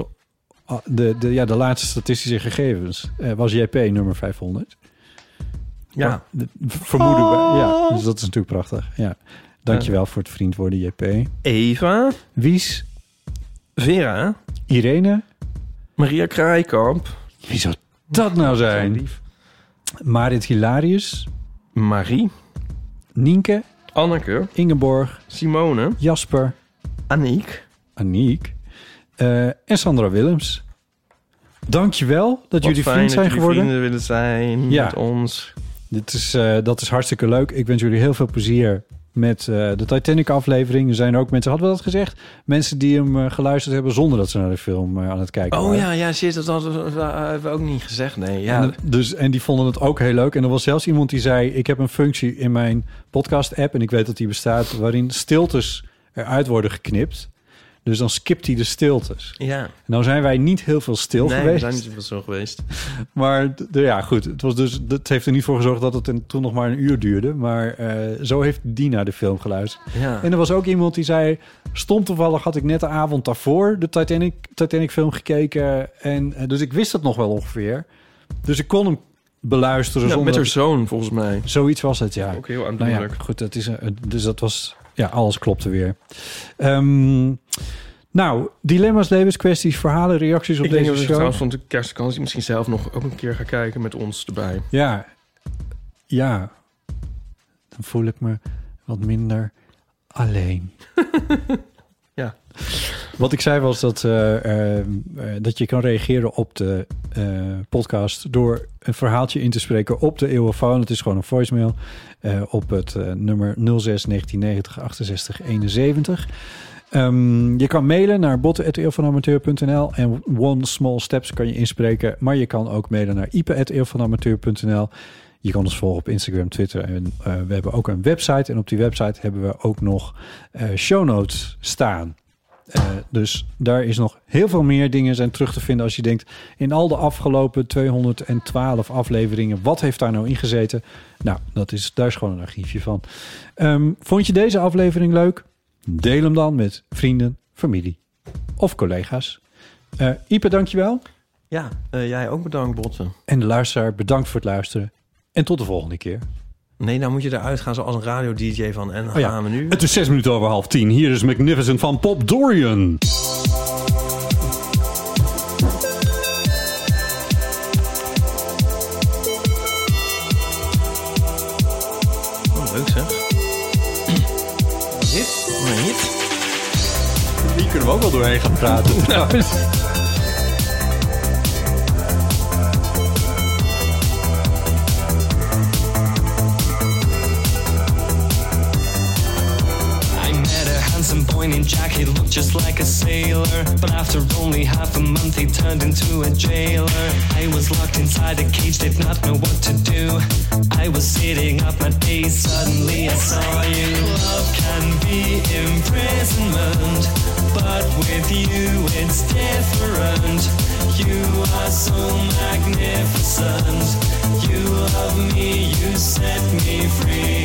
ah, de, de, ja, de laatste statistische gegevens eh, was JP nummer 500. Ja. De- Vermoeden we. Oh. Ja, dus dat is natuurlijk prachtig. Ja. Dankjewel voor het vriend worden, JP. Eva. Wies. Vera. Irene. Maria Kraaikamp. Wie zou dat nou zijn? Marit Hilarius. Marie. Nienke. Anneke. Ingeborg. Simone. Jasper. Aniek. Aniek. eh, en Sandra Willems. Dankjewel Wat dat jullie fijn vriend dat zijn jullie geworden. vrienden willen zijn Ja. met ons. Dit is, eh, dat is hartstikke leuk. Ik wens jullie heel veel plezier met eh, de Titanic-aflevering. Er zijn ook mensen, hadden we dat gezegd? Mensen die hem eh, geluisterd hebben zonder dat ze naar de film eh, aan het kijken Oh waren. ja, ja, shit, dat hadden we, eh, hebben we ook niet gezegd. Nee, ja. En, dus, en die vonden het ook heel leuk. En er was zelfs iemand die zei... ik heb een functie in mijn podcast-app... en ik weet dat die bestaat... waarin stiltes eruit worden geknipt. Dus dan skipt hij de stiltes. ja. Nou zijn wij niet heel veel stil nee, we geweest. zijn niet zoveel zo geweest. Maar d- d- ja, goed. Het, was dus, het heeft er niet voor gezorgd dat het een- toen nog maar een uur duurde. Maar eh, zo heeft die naar de film geluisterd. Ja. En er was ook iemand die zei... stom toevallig had ik net de avond daarvoor de Titanic, Titanic film gekeken. En, eh, dus ik wist het nog wel ongeveer. Dus ik kon hem beluisteren Ja, zonder... met haar zoon, volgens mij. Zoiets was het, ja. Ook heel Nou ja, aandoenlijk. goed, dat is, een- dus dat was... Ja, alles klopte weer. Ehm, nou, dilemma's, levenskwesties, verhalen, reacties op ik denk deze dat ik show. trouwens van de kerstvakantie misschien zelf nog ook een keer ga kijken met ons erbij. Ja, ja. Dan voel ik me wat minder alleen. Ja. Wat ik zei was dat, eh, eh, dat je kan reageren op de eh, podcast door een verhaaltje in te spreken op de E eeuwenfoon. Het is gewoon een voicemail eh, op het eh, nummer 06 1990 68 71. Ehm, je kan mailen naar e botten.eeuwvanamateur.nl en One Small Steps kan je inspreken. Maar je kan ook mailen naar e ipe.eeuwvanamateur.nl. Je kan ons volgen op Instagram, Twitter en eh, we hebben ook een website. En op die website hebben we ook nog eh, show notes staan. Eh, dus daar is nog heel veel meer dingen zijn terug te vinden als je denkt in al de afgelopen 212 afleveringen, wat heeft daar nou in gezeten? Nou, dat is, daar is gewoon een archiefje van. Ehm, vond je deze aflevering leuk? Deel hem dan met vrienden, familie of collega's. Eh Ipe, dankjewel. Ja, eh, jij ook bedankt, Botten. En de luisteraar, bedankt voor het luisteren. En tot de volgende keer. Nee, nou moet je eruit gaan zoals een radio-dj van. En dan Oh ja. gaan we nu... Het is zes minuten over half tien. Hier is Magnificent van Pop Dorian. Oh, leuk zeg. Wat Hit? Wat een hit. Hier kunnen we ook wel doorheen gaan praten. Nou, I met a handsome boy named Jack, he looked just like a sailor. But after only half a month, he turned into a jailer. I was locked inside a cage, did not know what to do. I was sitting up my days, suddenly I saw you. Love can be imprisonment, but with you it's different. You are so magnificent. You love me, you set me free.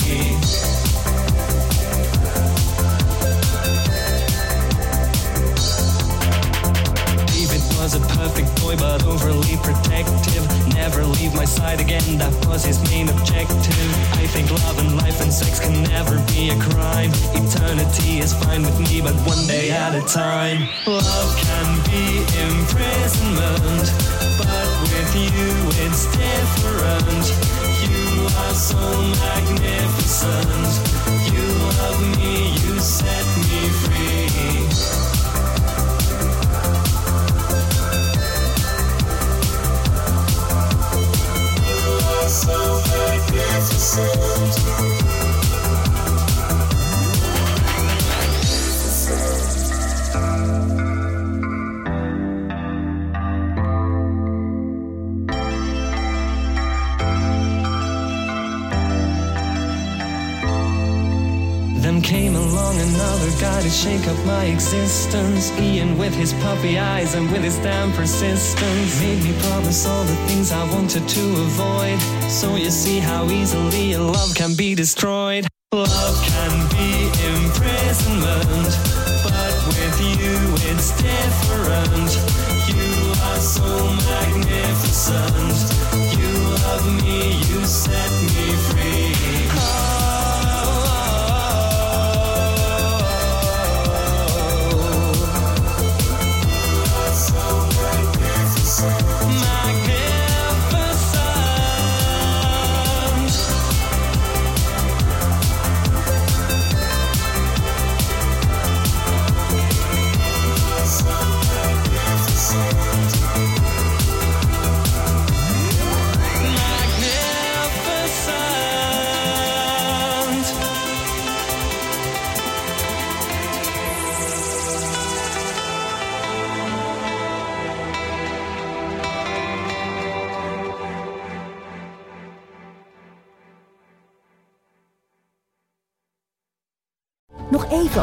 David was a perfect boy, but overly protective. Never leave my side again, that was his main objective. I think love and life and sex can never be a crime. Eternity is fine with me, but one day at a time. Love can be imprisonment, but with you it's different. You are so magnificent. You love me, you set me free. along another guy to shake up my existence. Ian with his puppy eyes and with his damn persistence made me promise all the things I wanted to avoid. So you see how easily a love can be destroyed. Love can be imprisonment, but with you it's different. You are so magnificent. You love me, you set me free. Nog even